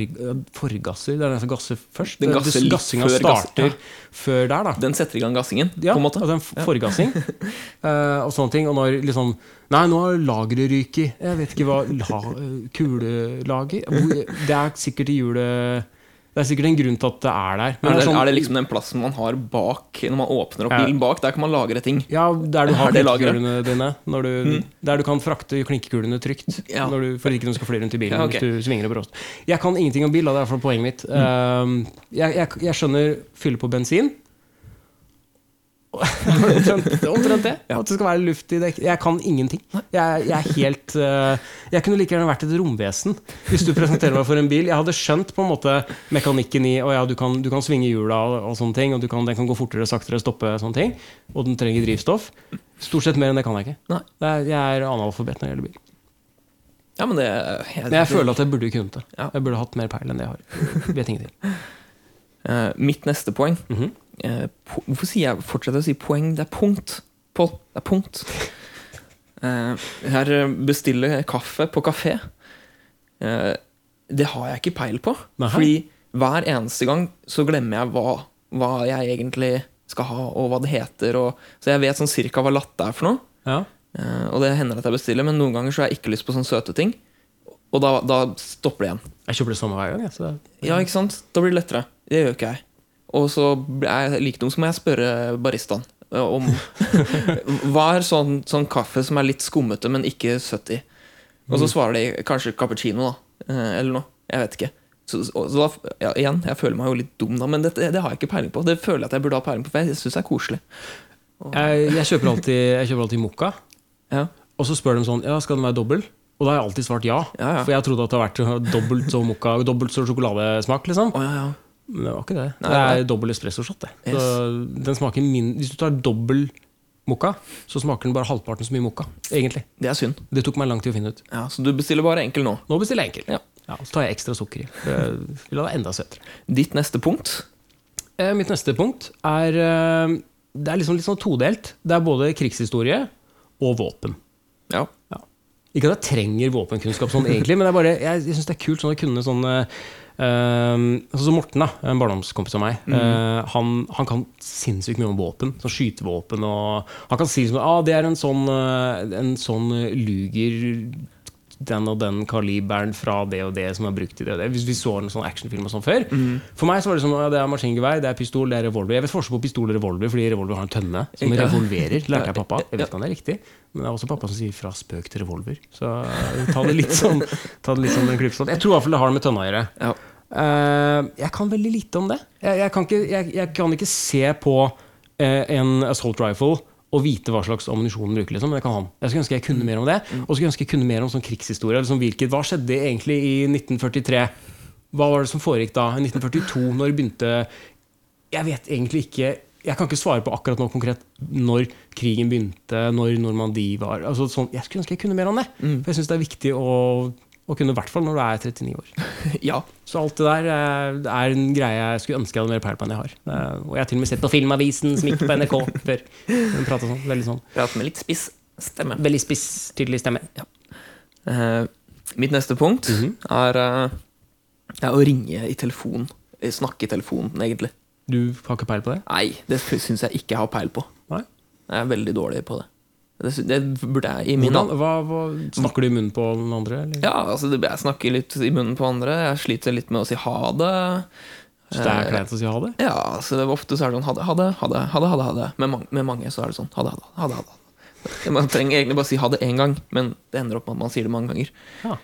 Speaker 1: forgasser. Det er den som gasser først.
Speaker 2: Den
Speaker 1: Det-
Speaker 2: gasser
Speaker 1: det-
Speaker 2: litt
Speaker 1: Gassinga
Speaker 2: før gass-
Speaker 1: starter før der, da.
Speaker 2: Den setter i gang gassingen,
Speaker 1: Ja,
Speaker 2: på en måte.
Speaker 1: altså en f- forgassing eh, og sånne ting. Og når liksom Nei, nå har lageret ryket i. Jeg vet ikke hva la, Kulelager? Hvor- Det er sikkert i hjulet Det er sikkert en grunn til at det er der. Men
Speaker 2: Er det,
Speaker 1: sånn-
Speaker 2: er det liksom den plassen man har bak, når man åpner opp
Speaker 1: Ja.
Speaker 2: bilen bak? Der kan man lagre ting.
Speaker 1: ja, der du har
Speaker 2: Er det lageret?
Speaker 1: klinkekulene dine. Når du, Der du kan frakte klinkekulene trygt.
Speaker 2: Ja.
Speaker 1: Når du, for ikke de skal fly rundt i bilen
Speaker 2: Ja, ok. Mm.
Speaker 1: hvis du svinger og bråst. Jeg kan ingenting om bil, da, det er i hvert fall poenget mitt. Eh, jeg, jeg, jeg skjønner fylle på bensin. omtrent, det er omtrent det. At det skal være luft i dekk. Jeg kan ingenting. Jeg, jeg er helt eh, Jeg kunne like gjerne vært et romvesen hvis du presenterer meg for en bil. Jeg hadde skjønt på en måte mekanikken i Å ja, du kan, du kan svinge hjula og, og sånne ting, og du kan, den kan gå fortere, saktere, stoppe sånne ting. Og den trenger drivstoff. Stort sett mer enn det kan jeg ikke.
Speaker 2: Nei.
Speaker 1: Det er, jeg er analfabet når det gjelder bil.
Speaker 2: Ja, men det
Speaker 1: Men jeg føler at jeg burde kunnet det.
Speaker 2: Ja.
Speaker 1: Jeg burde hatt mer peil enn det jeg har. Vet ingenting.
Speaker 2: Eh, mitt neste poeng eh, po Hvorfor sier jeg, fortsetter jeg å si poeng? Det er punkt, Pål. Det er punkt. Eh, her eh, bestiller jeg kaffe på kafé. Eh, det har jeg ikke peil på.
Speaker 1: Nei.
Speaker 2: Fordi hver eneste gang så glemmer jeg hva, hva jeg egentlig skal ha, og hva det heter. Og, så jeg vet sånn cirka hva latte er for noe.
Speaker 1: Ja.
Speaker 2: Eh, og det hender at jeg bestiller, men noen ganger så har jeg ikke lyst på sånne søte ting. Og da, da stopper det igjen.
Speaker 1: Jeg kjøper det samme hver gang. jeg, Så det er
Speaker 2: Ja, ikke sant? Da blir det lettere. Det gjør ikke jeg. Og så er jeg like dum, så må jeg spørre baristaen eh, om Hva er sånn, sånn kaffe som er litt skummete, men ikke søtt i? Og så svarer de kanskje cappuccino, da. eh, Eller noe. Jeg vet ikke. Så, og- så da, ja, igjen, jeg føler meg jo litt dum, da, men dette, det har jeg ikke peiling på. Det føler jeg at jeg burde ha peiling på, for jeg syns det er koselig.
Speaker 1: Jeg, jeg kjøper alltid, jeg kjøper alltid mokka,
Speaker 2: Ja.
Speaker 1: og så spør de sånn Ja, skal den være dobbel? Og da har jeg alltid svart ja.
Speaker 2: Ja, ja.
Speaker 1: For jeg trodde at det hadde vært dobbelt så mokka Dobbelt så sjokoladesmak, liksom.
Speaker 2: Å, ja, ja.
Speaker 1: Men det var ikke det.
Speaker 2: Nei,
Speaker 1: det
Speaker 2: nei.
Speaker 1: er dobbel espressoshot, det. Så den smaker min Hvis du tar dobbel mokka, så smaker den bare halvparten så mye mokka, egentlig.
Speaker 2: Det er synd.
Speaker 1: Det tok meg lang tid å finne ut.
Speaker 2: Ja, så du bestiller bare enkel nå.
Speaker 1: Nå bestiller jeg enkel.
Speaker 2: Ja.
Speaker 1: så tar jeg ekstra sukker i. for Jeg vil ha det enda søtere.
Speaker 2: Ditt neste punkt
Speaker 1: Eh, Mitt neste punkt er eh, Det er liksom litt sånn todelt. Det er både krigshistorie og våpen.
Speaker 2: Ja.
Speaker 1: Ikke at jeg trenger våpenkunnskap sånn egentlig, men det er bare, jeg, jeg syns det er kult sånn å kunne sånn eh, Ehm, sånn som Morten, da, en barndomskompis av meg,
Speaker 2: Mm.
Speaker 1: eh, han, han kan sinnssykt mye om våpen. Sånn skytevåpen og Han kan si sånn ah, det er en sånn, eh, en sånn eh, luger den og den kaliberen fra det og det som er brukt i det og det. Hvis vi så en sånn actionfilm og sånn før.
Speaker 2: Mm.
Speaker 1: For meg så var det sånn, ja, det er maskingevær, det er pistol, det er revolver. Jeg vet forskjell på pistol og revolver, fordi revolver har en tønne som
Speaker 2: Ja.
Speaker 1: revolverer. Lærte jeg pappa. Jeg vet ikke om det er riktig, men det er også pappa som sier 'fra spøk til revolver'. Så eh, ta det litt sånn Ta det litt sånn med en klype salt. Jeg tror i hvert fall det har det med tønna å gjøre.
Speaker 2: Ja.
Speaker 1: Eh, jeg kan veldig lite om det. Jeg, jeg, kan, ikke, jeg, jeg kan ikke se på eh, en assault rifle og vite hva slags ammunisjon den bruker. Liksom. Men det kan han. Jeg skulle ønske jeg kunne mer om det. Og så skulle jeg ønske jeg kunne mer om sånn krigshistorie. Liksom, hvilket, hva skjedde egentlig i 1943? Hva var det som foregikk da? I 1942? Når begynte Jeg vet egentlig ikke Jeg kan ikke svare på akkurat nå konkret når krigen begynte, når Normandie var altså, sånn, Jeg skulle ønske jeg kunne mer om det. For jeg syns det er viktig å, å kunne, i hvert fall når du er 39 år.
Speaker 2: ja.
Speaker 1: Så alt det der eh, er en greie jeg skulle ønske jeg hadde mer peil på enn jeg har. Eh, Og jeg har til og med sett på Filmavisen, som gikk på NRK før. Hun pratet sånn, veldig sånn.
Speaker 2: Prat med litt spiss stemme.
Speaker 1: Veldig spiss, tydelig stemme.
Speaker 2: Eh, mitt neste punkt
Speaker 1: Mhm.
Speaker 2: er, eh, er å ringe i telefon. Eh, Snakke i telefonen, egentlig.
Speaker 1: Du har ikke peil på det?
Speaker 2: Nei, det syns jeg ikke jeg har peil på.
Speaker 1: Nei?
Speaker 2: Jeg er veldig dårlig på det. Det, sy- det burde jeg i min
Speaker 1: Hvordan, hva, hva, snakker du i munnen på den andre? Eller?
Speaker 2: Ja, altså det, jeg snakker litt i munnen på andre. Jeg sliter litt med å si ha det. Eh,
Speaker 1: Så det er kleint å si ha det?
Speaker 2: Ja, så det, ofte så er det sånn ha det, ha det, ha det, ha det, ha det, ha det. Med, mange, med mange så er det sånn ha det, ha det, ha det, ha det. Man trenger egentlig bare si ha det én gang, men det ender opp med at man sier det mange ganger.
Speaker 1: Ja.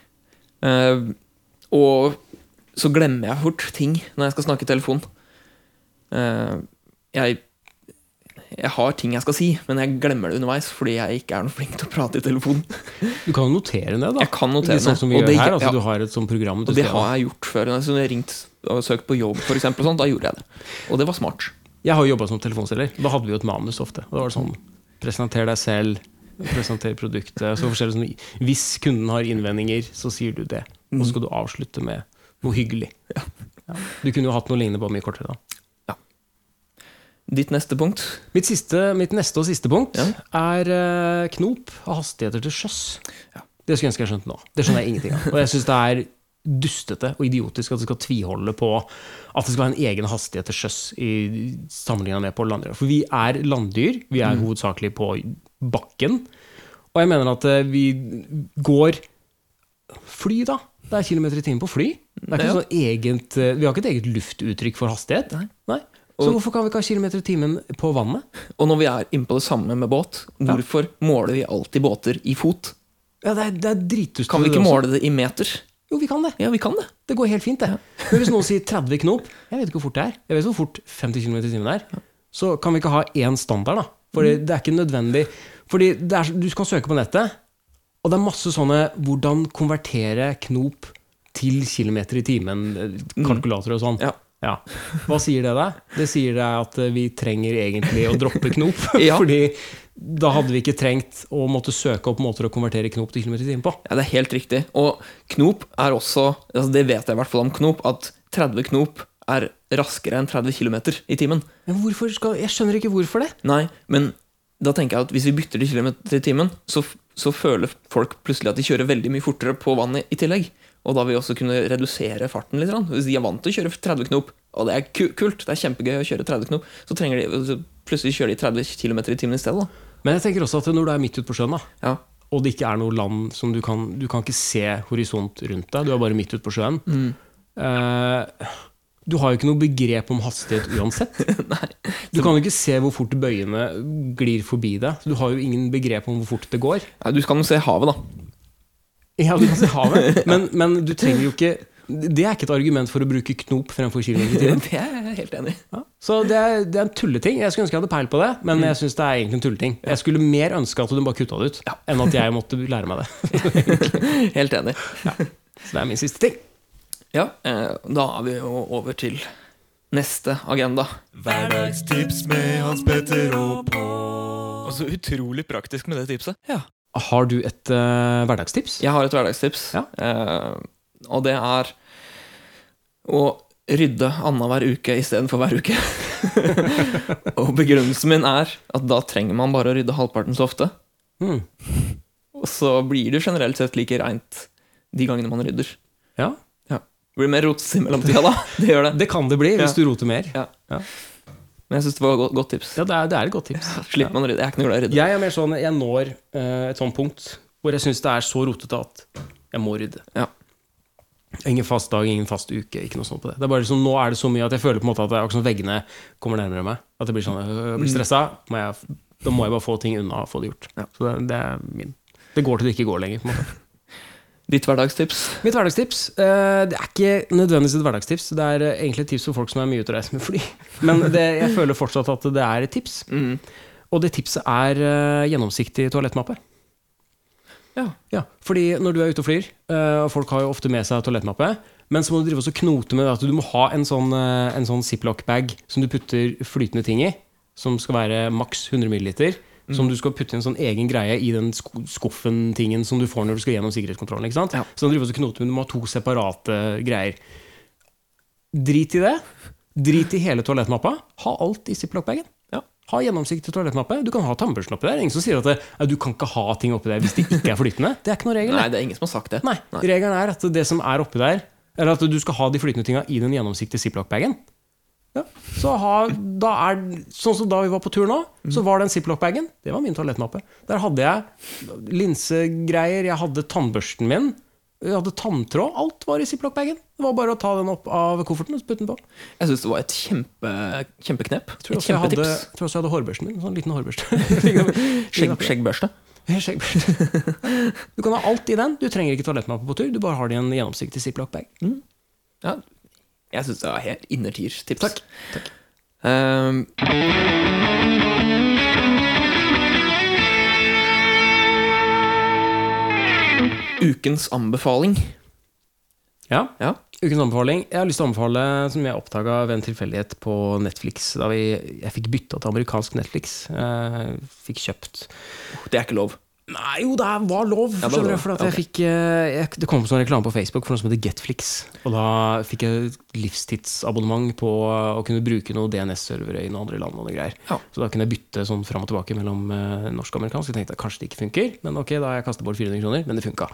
Speaker 2: Eh, og så glemmer jeg fort ting når jeg skal snakke i telefon. Eh, jeg, jeg har ting jeg skal si, men jeg glemmer det underveis fordi jeg ikke er noe flink til å prate i telefon.
Speaker 1: Du kan jo notere ned, da.
Speaker 2: Jeg kan notere
Speaker 1: Litt sånn som vi
Speaker 2: ned, og
Speaker 1: gjør
Speaker 2: det-
Speaker 1: her. Altså,
Speaker 2: ja.
Speaker 1: Du har et sånt program. du
Speaker 2: Og det
Speaker 1: ser.
Speaker 2: har jeg gjort før. Når jeg har ringt og søkt på jobb, for eksempel, og sånt, da gjorde jeg det. Og det var smart.
Speaker 1: Jeg har jo jobba som telefonselger. Da hadde vi jo et manus ofte. Og da var det sånn Presenter deg selv, presenter produktet. Så forskjellig sånn Hvis kunden har innvendinger, så sier du det. Og så skal du avslutte med noe hyggelig. Ja. Du kunne jo hatt noe lignende, bare mye kortere. da
Speaker 2: Ditt neste punkt
Speaker 1: Mitt, siste, mitt neste og siste punkt
Speaker 2: Ja.
Speaker 1: er eh, knop av hastigheter til sjøs.
Speaker 2: Ja.
Speaker 1: Det skulle jeg ønske jeg skjønte nå. Det skjønner jeg ingenting av. Og jeg syns det er dustete og idiotisk at det skal tviholde på at det skal være en egen hastighet til sjøs i sammenligna med på landdyr. For vi er landdyr. Vi
Speaker 2: Mm.
Speaker 1: er hovedsakelig på bakken. Og jeg mener at eh, vi går Fly, da. Det er kilometer i timen på fly. Det er ikke
Speaker 2: Ja.
Speaker 1: sånn eget, eh, vi har ikke et eget luftuttrykk for hastighet.
Speaker 2: Nei.
Speaker 1: Så
Speaker 2: Og-
Speaker 1: hvorfor kan vi ikke ha kilometer i timen på vannet?
Speaker 2: Og når vi er inne på det samme med båt, hvorfor måler vi alltid båter i fot?
Speaker 1: Ja, det er, det er dritdustete.
Speaker 2: Kan vi
Speaker 1: det
Speaker 2: ikke
Speaker 1: også.
Speaker 2: måle det i meter?
Speaker 1: Jo, vi kan det.
Speaker 2: Ja, vi kan det.
Speaker 1: Det går helt fint, det. Men hvis noen sier 30 knop Jeg vet ikke hvor fort det er. Jeg vet hvor fort 50 km i timen er. Så kan vi ikke ha én standard, da. For
Speaker 2: Mm.
Speaker 1: det er ikke nødvendig. Fordi det er, så- du kan søke på nettet, og det er masse sånne 'hvordan konvertere knop til kilometer i timen'-kalkulatorer og sånn.
Speaker 2: Mm. Ja.
Speaker 1: Ja. Hva sier det deg? Det sier deg at eh, vi trenger egentlig å droppe knop.
Speaker 2: Ja.
Speaker 1: Fordi da hadde vi ikke trengt å måtte søke opp måter å konvertere knop til kilometer i timen på.
Speaker 2: Ja, Det er helt riktig. Og knop er også altså Det vet jeg i hvert fall om knop, at 30 knop er raskere enn 30 km i timen.
Speaker 1: Men hvorfor skal, jeg skjønner ikke hvorfor det.
Speaker 2: Nei, men da tenker jeg at hvis vi bytter til kilometer i timen, så, så føler folk plutselig at de kjører veldig mye fortere på vannet i tillegg. Og da vil vi også kunne redusere farten litt. grann. Hvis de er vant til å kjøre 30 knop, og det er ku- kult, det er kjempegøy å kjøre 30 knop, så trenger de så plutselig kjører de 30 km i timen i stedet. da.
Speaker 1: Men jeg tenker også at når du er midt ute på sjøen, da,
Speaker 2: Ja.
Speaker 1: og det ikke er noe land som du kan Du kan ikke se horisont rundt deg, du er bare midt ute på sjøen. Eh, du har jo ikke noe begrep om hastighet uansett. Du kan jo ikke se hvor fort bøyene glir forbi deg. så Du har jo ingen begrep om hvor fort det går.
Speaker 2: Nei, du kan jo se havet, da.
Speaker 1: Ja, du kan se havet, men, men du trenger jo ikke Det er ikke et argument for å bruke knop fremfor kilometer i timen.
Speaker 2: Det er jeg helt enig i.
Speaker 1: Ja. Så det er, det er en tulleting. Jeg skulle ønske jeg hadde peil på det, men jeg synes det er egentlig en tulleting. Jeg skulle mer ønske at du bare kutta det ut,
Speaker 2: Ja.
Speaker 1: enn at jeg måtte lære meg det.
Speaker 2: Helt enig.
Speaker 1: Så det er min siste ting.
Speaker 2: Ja, eh, da er vi jo over til neste agenda.
Speaker 3: Hverdagstips med Hans Petter og Pål.
Speaker 4: Og så Altså, utrolig praktisk med det tipset.
Speaker 1: Har du et eh, hverdagstips?
Speaker 2: Jeg har et hverdagstips,
Speaker 1: Ja.
Speaker 2: eh, og det er å rydde annenhver uke istedenfor hver uke. og begrunnelsen min er at da trenger man bare å rydde halvparten så ofte.
Speaker 1: Mm.
Speaker 2: Og så blir det generelt sett like reint de gangene man rydder.
Speaker 1: Ja.
Speaker 2: Ja. Det blir mer rots i mellomtida, da. Det gjør det.
Speaker 1: Det kan det bli hvis du roter mer.
Speaker 2: Men jeg syns det var et godt, godt tips.
Speaker 1: Ja, det er, det er et godt tips.
Speaker 2: Slipper man å rydde. Jeg er ikke noe glad i å rydde.
Speaker 1: Jeg er mer sånn, jeg når eh, et sånt punkt hvor jeg syns det er så rotete at jeg må rydde.
Speaker 2: Ja.
Speaker 1: Ingen fast dag, ingen fast uke. ikke noe sånt på det. Det er bare liksom, Nå er det så mye at jeg føler på en måte at det er akkurat som veggene kommer nærmere meg. At jeg blir sånn, øh, jeg blir stressa. Må jeg, da må jeg bare få ting unna og få det gjort.
Speaker 2: Ja.
Speaker 1: Så det, det er min. Det går til det ikke går lenger. på en måte.
Speaker 2: Ditt hverdagstips?
Speaker 1: Mitt hverdagstips eh, Det er ikke nødvendigvis et hverdagstips. Det er eh, egentlig et tips for folk som er mye ute og reiser med fly. Men det, jeg føler fortsatt at det er et tips. Og det tipset er eh, gjennomsiktig toalettmappe.
Speaker 2: Ja.
Speaker 1: Fordi når du er ute og flyr, eh, og folk har jo ofte med seg toalettmappe, men så må du drive også knote med det at du må ha en sånn, eh, en sånn ziplock-bag som du putter flytende ting i, som skal være maks 100 ml. Som
Speaker 2: Mm.
Speaker 1: du skal putte i en sånn egen greie i den sk- skuffen-tingen som du får når du skal gjennom sikkerhetskontrollen. ikke sant?
Speaker 2: Ja.
Speaker 1: Så den driver også knote, men du må ha to separate greier. Drit i det. Drit i hele toalettmappa. Ha alt i ziplock-bagen.
Speaker 2: Ja.
Speaker 1: Ha gjennomsiktig toalettmappe. Du kan ha tannbørsten oppi der. Ingen som sier at det, «Nei, du kan ikke ha ting oppi der hvis det ikke er flytende. Det er ikke noen regel.
Speaker 2: Nei, det er ingen som har sagt det.
Speaker 1: Nei,
Speaker 2: Nei.
Speaker 1: regelen er at det som er oppi der Eller at du skal ha de flytende tinga i den gjennomsiktige ziplock-bagen. Ja. Så ha, da er, sånn som da vi var på tur nå,
Speaker 2: Mm.
Speaker 1: så var den ziplock-bagen Det var min toalettmappe. Der hadde jeg linsegreier, jeg hadde tannbørsten min, jeg hadde tanntråd. Alt var i ziplock-bagen. Det var bare å ta den opp av kofferten og putte den på.
Speaker 2: Jeg syns det var et kjempe, kjempeknep.
Speaker 1: Jeg tror
Speaker 2: Et
Speaker 1: også jeg hadde,
Speaker 2: kjempetips.
Speaker 1: jeg tror også jeg hadde hårbørsten min. en Sånn liten hårbørste.
Speaker 2: Skjegg, skjeggbørste.
Speaker 1: Skjeggbørste. Du kan ha alt i den. Du trenger ikke toalettmappe på tur, du bare har det i en gjennomsiktig ziplock-bag.
Speaker 2: Ja, jeg syns det var helt innertierstips.
Speaker 1: Takk.
Speaker 2: Ehm, ukens anbefaling.
Speaker 1: Ja.
Speaker 2: Ja.
Speaker 1: Ukens anbefaling. Jeg har lyst til å anbefale som jeg oppdaga ved en tilfeldighet på Netflix. Da vi, jeg fikk bytta til amerikansk Netflix. Eh, fikk kjøpt
Speaker 2: Oh, Det er ikke lov.
Speaker 1: Nei, jo, det er- var lov!
Speaker 2: Ja, det var
Speaker 1: skjønner du,
Speaker 2: lov.
Speaker 1: for at
Speaker 2: Ja,
Speaker 1: jeg
Speaker 2: ok.
Speaker 1: fikk, eh, jeg, det kom en sånn reklame på Facebook for noe som heter Getflix. Og da fikk jeg livstidsabonnement på å kunne bruke noen DNS-servere i noen andre land. og noe greier
Speaker 2: Ja.
Speaker 1: Så da kunne jeg bytte sånn fram og tilbake mellom eh, norsk og amerikansk. Jeg tenkte at kanskje det ikke funker, men ok, da har jeg kastet bort 400 kroner. Men det funka.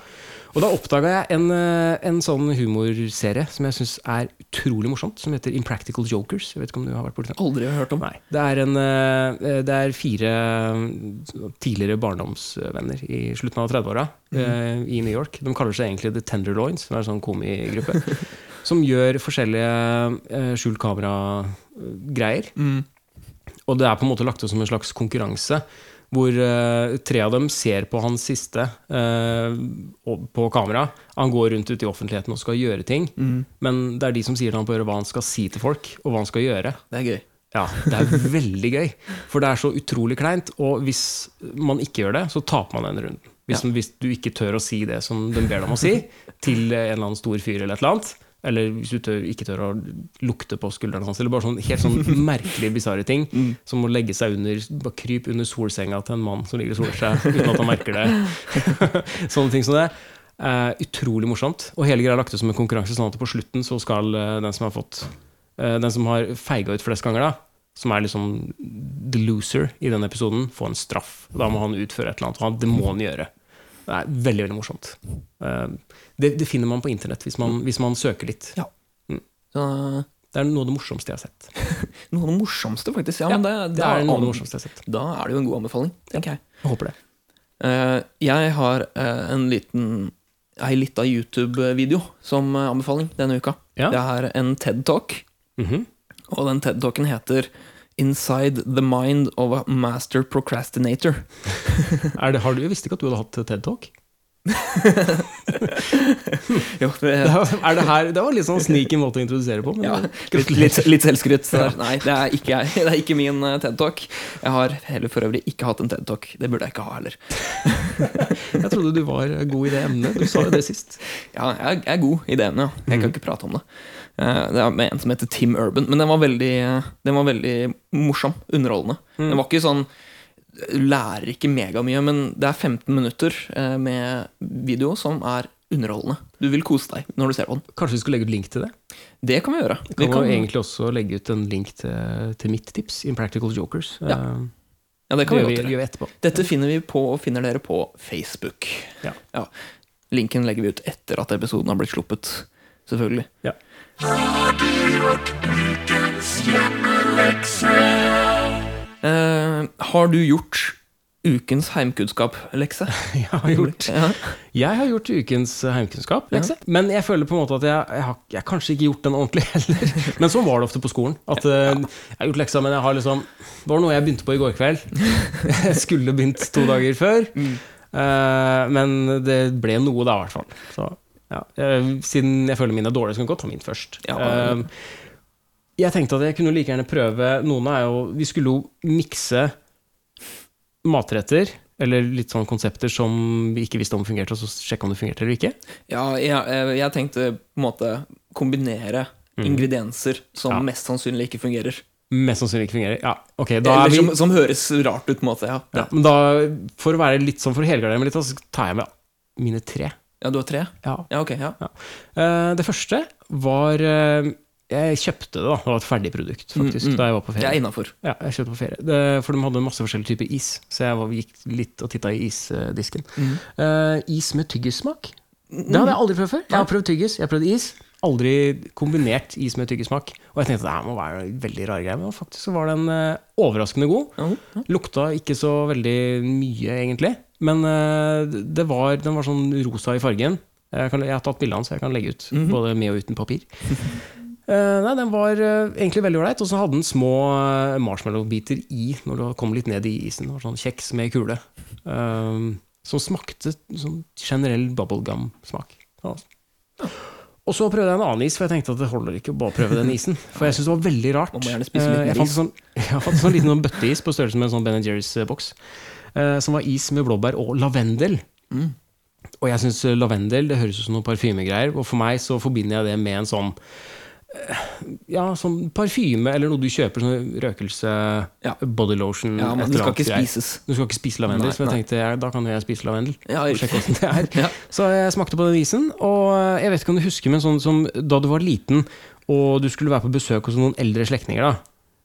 Speaker 1: Og da oppdaga jeg en, eh, en sånn humorserie som jeg syns er utrolig morsomt, som heter Impractical Jokers. Jeg vet ikke om du har vært borti den?
Speaker 2: Aldri hørt om.
Speaker 1: Nei. Det er, en, eh, det er fire eh, tidligere barndomsvenner i slutten av 30-åra eh, i New York. De kaller seg egentlig The Tenderloins, som er en sånn komigruppe. som gjør forskjellige eh, skjult kamera-greier.
Speaker 2: Mm,
Speaker 1: Og det er på en måte lagt opp som en slags konkurranse. Hvor eh, tre av dem ser på han siste eh, og- på kamera. Han går rundt ute i offentligheten og skal gjøre ting.
Speaker 2: Mm.
Speaker 1: Men det er de som sier til han på øret hva han skal si til folk, og hva han skal gjøre.
Speaker 2: Det er gøy.
Speaker 1: Ja, det er veldig gøy. For det er så utrolig kleint. Og hvis man ikke gjør det, så taper man den runden. Hvis, hvis du ikke tør å si det som de ber deg om å si, til en eller annen stor fyr eller et eller annet. Eller hvis du tør, ikke tør å lukte på skuldrene hans. Eller bare sånn helt sånn merkelig bisarre ting.
Speaker 2: Mm.
Speaker 1: Som å legge seg under bare Krype under solsenga til en mann som ligger og soler seg uten at han merker det. Sånne ting som det. Eh, utrolig morsomt. Og hele greia er lagt ut som en konkurranse, sånn at på slutten så skal eh, den som har fått eh, Den som har feiga ut flest ganger, da, som er liksom the loser i den episoden, få en straff. Og Da må han utføre et eller annet. Og han, det må han gjøre. Det er veldig veldig morsomt. Eh, det, det finner man på internett hvis man, hvis man søker litt.
Speaker 2: Ja. Så,
Speaker 1: Det er noe av det morsomste jeg har sett.
Speaker 2: noe av det morsomste, faktisk. Ja,
Speaker 1: Ja,
Speaker 2: men det,
Speaker 1: Det
Speaker 2: da
Speaker 1: er noe av
Speaker 2: an-
Speaker 1: det morsomste jeg har sett.
Speaker 2: Da er det jo en god anbefaling, tenker jeg.
Speaker 1: Jeg håper det.
Speaker 2: Eh, jeg har eh, en liten ei lita YouTube-video som eh, anbefaling denne uka.
Speaker 1: Ja.
Speaker 2: Det er en TED-talk,
Speaker 1: Mhm.
Speaker 2: og den TED-talken heter 'Inside the Mind of a Master Procrastinator'.
Speaker 1: Er det, har du, jeg visste ikke at du hadde hatt TED Talk.
Speaker 2: Jo, det,
Speaker 1: Er det, her, det var litt sånn sneaky måte å introdusere på. Men
Speaker 2: ja, litt, litt, litt selvskryt. der. Nei, det er ikke, jeg. Det er ikke min eh, TED-talk. Jeg har heller for øvrig ikke hatt en TED-talk. Det burde jeg ikke ha heller.
Speaker 1: Jeg trodde du var god i det emnet. Du sa jo det sist.
Speaker 2: Ja, jeg, jeg er god i det emnet, ja. Jeg kan ikke prate om det. Eh, Det er med en som heter Tim Urban, men den var veldig, eh, den var veldig morsom. Underholdende. Den var ikke sånn Lærer ikke megamye, men det er 15 minutter eh, med video som er underholdende. Du vil kose deg når du ser på den.
Speaker 1: Kanskje vi skulle legge ut link til det?
Speaker 2: Det kan vi gjøre.
Speaker 1: Vi
Speaker 2: Vi
Speaker 1: kan,
Speaker 2: kan-
Speaker 1: jo egentlig også legge ut en link til, til mitt tips, Impractical Jokers.
Speaker 2: Ja,
Speaker 1: Eh,
Speaker 2: ja, det kan
Speaker 1: gjør
Speaker 2: vi godt
Speaker 1: gjør
Speaker 2: gjøre.
Speaker 1: vi etterpå.
Speaker 2: Dette finner vi på og finner dere på Facebook.
Speaker 1: Ja.
Speaker 2: Linken legger vi ut etter at episoden har blitt sluppet. Selvfølgelig.
Speaker 1: Ja.
Speaker 2: Eh, har du gjort ukens heimkunnskap-lekse?
Speaker 1: Jeg har gjort,
Speaker 2: Ja.
Speaker 1: jeg har gjort ukens eh, heimkunnskap, lekse. Men jeg føler på en måte at jeg, jeg har jeg har kanskje ikke gjort den ordentlig heller. Men sånn var det ofte på skolen. At eh, Jeg har gjort leksa, men jeg har liksom Det var noe jeg begynte på i går kveld. Jeg skulle begynt to dager før.
Speaker 2: Mm.
Speaker 1: Eh, men det ble noe da, i hvert fall. Så, ja. Eh, siden jeg føler mine er dårlige, så kan jeg godt ta min først.
Speaker 2: Ja.
Speaker 1: Eh, jeg tenkte at jeg kunne like gjerne prøve Noen er jo Vi skulle jo mikse matretter, eller litt sånne konsepter som vi ikke visste om fungerte, og så sjekke om det fungerte eller ikke.
Speaker 2: Ja, jeg, eh, jeg tenkte på en måte kombinere ingredienser som
Speaker 1: Mm. Ja.
Speaker 2: mest sannsynlig ikke fungerer.
Speaker 1: Mest sannsynlig ikke fungerer. Ja, ok, da
Speaker 2: Eller
Speaker 1: er vi
Speaker 2: som, som høres rart ut, på en måte. Ja.
Speaker 1: ja, Men da, for å være litt sånn for å helgardere meg litt, så tar jeg med mine tre.
Speaker 2: ja, du har tre?
Speaker 1: Ja.
Speaker 2: Ja, ok. ja
Speaker 1: Eh, Det første var eh, Jeg kjøpte det, da. Det var et ferdig produkt, faktisk,
Speaker 2: Mm, mm.
Speaker 1: da jeg var på
Speaker 2: Jeg
Speaker 1: ferie.
Speaker 2: er innafor.
Speaker 1: Ja, jeg kjøpte på ferie. Det, for de hadde masse forskjellige typer is, så jeg var, gikk litt og titta i isdisken. Eh, is med tyggissmak. Det hadde jeg aldri prøvd før. Jeg har prøvd tyggis, jeg har prøvd is. Aldri kombinert is med tyggissmak. Og jeg tenkte det her må være en veldig rar greie, men faktisk så var den eh, overraskende god. Lukta ikke så veldig mye, egentlig. Men eh, det var, den var sånn rosa i fargen. Jeg, kan, jeg har tatt bilde av den, så jeg kan legge ut. Både med og uten papir. Eh, nei, Den var eh, egentlig veldig ålreit, og så hadde den små eh, marshmallowbiter i når du kom litt ned i isen. Det var sånn Kjeks med kule. eh, som smakte sånn generell bubblegum-smak. Ja. Og så prøvde jeg en annen is, for jeg tenkte at det holder ikke å bare prøve den isen. For jeg syntes det var veldig rart.
Speaker 2: Man må gjerne spise
Speaker 1: Eh,
Speaker 2: litt
Speaker 1: jeg, fant en sånn, jeg fant en sånn liten sånn bøtteis på størrelse med en sånn Ben Jerry's-boks, eh, som var is med blåbær og lavendel. Og jeg syns lavendel det høres ut som noen parfymegreier, og for meg så forbinder jeg det med en sånn eh, ja, sånn parfyme eller noe du kjøper, sånn røkelse,
Speaker 2: Ja.
Speaker 1: body lotion
Speaker 2: Ja,
Speaker 1: Mm, et
Speaker 2: men det
Speaker 1: eller
Speaker 2: skal
Speaker 1: annet
Speaker 2: ikke
Speaker 1: greier.
Speaker 2: spises.
Speaker 1: Du skal ikke spise lavendel,
Speaker 2: Nei,
Speaker 1: så jeg
Speaker 2: nei.
Speaker 1: tenkte jeg, da kan jo jeg spise lavendel.
Speaker 2: Ja,
Speaker 1: og sjekke hvordan det er.
Speaker 2: Ja.
Speaker 1: Så jeg smakte på den isen, og eh, jeg vet ikke om du husker, men sånn som da du var liten, og du skulle være på besøk hos noen eldre slektninger, da,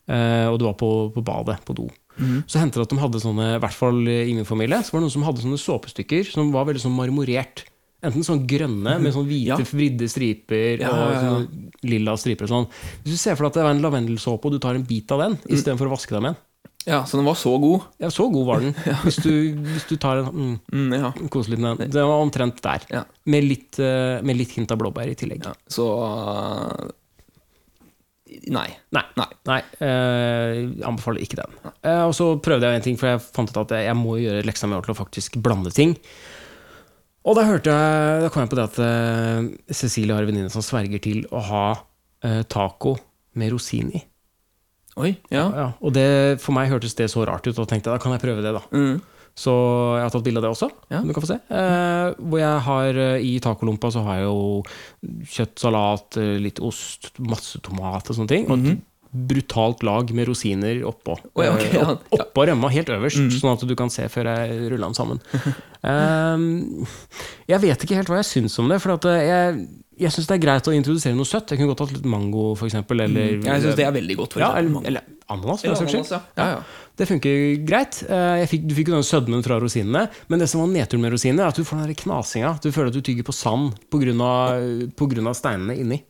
Speaker 1: eh, og du var på, på badet, på do,
Speaker 2: Mm.
Speaker 1: så hendte det at de hadde sånne, i hvert fall i min familie, så var det noen som hadde sånne såpestykker som var veldig sånn marmorert. Enten sånn grønne med sånn hvite,
Speaker 2: Mhm. Ja.
Speaker 1: vridde striper
Speaker 2: Ja, ja, ja.
Speaker 1: og sånne lilla striper og sånn. Hvis du ser for deg at det er en lavendelsåpe, og du tar en bit av den
Speaker 2: Mm.
Speaker 1: istedenfor å vaske deg med den.
Speaker 2: Ja, så den var så god.
Speaker 1: Ja, så god var den. Hvis du, hvis du tar en mm,
Speaker 2: Mm, ja.
Speaker 1: Kose litt med den. Den var omtrent der.
Speaker 2: Ja.
Speaker 1: Med, litt, eh, med litt hint av blåbær i tillegg.
Speaker 2: ja. Så eh, Nei.
Speaker 1: Nei.
Speaker 2: Nei.
Speaker 1: Nei eh, anbefaler ikke den. Eh, og så prøvde jeg en ting, for jeg fant ut at jeg, jeg må gjøre leksa mi til å faktisk blande ting. Og da, hørte jeg, da kom jeg på det at eh, Cecilie har en venninne som sverger til å ha eh, taco med rosin i.
Speaker 2: Oi. Ja.
Speaker 1: Ja, og det, for meg hørtes det så rart ut, og da tenkte jeg da kan jeg prøve det, da.
Speaker 2: Mm.
Speaker 1: Så jeg har tatt bilde av det også,
Speaker 2: Ja.
Speaker 1: som du kan få se. Eh, hvor jeg har eh, I tacolompa så har jeg jo kjøtt, salat, eh, litt ost, masse tomat og sånne ting. Og et brutalt lag med rosiner oppå.
Speaker 2: Oi, ok,
Speaker 1: Eh,
Speaker 2: Mhm. ja, Mhm.
Speaker 1: opp- Oppå rømma, helt øverst, sånn at du kan se før jeg ruller den sammen. Eh, jeg vet ikke helt hva jeg syns om det, for at eh, jeg, jeg syns det er greit å introdusere noe søtt. Jeg kunne godt hatt litt mango, for eksempel. Eller,
Speaker 2: Mhm. Jeg syns det er veldig godt. For
Speaker 1: ja,
Speaker 2: eksempel.
Speaker 1: eller, eller ananas, for
Speaker 2: Eller
Speaker 1: den saks skyld.
Speaker 2: ananas, ja. Ja, ja.
Speaker 1: Det funker greit. Eh, Jeg fikk, du fikk jo den sødmen fra rosinene. Men det som var nedturen med rosiner, er at du får den der knasinga. Du føler at du tygger på sand pga. steinene inni.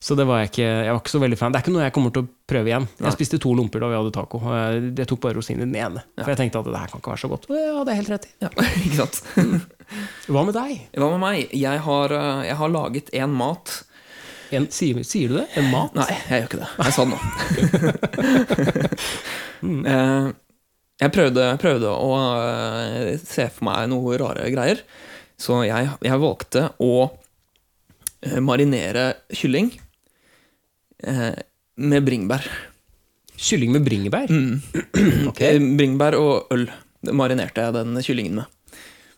Speaker 1: Så det var jeg, ikke, jeg var ikke så veldig fan. Det er ikke noe jeg kommer til å prøve igjen. Jeg spiste to lomper da vi hadde taco. og Jeg jeg tok bare rosin i den ene. For jeg tenkte at det her kan ikke være så godt. Og ja, det er helt rett i.
Speaker 2: Ja, ikke sant?
Speaker 1: Hva med deg?
Speaker 2: Hva med meg? Jeg har, eh, jeg har laget én mat.
Speaker 1: En, sier, sier du det? En mat?
Speaker 2: Nei, jeg gjør ikke det. Jeg sa det nå.
Speaker 1: Mm.
Speaker 2: Eh, Jeg prøvde, prøvde å eh, se for meg noe rare greier, så jeg, jeg valgte å eh, marinere kylling eh, med bringebær. Mm.
Speaker 1: Kylling med bringebær? Ok.
Speaker 2: Eh, Bringebær og øl det marinerte jeg den kyllingen med.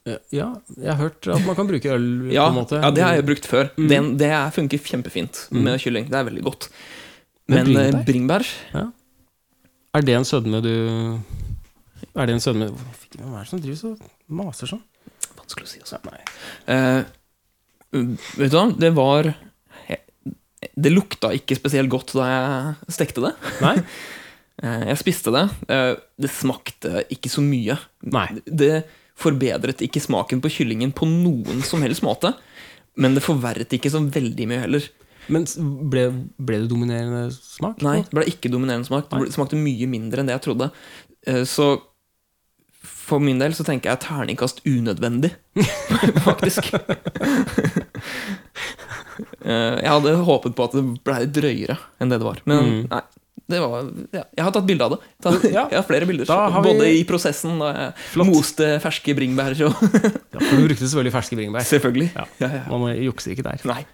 Speaker 1: Eh, Ja, jeg har hørt at man kan bruke øl
Speaker 2: Ja,
Speaker 1: på en måte. Mm.
Speaker 2: ja det har jeg brukt før. Den, det er- funker kjempefint med kylling. Det er veldig godt.
Speaker 1: Men
Speaker 2: Men eh,
Speaker 1: bringebær?
Speaker 2: bringebær
Speaker 1: Er det en sødme du Er det en sødme Hvem er det som driver så maser sånn?
Speaker 2: Vanskelig å si, altså.
Speaker 1: Ja, nei.
Speaker 2: Eh, vet du hva, det var Det lukta ikke spesielt godt da jeg stekte det.
Speaker 1: nei?
Speaker 2: Eh, jeg spiste det. Eh, det smakte ikke så mye.
Speaker 1: Nei.
Speaker 2: Det forbedret ikke smaken på kyllingen på noen som helst måte. Men det forverret ikke så veldig mye heller.
Speaker 1: Men s- ble, ble det dominerende smak?
Speaker 2: Nei, det ble ikke dominerende smak. Det ble- smakte mye mindre enn det jeg trodde. Eh, Så for min del så tenker jeg terningkast unødvendig, faktisk. Eh, jeg hadde håpet på at det blei drøyere enn det det var. Men
Speaker 1: Mm.
Speaker 2: nei. Det var, ja. Jeg har tatt bilde av det. Ta,
Speaker 1: Ja.
Speaker 2: Jeg har flere bilder.
Speaker 1: Da har vi-
Speaker 2: Både i prosessen da jeg moste ferske bringebær og
Speaker 1: Ja, for du brukte selvfølgelig ferske bringebær.
Speaker 2: Selvfølgelig.
Speaker 1: Ja.
Speaker 2: Ja, ja.
Speaker 1: Man jukser ikke der.
Speaker 2: Nei.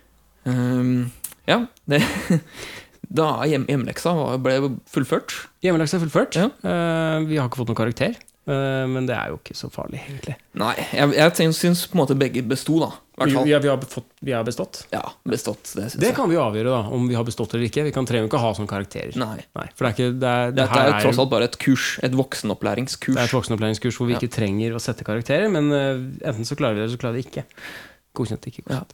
Speaker 2: Ehm, ja, det Da hjem, hjemmeleksa var, ble fullført.
Speaker 1: Hjemmelaks er fullført.
Speaker 2: Ja.
Speaker 1: Eh, vi har ikke fått noen karakter, eh, men det er jo ikke så farlig, egentlig.
Speaker 2: Nei, jeg, jeg ten- syns på en måte begge besto, da. I
Speaker 1: Vi,
Speaker 2: hvert fall.
Speaker 1: vi, har, vi, har fått, vi har bestått.
Speaker 2: Ja, bestått. Det syns
Speaker 1: Det
Speaker 2: jeg.
Speaker 1: kan vi jo avgjøre, da, om vi har bestått eller ikke. Vi kan trenger jo ikke å ha sånne karakterer.
Speaker 2: Nei.
Speaker 1: Nei, for det er ikke det er, det
Speaker 2: Dette
Speaker 1: her
Speaker 2: er jo tross alt bare et kurs. Et voksenopplæringskurs.
Speaker 1: det er et voksenopplæringskurs hvor vi ikke trenger å sette karakterer, men eh, enten så klarer vi det, eller så klarer vi det ikke. Godkjent, ikke godkjent.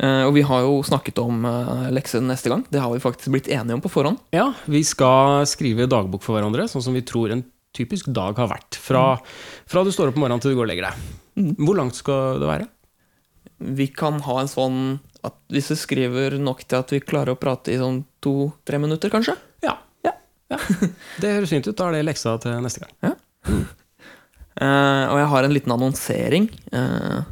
Speaker 2: Eh, og vi har jo snakket om eh, lekser neste gang. Det har vi faktisk blitt enige om på forhånd.
Speaker 1: Ja, vi skal skrive dagbok for hverandre, sånn som vi tror en typisk dag har vært. Fra, fra du står opp om morgenen til du går og legger deg. Hvor langt skal det være?
Speaker 2: Vi kan ha en sånn at Hvis vi skriver nok til at vi klarer å prate i sånn to-tre minutter, kanskje?
Speaker 1: Ja. Ja. Det høres fint ut. Da er det leksa til neste gang.
Speaker 2: Eh, og jeg har en liten annonsering eh,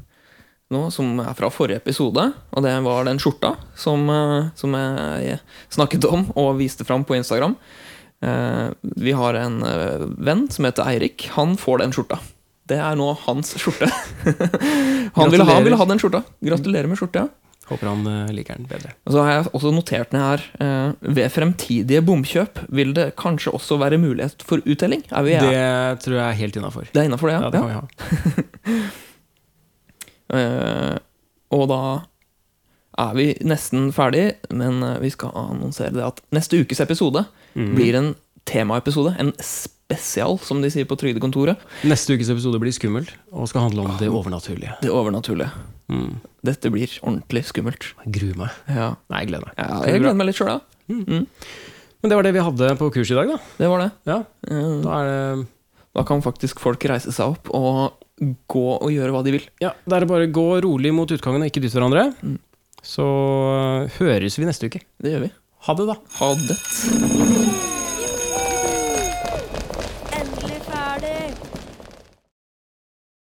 Speaker 2: nå, som er fra forrige episode. Og det var den skjorta som, eh, som jeg snakket om og viste fram på Instagram. Eh, vi har en eh, venn som heter Eirik. Han får den skjorta. Det er nå hans skjorte. han, ville ha, han ville ha den skjorta. Gratulerer med skjorta.
Speaker 1: Håper han eh, liker den bedre.
Speaker 2: Og så har jeg også notert ned her eh, Ved fremtidige bomkjøp vil det kanskje også være mulighet for uttelling. Er vi, det,
Speaker 1: Det tror jeg er helt innafor.
Speaker 2: det er innafor det,
Speaker 1: Ja,
Speaker 2: ja?
Speaker 1: det kan vi ha.
Speaker 2: Eh, og da er vi nesten ferdig, men eh, vi skal annonsere det at neste ukes episode
Speaker 1: Mm.
Speaker 2: blir en temaepisode. En spesial, som de sier på Trygdekontoret.
Speaker 1: Neste ukes episode blir skummel og skal handle om det overnaturlige.
Speaker 2: Det overnaturlige.
Speaker 1: Mm.
Speaker 2: Dette blir ordentlig skummelt.
Speaker 1: Jeg gruer meg.
Speaker 2: Ja,
Speaker 1: Nei, jeg gleder meg.
Speaker 2: ja
Speaker 1: Det blir
Speaker 2: Jeg
Speaker 1: bra.
Speaker 2: gleder meg litt sjøl, ja.
Speaker 1: Men det var det vi hadde på kurset i dag, da.
Speaker 2: Det var det.
Speaker 1: Ja,
Speaker 2: Eh,
Speaker 1: da er det
Speaker 2: Da kan faktisk folk reise seg opp og gå og gjøre hva de vil.
Speaker 1: Ja, da er det bare å gå rolig mot utgangen og ikke dytte hverandre. Så øh, høres vi neste uke.
Speaker 2: Det gjør vi.
Speaker 1: Ha det, da.
Speaker 2: Ha det.